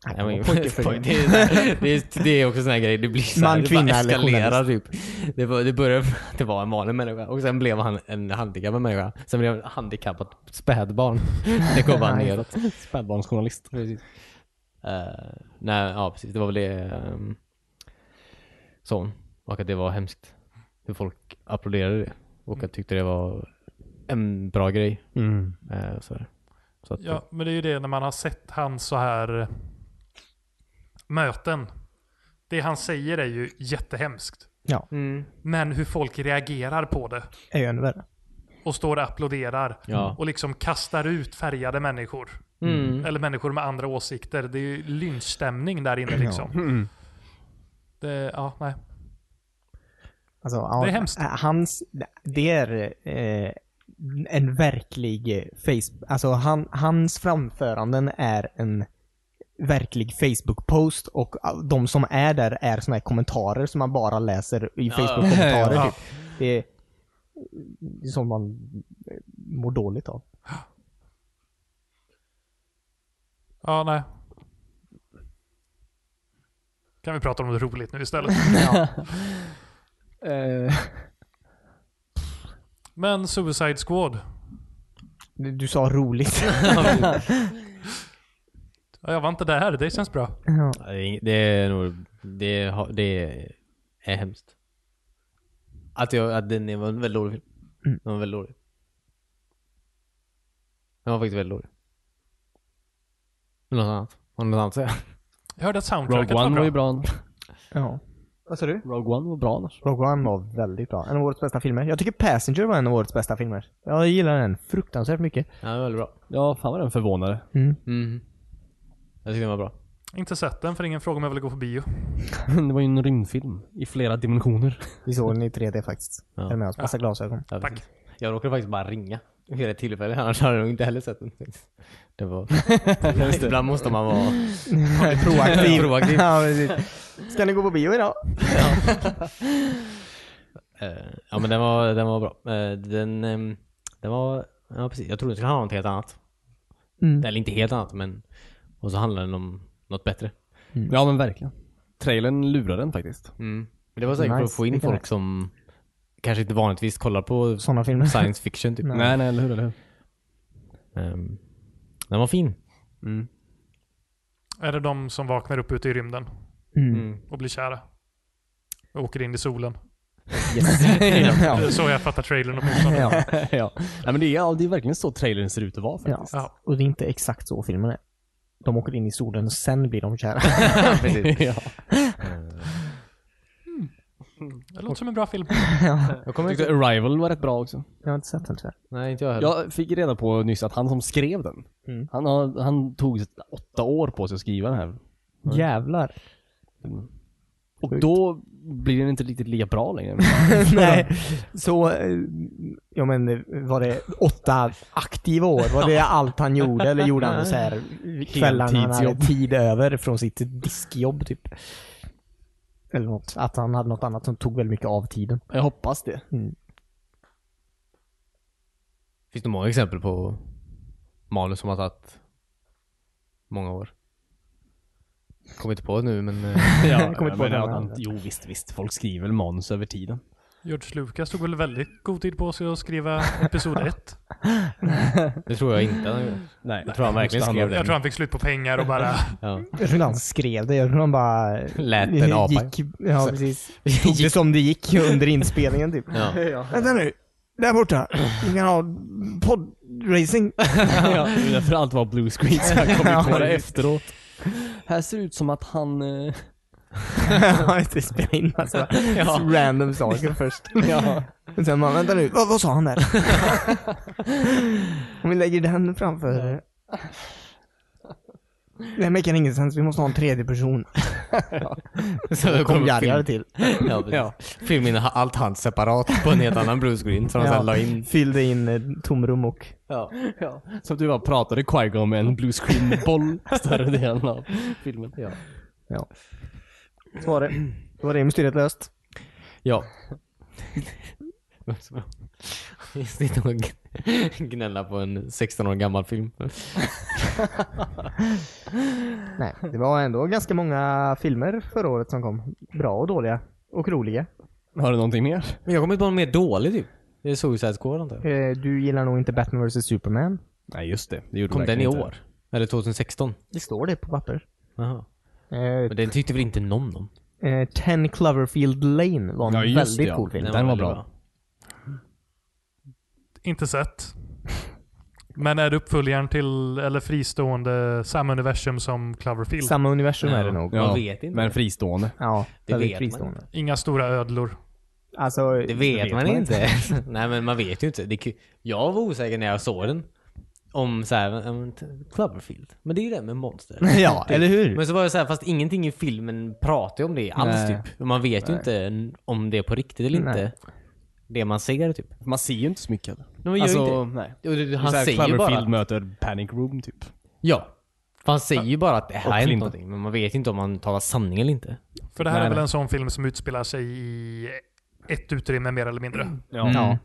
Nej, Nej, men- pojke, poj- pojke. det, är, så här- det, är, det är också sån här grej, det blir så här, Man, det kvinna bara eller eskalerar typ. Det, var, det började med att det var en vanlig människa och sen blev han en handikappad människa. Sen blev han ett handikappat spädbarn. Det går bara neråt. Spädbarnsjournalist. Precis. Eh, nej, ja precis. Det var väl det um, sa hon. Och att det var hemskt. Hur folk applåderade det. Och att tyckte det var en bra grej. Eh, och så där. så att, Ja, men det är ju det när man har sett hans så här eh, möten. Det han säger är ju jättehemskt. Mm. Men hur folk reagerar på det är ju ännu värre. och står och applåderar Ja. och liksom kastar ut färgade människor. Mm. Eller människor med andra åsikter. Det är ju lynchstämning där inne liksom. Det, ja, nej. Alltså, Det är hemskt. Hans, det är eh, en verklig eh, face, alltså han, hans framföranden är en verklig Facebook-post och ah, de som är där är såna här kommentarer som man bara läser i Facebook-kommentarer. Ja. Typ. Det, är, det är sånt man eh, mår dåligt av. Ja, nej. Kan vi prata om något roligt nu istället? Eh. Men Suicide Squad. Du, du sa roligt. Ja, jag var inte där. Det känns bra. Ja. Ja, Det är, ing- det är nog, det, har- det är hemskt. Att, jag, att den var en väldigt dålig film. Mm. Den var väldigt dålig. Den var faktiskt väldigt dålig. Något annat? Har du något annat att säga? Jag hörde att soundtracket Rogue var One var bra. ju bra. ja. Vad sa du? Rogue One var bra annars. Rogue One var väldigt bra. En av årets bästa filmer. Jag tycker Passenger var en av årets bästa filmer. Jag gillar den fruktansvärt mycket. Ja, den var väldigt bra. Ja, fan vad den förvånade. Mm. Mm. Jag tycker den var bra. Inte sett den, för ingen frågar om jag vill gå på bio. det var ju en rymdfilm. I flera dimensioner. Vi såg den i 3D faktiskt. Ja. Eller med oss, massa glasögon. Jag vet Tack. inte. Jag råkade faktiskt bara ringa. vid ett tillfälle, annars hade de inte heller sett den. Det var... Ibland måste man vara proaktiv. proaktiv. ja, precis. Ska ni gå på bio idag? Eh, Ja men den var, den var bra. Eh, Den, ehm, den var, ja precis. Jag trodde den skulle handla om något helt annat. Mm. Eller inte helt annat men, och så handlade den om något bättre. Ja men verkligen. Trailern lurar den faktiskt. Mm. Men det var säkert för att Nice, få in vilken folk nice. som kanske inte vanligtvis kollar på Sådana filmer. science fiction typ. Nej. Nej nej, eller hur, eller hur? Ehm, den var fin. Är det de som vaknar upp ute i rymden Mm. och blir kära? Och åker in i solen. ja. Det är så jag fattar trailern och motståndet. Ja. ja. Nej men det är, ja, det är verkligen så trailern ser ut att vara faktiskt. ja. Ja. Och det är inte exakt så filmen är. De åker in i solen och sen blir de kära. Precis. Ja. Det låter som en bra film. Jag kommer Jag inte... tyckte Arrival var rätt bra också. Jag har inte sett den tyvärr. Nej inte jag heller. Jag fick reda på nyss att han som skrev den, Mm. han, har, han tog åtta år på sig att skriva den här. Jävlar. Och Sjukt. då blir den inte riktigt lika bra längre. Nej. Så, eh, ja men eh, var det åtta aktiva år? Var det allt han gjorde? Eller gjorde han det så här kvällarna han hade Heltidsjobb. tid över från sitt diskjobb typ? Eller något. Att han hade något annat som tog väldigt mycket av tiden. Jag hoppas det. Finns det många exempel på manus som har tagit många år? Kommer inte på det nu men... eh, Ja, kommer inte på men någon att han- annan. Jo visst, visst. Folk skriver väl manus över tiden. George Lucas tog väl väldigt god tid på sig att skriva episod 1. Det tror jag inte han gjorde. Nej. Jag tror han verkligen skrev Jag den. tror han fick slut på pengar och bara... Ja. Jag tror inte han skrev det. Jag tror han bara... Lät en apa. Gick, ja, precis. Tog det som det gick under inspelningen typ. Ja. Vänta nu. Där borta. Vi kan ha podracing. ja, det är därför allt var blue screen så jag kom inte på det Ja, efteråt. Här ser det ut som att han... eh, Ja, just det. Spela in massa random saker först. Ja. Och sen man, vänta nu. Vad, vad sa han där? Om vi lägger den framför... Det här mekar ingen sens. Vi måste ha en tredje person. Så det Kom kom Jarjar film. till. Ja, precis. Filmen har allt han separat på en helt annan bluescreen som han sen la in. Fyllde in eh, tomrum och... Ja. Så att du bara pratade Qui-Gon med en blue screen boll större delen av filmen. Ja. Ja. Så var det. Då var det mysteriet löst. Ja. Det var så bra. Jag sitter och gnälla på en 16 år gammal film. Nej, det var ändå ganska många filmer förra året som kom. Bra och dåliga. Och roliga. Har du någonting mer? Men jag kommer inte på någon mer dålig typ. Det är Suicide Squad antar jag. Eh, Du gillar nog inte Batman vs Superman. Nej just det, det gjorde Kom du den i verkligen inte. år? Eller 2016? Det står det på papper. Jaha. Eh, Men den tyckte väl inte någon om? eh, Ten Cloverfield Lane var en Ja, just väldigt det, ja. cool film. Den var väldigt bra. Inte sett. Men är det uppföljaren till, eller fristående, samma universum som Cloverfield? Samma universum är det Ja. nog. Ja, Man vet inte. Men fristående. Ja, Det väldigt vet fristående. Inga stora ödlor. Alltså, Det vet, man, inte. Nej men man vet ju inte. Det, är ku- jag var osäker när jag såg den. Om såhär, Cloverfield. Men det är ju det med monster. ja, Typ. eller hur? Men så var jag såhär, fast ingenting i filmen pratar ju om det alls Nej. typ. Man vet ju inte n- om det är på riktigt eller Nej. inte. Det man ser typ. Man ser ju inte så mycket heller. Men man gör ju Alltså, inte. nej. Och det- Han Han så här, säger ju bara... Cloverfield att- möter Panic Room typ. Ja. För han säger ju bara att det här Och har hänt Clinton. någonting. Men man vet ju inte om han talar sanning eller inte. För det här Nej, är väl nej. en sån film som utspelar sig i ett utrymme mer eller mindre. Ja. Ja.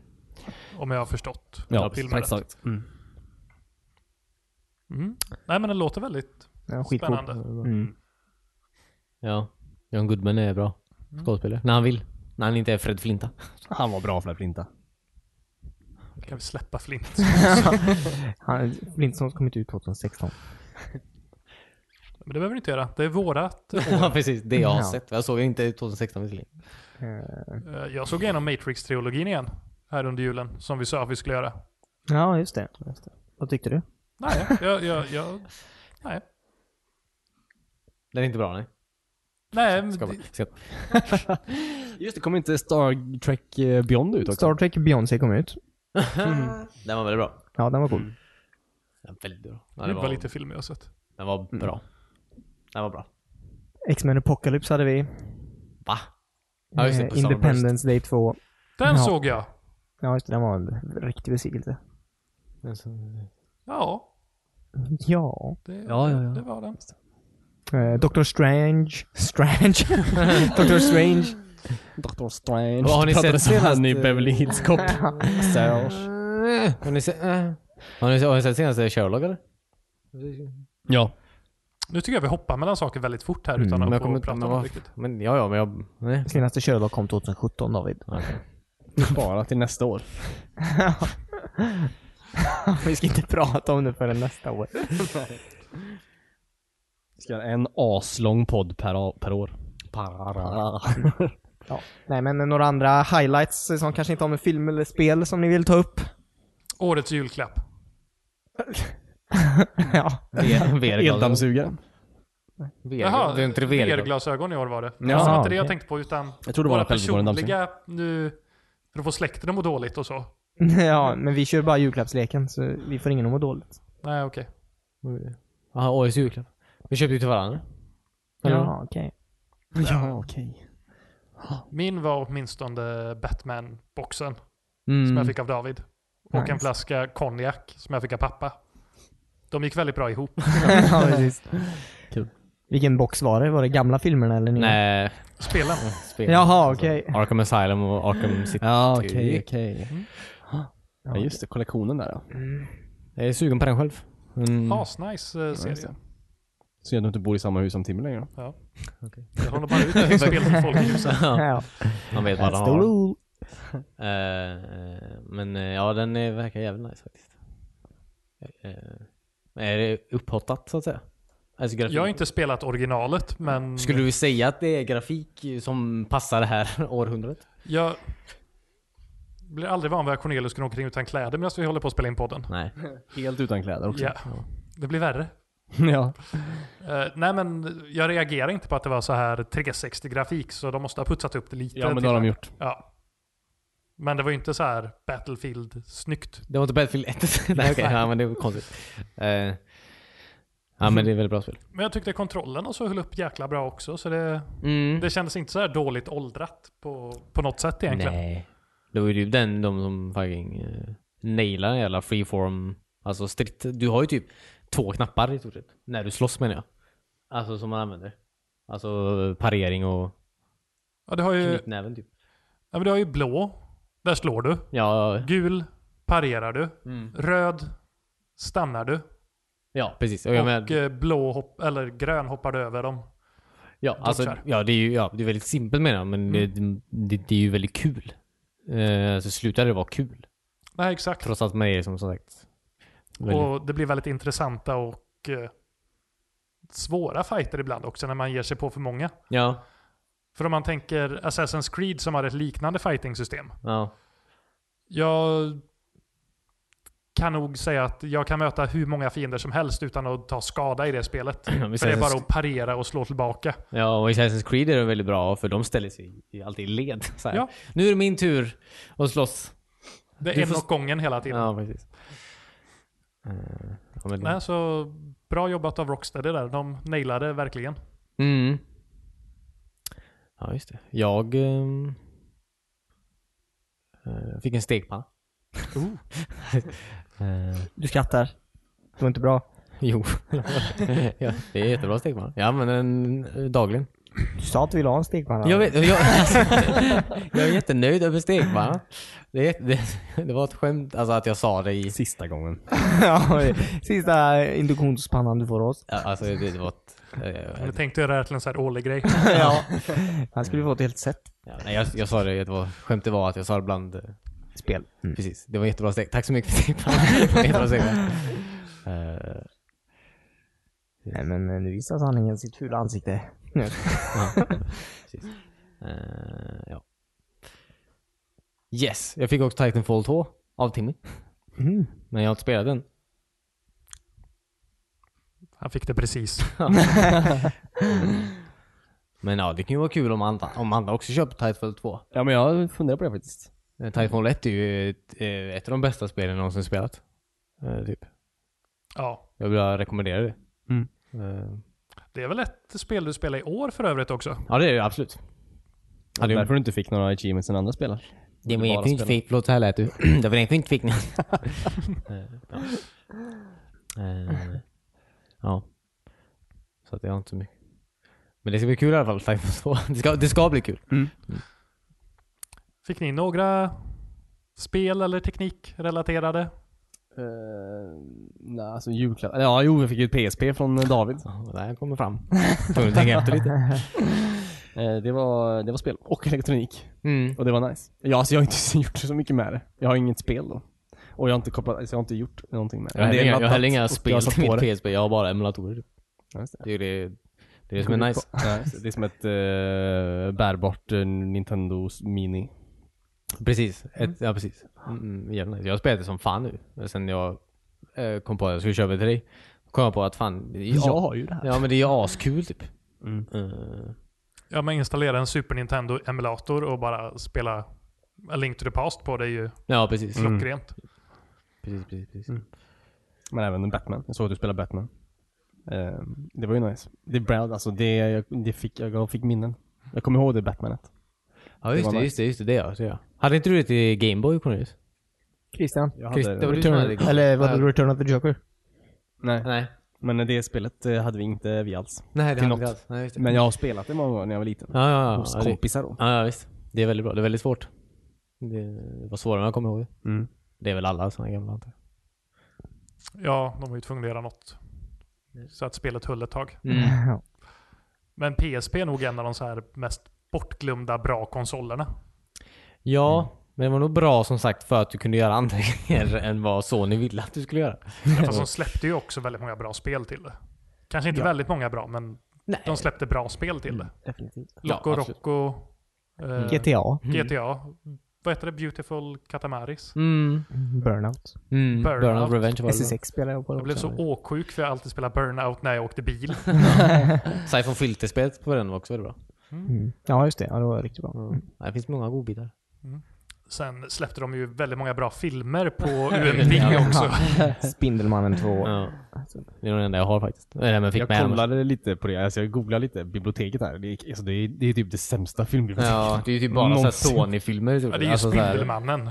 Om jag har förstått filmen rätt. faktiskt sagt. Mm. Mm. Nej men den låter väldigt Ja, skitcool. spännande. Mm. Ja. John Goodman är bra Mm. skådespelare. När han vill. När han inte är Fred Flinta. Han var bra för att flinta. Kan vi släppa Flint? Han, Flintstones kom inte ut 2016. Men det behöver du inte göra. Det är vårat. Ja precis, det jag har Ja. sett. Jag såg ju inte 2016 visserligen. Eh, Jag såg igenom Matrix-trilogin igen. Här under julen. Som vi sa att vi skulle göra. Ja, just det. just det. Vad tyckte du? Nej, jag, jag, jag, nej. Den är inte bra nej. nej men Ska det, bara, ska. Just det, kom inte Star Trek eh, Beyond ut också? Star Trek Beyoncé kom ut. Den var väldigt bra. Ja, den var cool. Den var väldigt bra. Ja, det den, var var, lite Mm. film jag har sett. den var bra. Den var bra. X-Men Apocalypse hade vi. Va? Ja, just det, Eh, på Summerburst. Independence Day 2. Den Ja. såg jag. Ja, just det. Den var en riktig besvikelse. Ja, Ja. det, Ja, ja, ja. det var den. Eh, Dr. Strange. Strange? Dr. Strange. Dr. Strange. Vad har ni Pratade sett så här senast? i Beverly Hills Cop. Eh, Har ni, se, eh. har, ni, se- har ni sett senaste Sherlock eller? Ja. Nu tycker jag vi hoppar mellan saker väldigt fort här Mm, utan men jag att kommer få inte- prata men om det vad- riktigt. Men ja, ja, men jag... Nej. Senaste Sherlock kom 2017 David. Bara till nästa år. Vi ska inte prata om det förrän nästa år. Ska göra en aslång podd per, a- per år. Ja. Nej men eh, några andra highlights eh, som kanske inte har med film eller spel som ni vill ta upp? Årets julklapp. ja. Eldammsugare. Eldammsugaren. Jaha, Det är inte VR. VR-glasögon i år var det. Ja, Alltså, det var inte det jag okej. tänkte på utan Jag tror det var våra en självgående dammsugare. personliga nu för att få släkten att må dåligt och så. Mm. ja, men vi kör bara julklappsleken så vi får ingen att må dåligt. Nej, okej. Jaha, årets julklapp. Vi köpte ju till varandra. Ja, okej. Ja, okej. Min var åtminstone Batman-boxen som jag Mm. fick av David. Och Nice. en flaska konjak som jag fick av pappa. De gick väldigt bra ihop. ja, precis. Kul. Vilken box var det? Var det gamla filmerna eller nya? Nej. Spelen. Spel. Jaha, okej. Arkham Asylum och Arkham City. Ja, okej, okej, okej. Ja, just det. Kollektionen där ja. Jag är sugen på den själv. Mm. Asnice eh, just serie. det. Synd att du inte bor i samma hus som Timmy längre. Ja. Jag lånar bara ut det till spel till folk i huset. Ja. Man vet vad den That's the har. rule. Eh, eh, men eh, ja, den är, verkar jävligt nice faktiskt. Eh, är det upphottat så att säga? Alltså, grafik. Jag har inte spelat originalet, men Skulle du säga att det är grafik som passar det här århundradet? jag blir aldrig van vid att Cornelius går omkring utan kläder medan vi håller på att spela in podden. Nej. Helt utan kläder också. Ja, det blir värre. ja. Eh, nej men jag reagerar inte på att det var så här 360-grafik så de måste ha putsat upp det lite. ja, men till. det har de gjort. Ja. Men det var ju inte så här Battlefield-snyggt. Det var inte Battlefield 1? Nej okej, ja, men det var konstigt. Eh, ja men det är väldigt bra spel. Men jag tyckte kontrollen och så höll upp jäkla bra också så det, Mm. det kändes inte så här dåligt åldrat på, på något sätt egentligen. Nej. Då är det ju den, de som fucking uh, nailar den jävla freeform. Alltså stritt. Du har ju typ två knappar i stort sett. När du slåss menar jag. Alltså som man använder. Alltså parering och Ja, du har ju, ja, knytnäven typ. men du har ju blå, där slår du. Ja, Gul, parerar du. Mm. Röd, stannar du. ja precis. Och jag och menar, eh, blå, hopp, eller grön hoppar du över dem. ja, alltså, touchar. Mm. ja, det är ju ja, det är väldigt simpelt menar jag, men det, det, det är ju väldigt kul. Uh, så slutar det vara kul. Nej, exakt. Trots att man är som sagt väldigt Och det blir väldigt intressanta och eh, svåra fighter ibland också när man ger sig på för många. Ja, För om man tänker Assassin's Creed som har ett liknande fighting-system. ja. Jag kan nog säga att jag kan möta hur många fiender som helst utan att ta skada i det spelet. För det är bara att parera och slå tillbaka. Ja, och i Assassin's Creed är de väldigt bra för de ställer sig ju alltid i led. Så här. Ja. Nu är det min tur att slåss. Det Du är en får- åt gången hela tiden. Ja, precis. Eh, Ja, men, Nej, så bra jobbat av Rocksteady där. De nailade verkligen. Mm. Ja, just det. Jag ehm, eh, fick en stekpanna. Eh, Du skrattar. Det var inte bra. jo, ja, det är jättebra stekpanna. Jag använder den eh, dagligen. Du sa att du ville ha en stekpanna. Jag, vet, jag, alltså, jag är jättenöjd över stekpannan. Det, är jätte- det, det var ett skämt alltså, att jag sa det i Sista gången. Ja, Sista induktionspannan du får av oss. Ja, Alltså det, det var ett, eh, Jag tänkte göra det till en sån här årlig grej. ja. Han skulle få ett helt set ja, nej, jag, jag sa det, det var, skämtet var att jag sa det bland... eh, spel. Precis, det var jättebra steg. Tack så mycket för tipsen. Det var jättebra steg. Eh, Nej men eh, nu visar sanningen sitt fula ansikte. Nu. ja, precis. Eh, ja. Yes, jag fick också Titanfall 2 av Timmy. Mm. Men jag har inte spelat den. Han fick det precis. Men ja, det kan ju vara kul om andra, om andra också köper Titanfall 2. Ja, men jag funderar på det faktiskt. Eh, Titanfall 1 är ju ett, eh, ett av de bästa spelen jag någonsin spelat. Eh, typ. Ja. Jag vill bara rekommendera det. Mm. Eh, Det är väl ett spel du spelar i år för övrigt också? ja, det är det absolut. Ja, det är- därför du inte fick några achievements än andra spelare. Det var bara egentligen inte spela. fake, förlåt så här lät du. det var egentligen inte fake. Eh, ja. Eh, ja. Så att jag har inte så mycket. Men det ska bli kul i alla fall, Five Nights at Freddy's. det ska, det ska bli kul. Fick ni några spel eller teknikrelaterade? Uh, nej, alltså julklapp. Ja, jo, vi fick ju ett PSP från eh, David. Ja, Det här kommer fram. Tvungen att tänka efter lite. Eh, det, var, det var spel och elektronik. Mm. Och det var nice. Ja, alltså, jag har inte gjort så mycket med det. Jag har inget spel då. Och jag har inte kopplat, alltså, jag har inte gjort någonting med det. Jag har Men det heller inga, är jag har laddat heller inga och spel jag satt till på det. mitt PSP, jag har bara emulatorer. typ. Ja, just det. Det är ju det, det, är det som är nice. Ja, just det. det är som ett eh, bärbart eh, Nintendo Mini. Precis. Ett, ja, precis. Mm, jävla nice. jag har spelat det som fan nu. Sen jag eh, kom på att jag skulle köpa det till dig. Kom jag på att fan, det är ju Jag har ju det här. Ja men det är ju askul typ. Mm. Eh, Ja, men installera en Super Nintendo-emulator och bara spela A Link to the Past på. Det är ju ja precis. Mm. klockrent. precis, precis, precis. Men även Batman. Jag såg att du spelade Batman. Eh, det var ju nice. Det Brad, alltså det, jag, det fick, jag fick minnen. Jag kommer ihåg det Batmanet. Ja just var det, nice. just det, just det. Det ja, det ja. Hade inte du det till Gameboy Cornelius? Christian. Jag Chris, det var du som hade Return, Gameboy? eller vad Ja. Return of the Joker? Nej. Nej. Men det spelet eh, hade vi inte vi alls. Nej det Till hade vi inte något. alls. Nej, just det. Men jag har spelat det många gånger när jag var liten. ja, ja, ja. Hos ja, det- kompisar då. Ja, ja visst. Det är väldigt bra. Det är väldigt svårt. Det var svårare än jag kommer ihåg. Mm. Det är väl alla sådana gamla antar Ja, de var ju tvungna att göra något. Så att spelet höll ett tag. jag. Mm. Ja. Men PSP är nog en av de så här mest bortglömda bra konsolerna. Ja, Mm. men det var nog bra som sagt för att du kunde göra andra grejer än vad Sony ville att du skulle göra. Fast de släppte ju också väldigt många bra spel till det. Kanske inte väldigt många bra, men Nej. de släppte bra spel till det. Definitivt. Ja, Loco absolut. Mm. Roco, eh, GTA. Mm. GTA. Vad heter det? Beautiful Katamaris. Mm. Burnout. Mm. Burnout. Burnout. Revenge var det. SSX spelar jag på Jag blev så åksjuk för jag alltid spelade Burnout när jag åkte bil. Siphon Filter-spelet på den var också väldigt bra. Mm. Ja, just det. Ja, det var riktigt bra. Ja, Det finns många godbitar. Sen släppte de ju väldigt många bra filmer på UMP också. Spindelmannen Alltså, 2. Ja. Det är nog den enda jag har faktiskt. Eller men fick Jag med dem. kollade lite på det, alltså jag googlade lite biblioteket här. Det, gick- alltså det, är, det är typ det sämsta filmbiblioteket. Ja, det är ju typ bara såhär Någonsin. Sony-filmer. Typ. Ja, det är ju Alltså så här- Spindelmannen.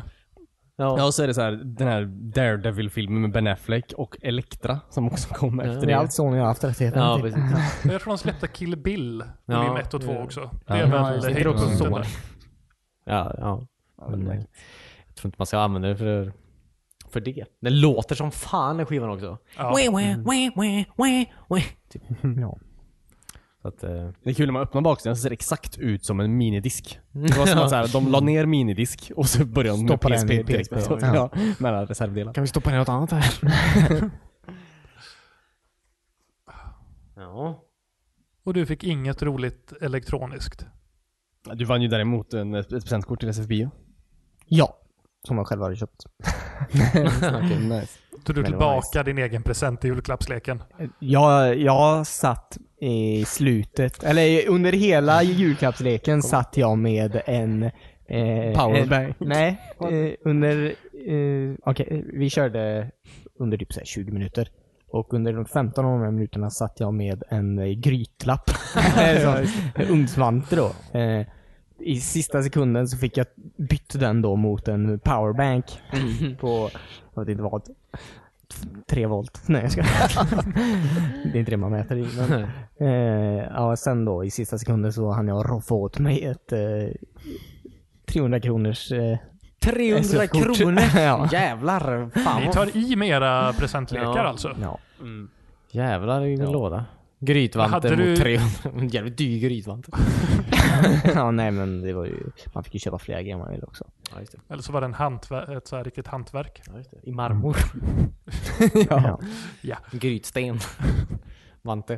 Ja. Ja, och så är det så här, den här Daredevil-filmen med Ben Affleck och Elektra som också kom efter Det det. är allt Sony har haft rättigheten ja, till. precis. Jag tror de släppte Kill Bill, Ja, volym 1 och 2 det- också. Det ja. är Ja, väl jag tänker också höjdpunkten så. där. Ja, ja. det är Men, eh, märkligt. jag tror inte man ska använda det för, för det. Den låter som fan den skivan också. Ja. Wah, wah, wah, wah, wah, wah. Typ. Ja. Så att, eh, Det är kul när man öppnar baksidan så ser det exakt ut som en minidisk. Det var som att så här, de la ner minidisk och så började de med Stoppade PSP Mm. den i direkt. PSP, Så, ja. ja, med alla reservdelar. Kan vi stoppa ner något annat här? ja. Och du fick inget roligt elektroniskt. Du vann ju däremot en, ett presentkort till SFB. ja. Som jag själv hade köpt. Okej, nice. Tog du Men det var tillbaka din egen present i julklappsleken? Jag, jag satt i slutet, eller under hela julklappsleken satt jag med en... Eh, Powerbank. En, nej, eh, under... Eh, Okej, vi körde under typ så här 20 minuter. Och under de 15 av de här minuterna satt jag med en eh, grytlapp. Som Ugnsvante då. Eh, I sista sekunden så fick jag bytt den då mot en powerbank på, jag vet inte vad, tre volt. Nej jag ska. Det är inte det man mäter i. Men, eh, ja, sen då i sista sekunden så hann jag roffa åt mig ett eh, 300 kronors eh, 300 SF-kort. kronor! ja. Jävlar! Fan Ni vad... tar i med era presentlekar Ja. alltså? ja. Jävlar i min låda. Hade Grytvanten du- mot 300. En jävligt dyr grytvante. ja, nej men det var ju, man fick ju köpa flera grejer man ville också. Ja, just det. Eller så var det en hantver- ett så här riktigt hantverk. Ja, just det. I marmor. Ja. Grytsten. Vante.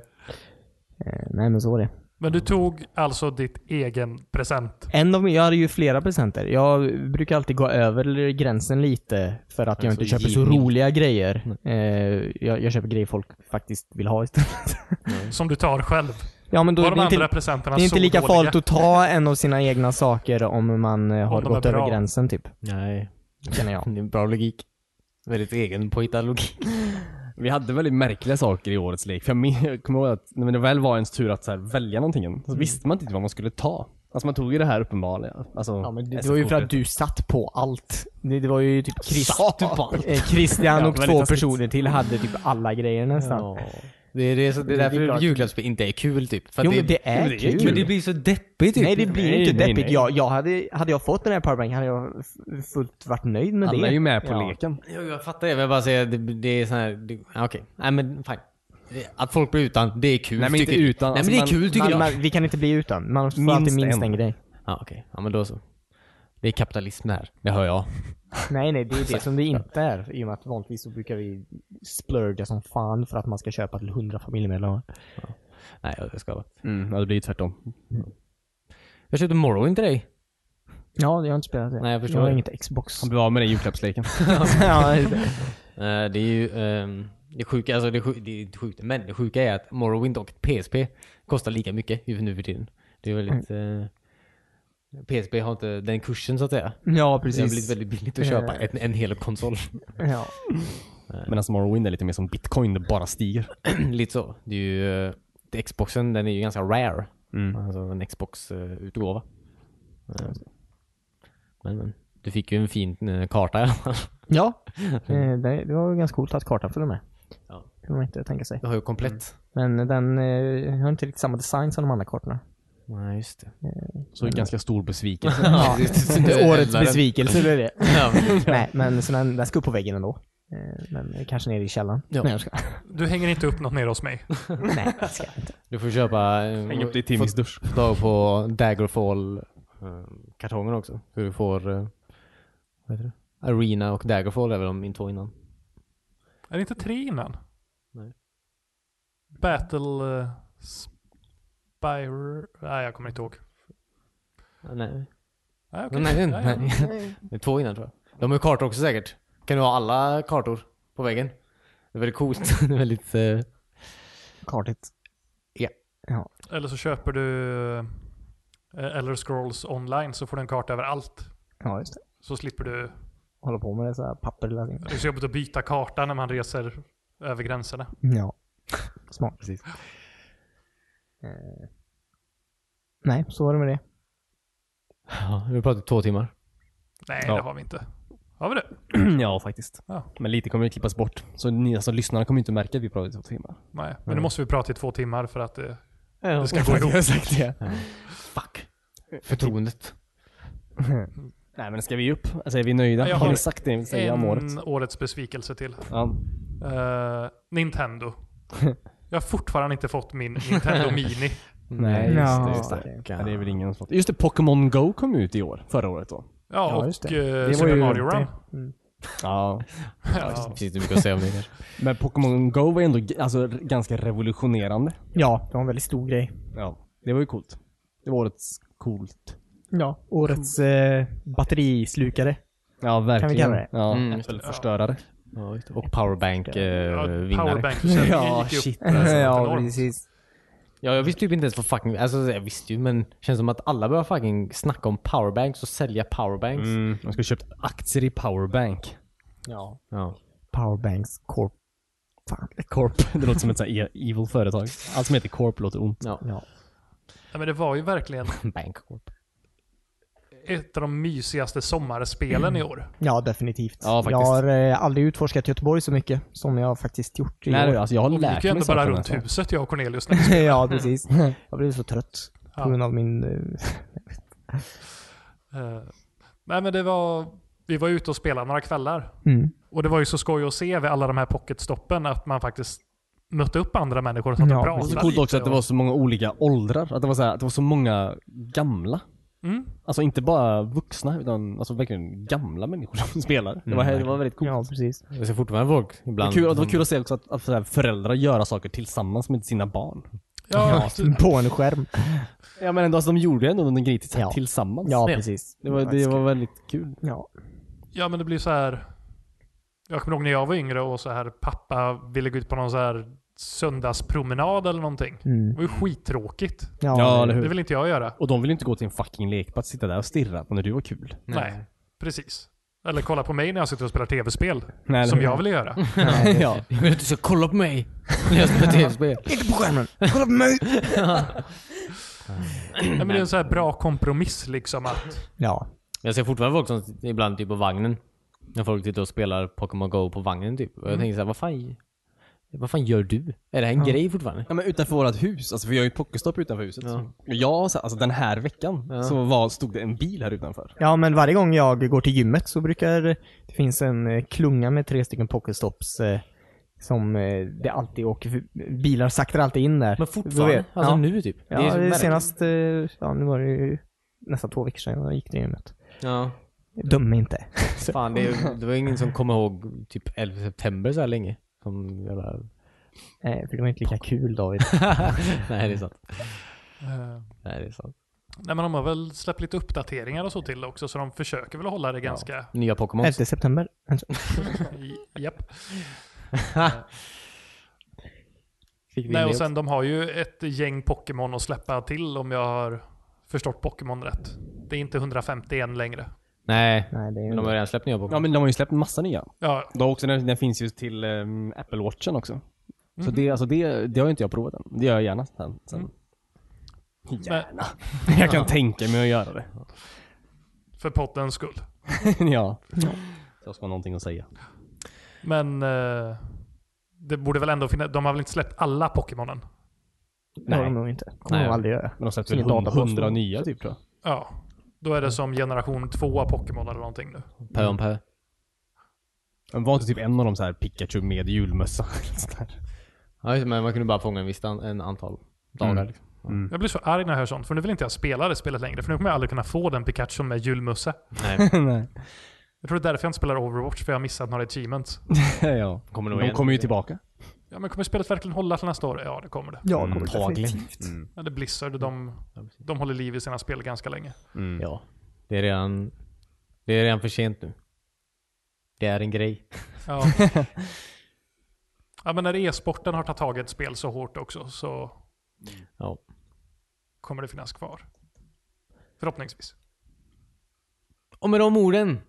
Eh, nej men så var det. Men du tog alltså ditt egen present. En av, mina- jag hade ju flera presenter. Jag brukar alltid gå över gränsen lite för att jag Alltså, inte köper så givmild. roliga grejer. Eh, jag, jag köper grejer folk faktiskt vill ha istället. Som du tar själv. Ja men Mm. då Var är de det andra inte, presenterna det är så inte lika dåliga? farligt att ta en av sina egna saker om man eh, har de är gått över bra. gränsen typ. Nej. Känner jag. Det är en bra logik. Väldigt egen påhittad logik. Vi hade väldigt märkliga saker i Mm. årets lek. För jag, men, jag kommer ihåg att när det väl var ens tur att så här, välja någonting så visste man inte vad man skulle ta. Alltså man tog ju det här uppenbarligen. Alltså, Ja, men det, det var ju för att du satt på allt. Det, det var ju typ Chris, Satt på allt. eh, Christian Ja, och väldigt två taskigt. personer till hade typ alla grejer nästan. Ja. Det är, det, är så, det är Det är därför klart. julklappsspel inte är kul typ. För att Jo, men det Jo, är men kul. Men det blir så deppigt typ. Nej, det blir Nej, inte nej, deppigt. nej. Jag, jag hade, hade jag fått den här powerbanken hade jag f- fullt varit nöjd med det. Alla är ju med på Ja. leken. Jo, jag fattar det. Men jag bara säger det, det är sån här... det- Okej. Nej men fine. Att folk blir utan, det är kul Nej, men inte tycker jag. utan. Nej Alltså, men det är man- kul tycker Man, jag. man, vi kan inte bli utan. Man får Minst alltid minst en. en grej. Ja okej. Ja men då så. Det är kapitalism det här. Det hör jag. Nej, nej, det är det som det inte är. I och med att vanligtvis så brukar vi splurga som fan för att man ska köpa till 100 familjemedlemmar. Nej jag ska bara. Mm, ja, det blir ju tvärtom. Jag köpte Morrowind till dig. Ja, jag har inte spelat det. Nej, jag förstår har det. inget Xbox. Han blev av med den julklappsleken. ja, just det. Eh, det är ju... ehm, det sjuka, alltså det, sju, det är inte sjukt, men det sjuka är att Morrowind och PSP kostar lika mycket ju nu för tiden. Det är väldigt... Mm. eh, PSP har inte den kursen så att säga. ja, Det har blivit precis. väldigt billigt att köpa en, en hel konsol. Ja. Medan Morrowind är lite mer som bitcoin, det bara stiger. Lite så. Det är ju, eh, det- Xboxen den är ju ganska rare. Alltså en Xbox-utgåva. Eh, Men, men. Du fick ju en fin eh, karta i alla fall. ja. Eh, Det, det var ju ganska coolt att kartan följde med. Ja. Kunde man inte tänka sig. Du har ju komplett. Men den eh, har inte riktigt samma design som de andra kartorna. Nej, Mm. just det. Så ganska stor besvikelse. Ja. Årets Eldaren. besvikelse blir det. Ja, Nej, men så den, den ska upp på väggen ändå. Eh, Men kanske nere i källaren. Ja. Nej, jag ska. Du hänger inte upp något nere hos mig. Nej, jag ska inte. du får köpa... eh, Häng upp det i Timmys dusch. Få tag på Daggerfall-kartongen också. Så du får... eh, Vad heter det? Arena och Daggerfall är väl de två innan? Är det inte tre innan? Nej. Battle... Uh, Spire... Nej, jag kommer inte ihåg. Nej. Nej, okej. Nej, Ja, ja. nej. Det är två innan tror jag. De har ju kartor också säkert. Kan du ha alla kartor på väggen? Det är väldigt coolt. Det är väldigt... eh, Kartigt. Eller så köper du eh, Elder Scrolls online så får du en karta över allt. Ja, just det. Så slipper du... Hålla på med det så här papper eller någonting. Det är så jobbigt att byta karta när man reser över gränserna. Ja. Smart. Precis. Eh. Nej, så var det med det. Ja, vi har pratat i två timmar. Nej, Ja. det har vi inte. Har vi det? ja, faktiskt. Ja. Men lite kommer ju klippas bort. Så ni alltså, lyssnarna kommer ju inte märka att vi pratar i två timmar. Nej, men Mm. nu måste vi prata i två timmar för att eh, det... Det ska gå ihop. Jag har sagt det. Fuck. Förtroendet. Nej men ska vi upp? Alltså är vi nöjda? Jag har har ni sagt det ni vill säga om året? en årets besvikelse till. Ja. Eh, Nintendo. Jag har fortfarande inte fått min Nintendo Mini. Nej, just Ja. det. Just det. Okej. Ja, det är väl ingen som Just det, Pokémon Go kom ut i år. Förra året då. Ja, Ja, just och det. eh, var Super ju Mario det. Run. Ja. Ja. Finns det mycket att säga om det kanske? Men Pokémon Go var ändå g- alltså, r- ganska revolutionerande. Ja, det var en väldigt stor grej. Ja. Det var ju coolt. Det var årets coolt. Ja, årets eh, batterislukare. Ja, verkligen. kalla det? Ja. Mm. Eller förstörare. Ja, just det. Och eh, powerbank-vinnare. Powerbank-försäljningen Ja, gick ju upp shit. alltså, ja, enormt. precis. ja, jag visste typ inte ens vad fucking... Alltså jag visste ju men det känns som att alla börjar fucking snacka om powerbanks och sälja powerbanks. Mm. Man skulle köpt aktier i powerbank. Ja. Ja. Powerbanks Corp. Fan. Corp. Det låter som ett sånt här e- evil företag. Allt som heter Corp låter ont. Ja. Ja. Ja, men det var ju verkligen Bankcorp. ett av de mysigaste sommarspelen i år. Ja, definitivt. Ja, faktiskt. jag har eh, aldrig utforskat Göteborg så mycket som jag har faktiskt gjort i Nej, år. du, alltså jag har Och vi lärt gick ju mig ändå bara saker runt nästan. huset jag och Cornelius. när vi ja, precis. Jag blev så trött Ja. på grund av min... eh, Eh, nej men det var, vi var ute och spelade några kvällar. Mm. Och det var ju så skoj att se vid alla de här pocketstoppen att man faktiskt mötte upp andra människor som satt Ja, och och Och pratade. så coolt lite också att det och- var så många olika åldrar. Att det var så, här, att det var så många gamla. Mm. Alltså inte bara vuxna utan alltså verkligen gamla människor som spelar. det, var, det var väldigt coolt. Ja, precis. Jag ser fortfarande folk Det var, ibland. kul, och det var kul att se också att, att så här, föräldrar göra saker tillsammans med sina barn. Ja, det- På en skärm. Ja men ändå, alltså, de gjorde ändå någon grej tills, Ja. tillsammans. Ja, Ja. precis. Det, var, det var väldigt kul. Ja. ja men det blir så här. Jag kommer ihåg när jag var yngre och så här pappa ville gå ut på någon så här söndagspromenad eller någonting. Det Mm. var ju skittråkigt. Ja, Ja, eller Det hur? vill inte jag göra. Och de ville inte gå till en fucking lekplats, sitta där och stirra på när du var kul. Nej. Precis. Eller kolla på mig när jag sitter och spelar tv-spel. Nej, som eller- jag ville göra. ja. Jag vill att du ska kolla på mig när jag spelar tv-spel. Inte på skärmen! Kolla på mig! Nej, men det är en så här bra kompromiss liksom att... Ja. Jag ser fortfarande folk som sitter ibland typ på vagnen. När folk sitter och spelar Pokémon Go på vagnen typ. Och jag tänker såhär, vad fan, vad fan gör du? Är det här en grej fortfarande? Ja men utanför vårt hus, alltså vi har ju ett pokestopp utanför huset. Ja. Ja. Jag, så- alltså den här veckan, så var, stod det en bil här utanför. Ja, men varje gång jag går till gymmet så brukar det finns en eh, klunga med tre stycken pokestops eh, som eh, det alltid åker för- bilar saktar alltid in där. Du Men fortfarande? vet. Alltså ja. nu typ? Ja, är det så är märkligt. senast, eh, ja nu var det ju nästan två veckor sedan jag gick till gymmet. Ja. Döm mig inte. Så- Fan, det, är- det var ingen som kom ihåg typ 11 september så här länge. Som jävla... Nej, Eh, för det var inte lika kul David. Nej, det är sant. eh, Nej, det är sant. Nej men de har väl släppt lite uppdateringar och så till det också så de försöker väl hålla det ganska... Nya Pokémon. 11 september. Alltså, i- Japp. Fick vi Nej in och det sen de har ju ett gäng Pokémon att släppa till om jag har förstått Pokémon rätt. Det är inte 151 längre. Nej, Nej, det är men ju... de har redan släppt nya Pokémon. Ja men de har ju släppt en massa nya. Ja, De har också, den, den finns ju till ehm, Apple Watchen också. Så det, alltså det, det har ju inte jag provat än. Det gör jag gärna sen. sen. Gärna. Jag kan tänka mig att göra det. för poddens skull. ja. Jag ska ha någonting att säga. Men eh, det borde väl ändå finnas... De har väl inte släppt alla Pokémonen? Det har de Nej. nog inte. Kommer Nej. nog aldrig göra. Men de släppte Ingen väl hund- databas då. hundra nya typ tror jag. Ja. Då är det som generation 2 av Pokémon eller någonting nu. Pö om pö. Men var inte typ en av dem så här Pikachu med julmössa? eller sånt där? Ja, just det, men man kunde bara fånga en viss an, en antal dagar. Mm. Liksom. Jag blir så arg när jag hör sånt, för nu vill inte jag spela det spelet längre. För nu kommer jag aldrig kunna få den Pikachu med julmössa. Nej, Nej. Jag tror det är därför jag inte spelar Overwatch, för jag har missat några achievements. ja. kommer nog De igen. kommer ju tillbaka. Ja, men kommer spelet verkligen hålla till nästa år? Ja, det kommer det. Ja, det kommer Mm, Antagligen. definitivt. Men det är Blizzard, de, de håller liv i sina spel ganska länge. Ja. Det är redan... Det är redan för sent nu. Det är en grej. Ja. ja, men när e-sporten har tagit tag i ett spel så hårt också så Ja. kommer det finnas kvar. Förhoppningsvis. Och med de orden.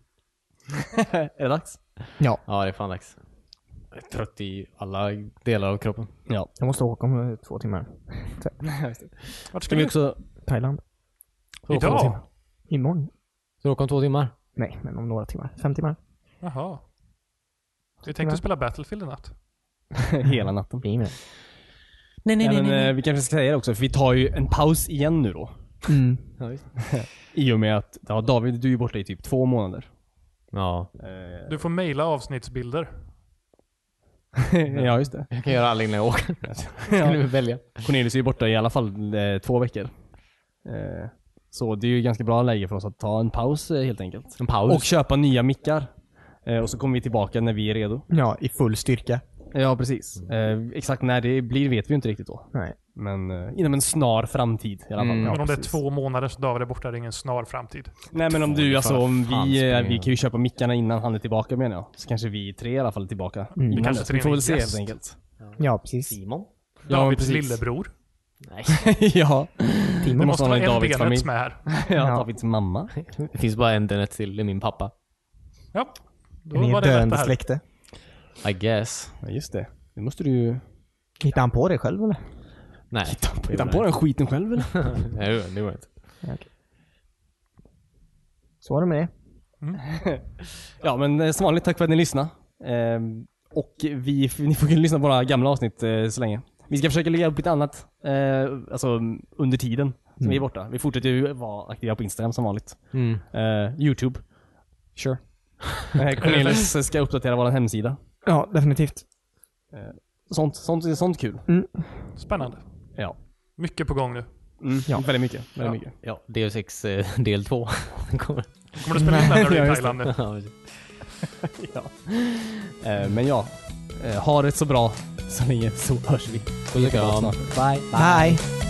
Är det dags? Ja, Ja, det är fan dags. Jag är trött i alla delar av kroppen. Ja. jag måste åka om eh, två timmar. Typ. Vart ska Ska vi du? också... Thailand. Ska vi åka om en timme? Idag? Imorgon? Ska vi åka om två timmar? Nej, men om några timmar. Fem timmar. Jaha. Vi tänkte spela Battlefield i natt. Hela natten. Blir med. Nej, Nej, men, eh, Vi kanske ska säga det också, för vi tar ju en paus igen nu då. Mm. Ja, just det. I och med att ja, David, du är ju borta i typ två månader. ja. Du får mejla avsnittsbilder. ja, just det. Jag kan göra alla innan jag åker. Kan du välja? Cornelius är ju borta i alla fall eh, två veckor. Eh, så det är ju ganska bra läge för oss att ta en paus eh, helt enkelt. En paus. Och köpa nya mickar. Eh, och så kommer vi tillbaka när vi är redo. Ja, i full styrka. Ja, precis. Eh, exakt när det blir vet vi ju inte riktigt då. Nej. Men eh, inom en snar framtid i alla fall. Mm. Ja, men om det är precis. två månader så David är borta, det är ingen snar framtid. Nej men om Två, det du, är alltså fan om vi, eh, springa. vi kan ju köpa mickarna innan han är tillbaka menar jag. Så kanske vi tre i alla fall är tillbaka. Vi Innan kanske dess. till Mm. vi och får med väl se gäst. helt enkelt. Ja, precis. Simon? Ja, Davids precis. lillebror. Nej. ja. Det Timon. måste ha vara en en Davids Benets familj. med här. ja. Davids mamma. Det finns bara en Dennis till. Det är min pappa. Ja, då Ni var är det rätt döende det här. släkte. I guess. Ja just det. Det måste du ju... Hittade han på det själv eller? Nej. Hitta på den skiten själv eller? Nej, det var det inte. Ja, okej. Så var det med det. ja men eh, som vanligt, tack för att ni lyssnade. Ehm, och vi, ni får ju lyssna på våra gamla avsnitt eh, så länge. Vi ska försöka lägga upp lite annat, eh, alltså mm, under tiden som vi är borta. Vi fortsätter ju vara aktiva på Instagram som vanligt. Mm. Eh, Youtube. Sure. Eh, Cornelius ska uppdatera vår hemsida. Ja, definitivt. Sånt, sånt, sånt kul. Spännande. Ja. Mycket på gång nu. ja. Mm, Väldigt mycket. Väldigt mycket. Ja, DL6 eh, del 2. kommer. Kommer du spela in när du är Ja, i just det. Thailand nu? Ja, precis. Eh, men ja. Eh, ha det så bra så länge så hörs vi. Puss och kram. Snart. Bye. Bye.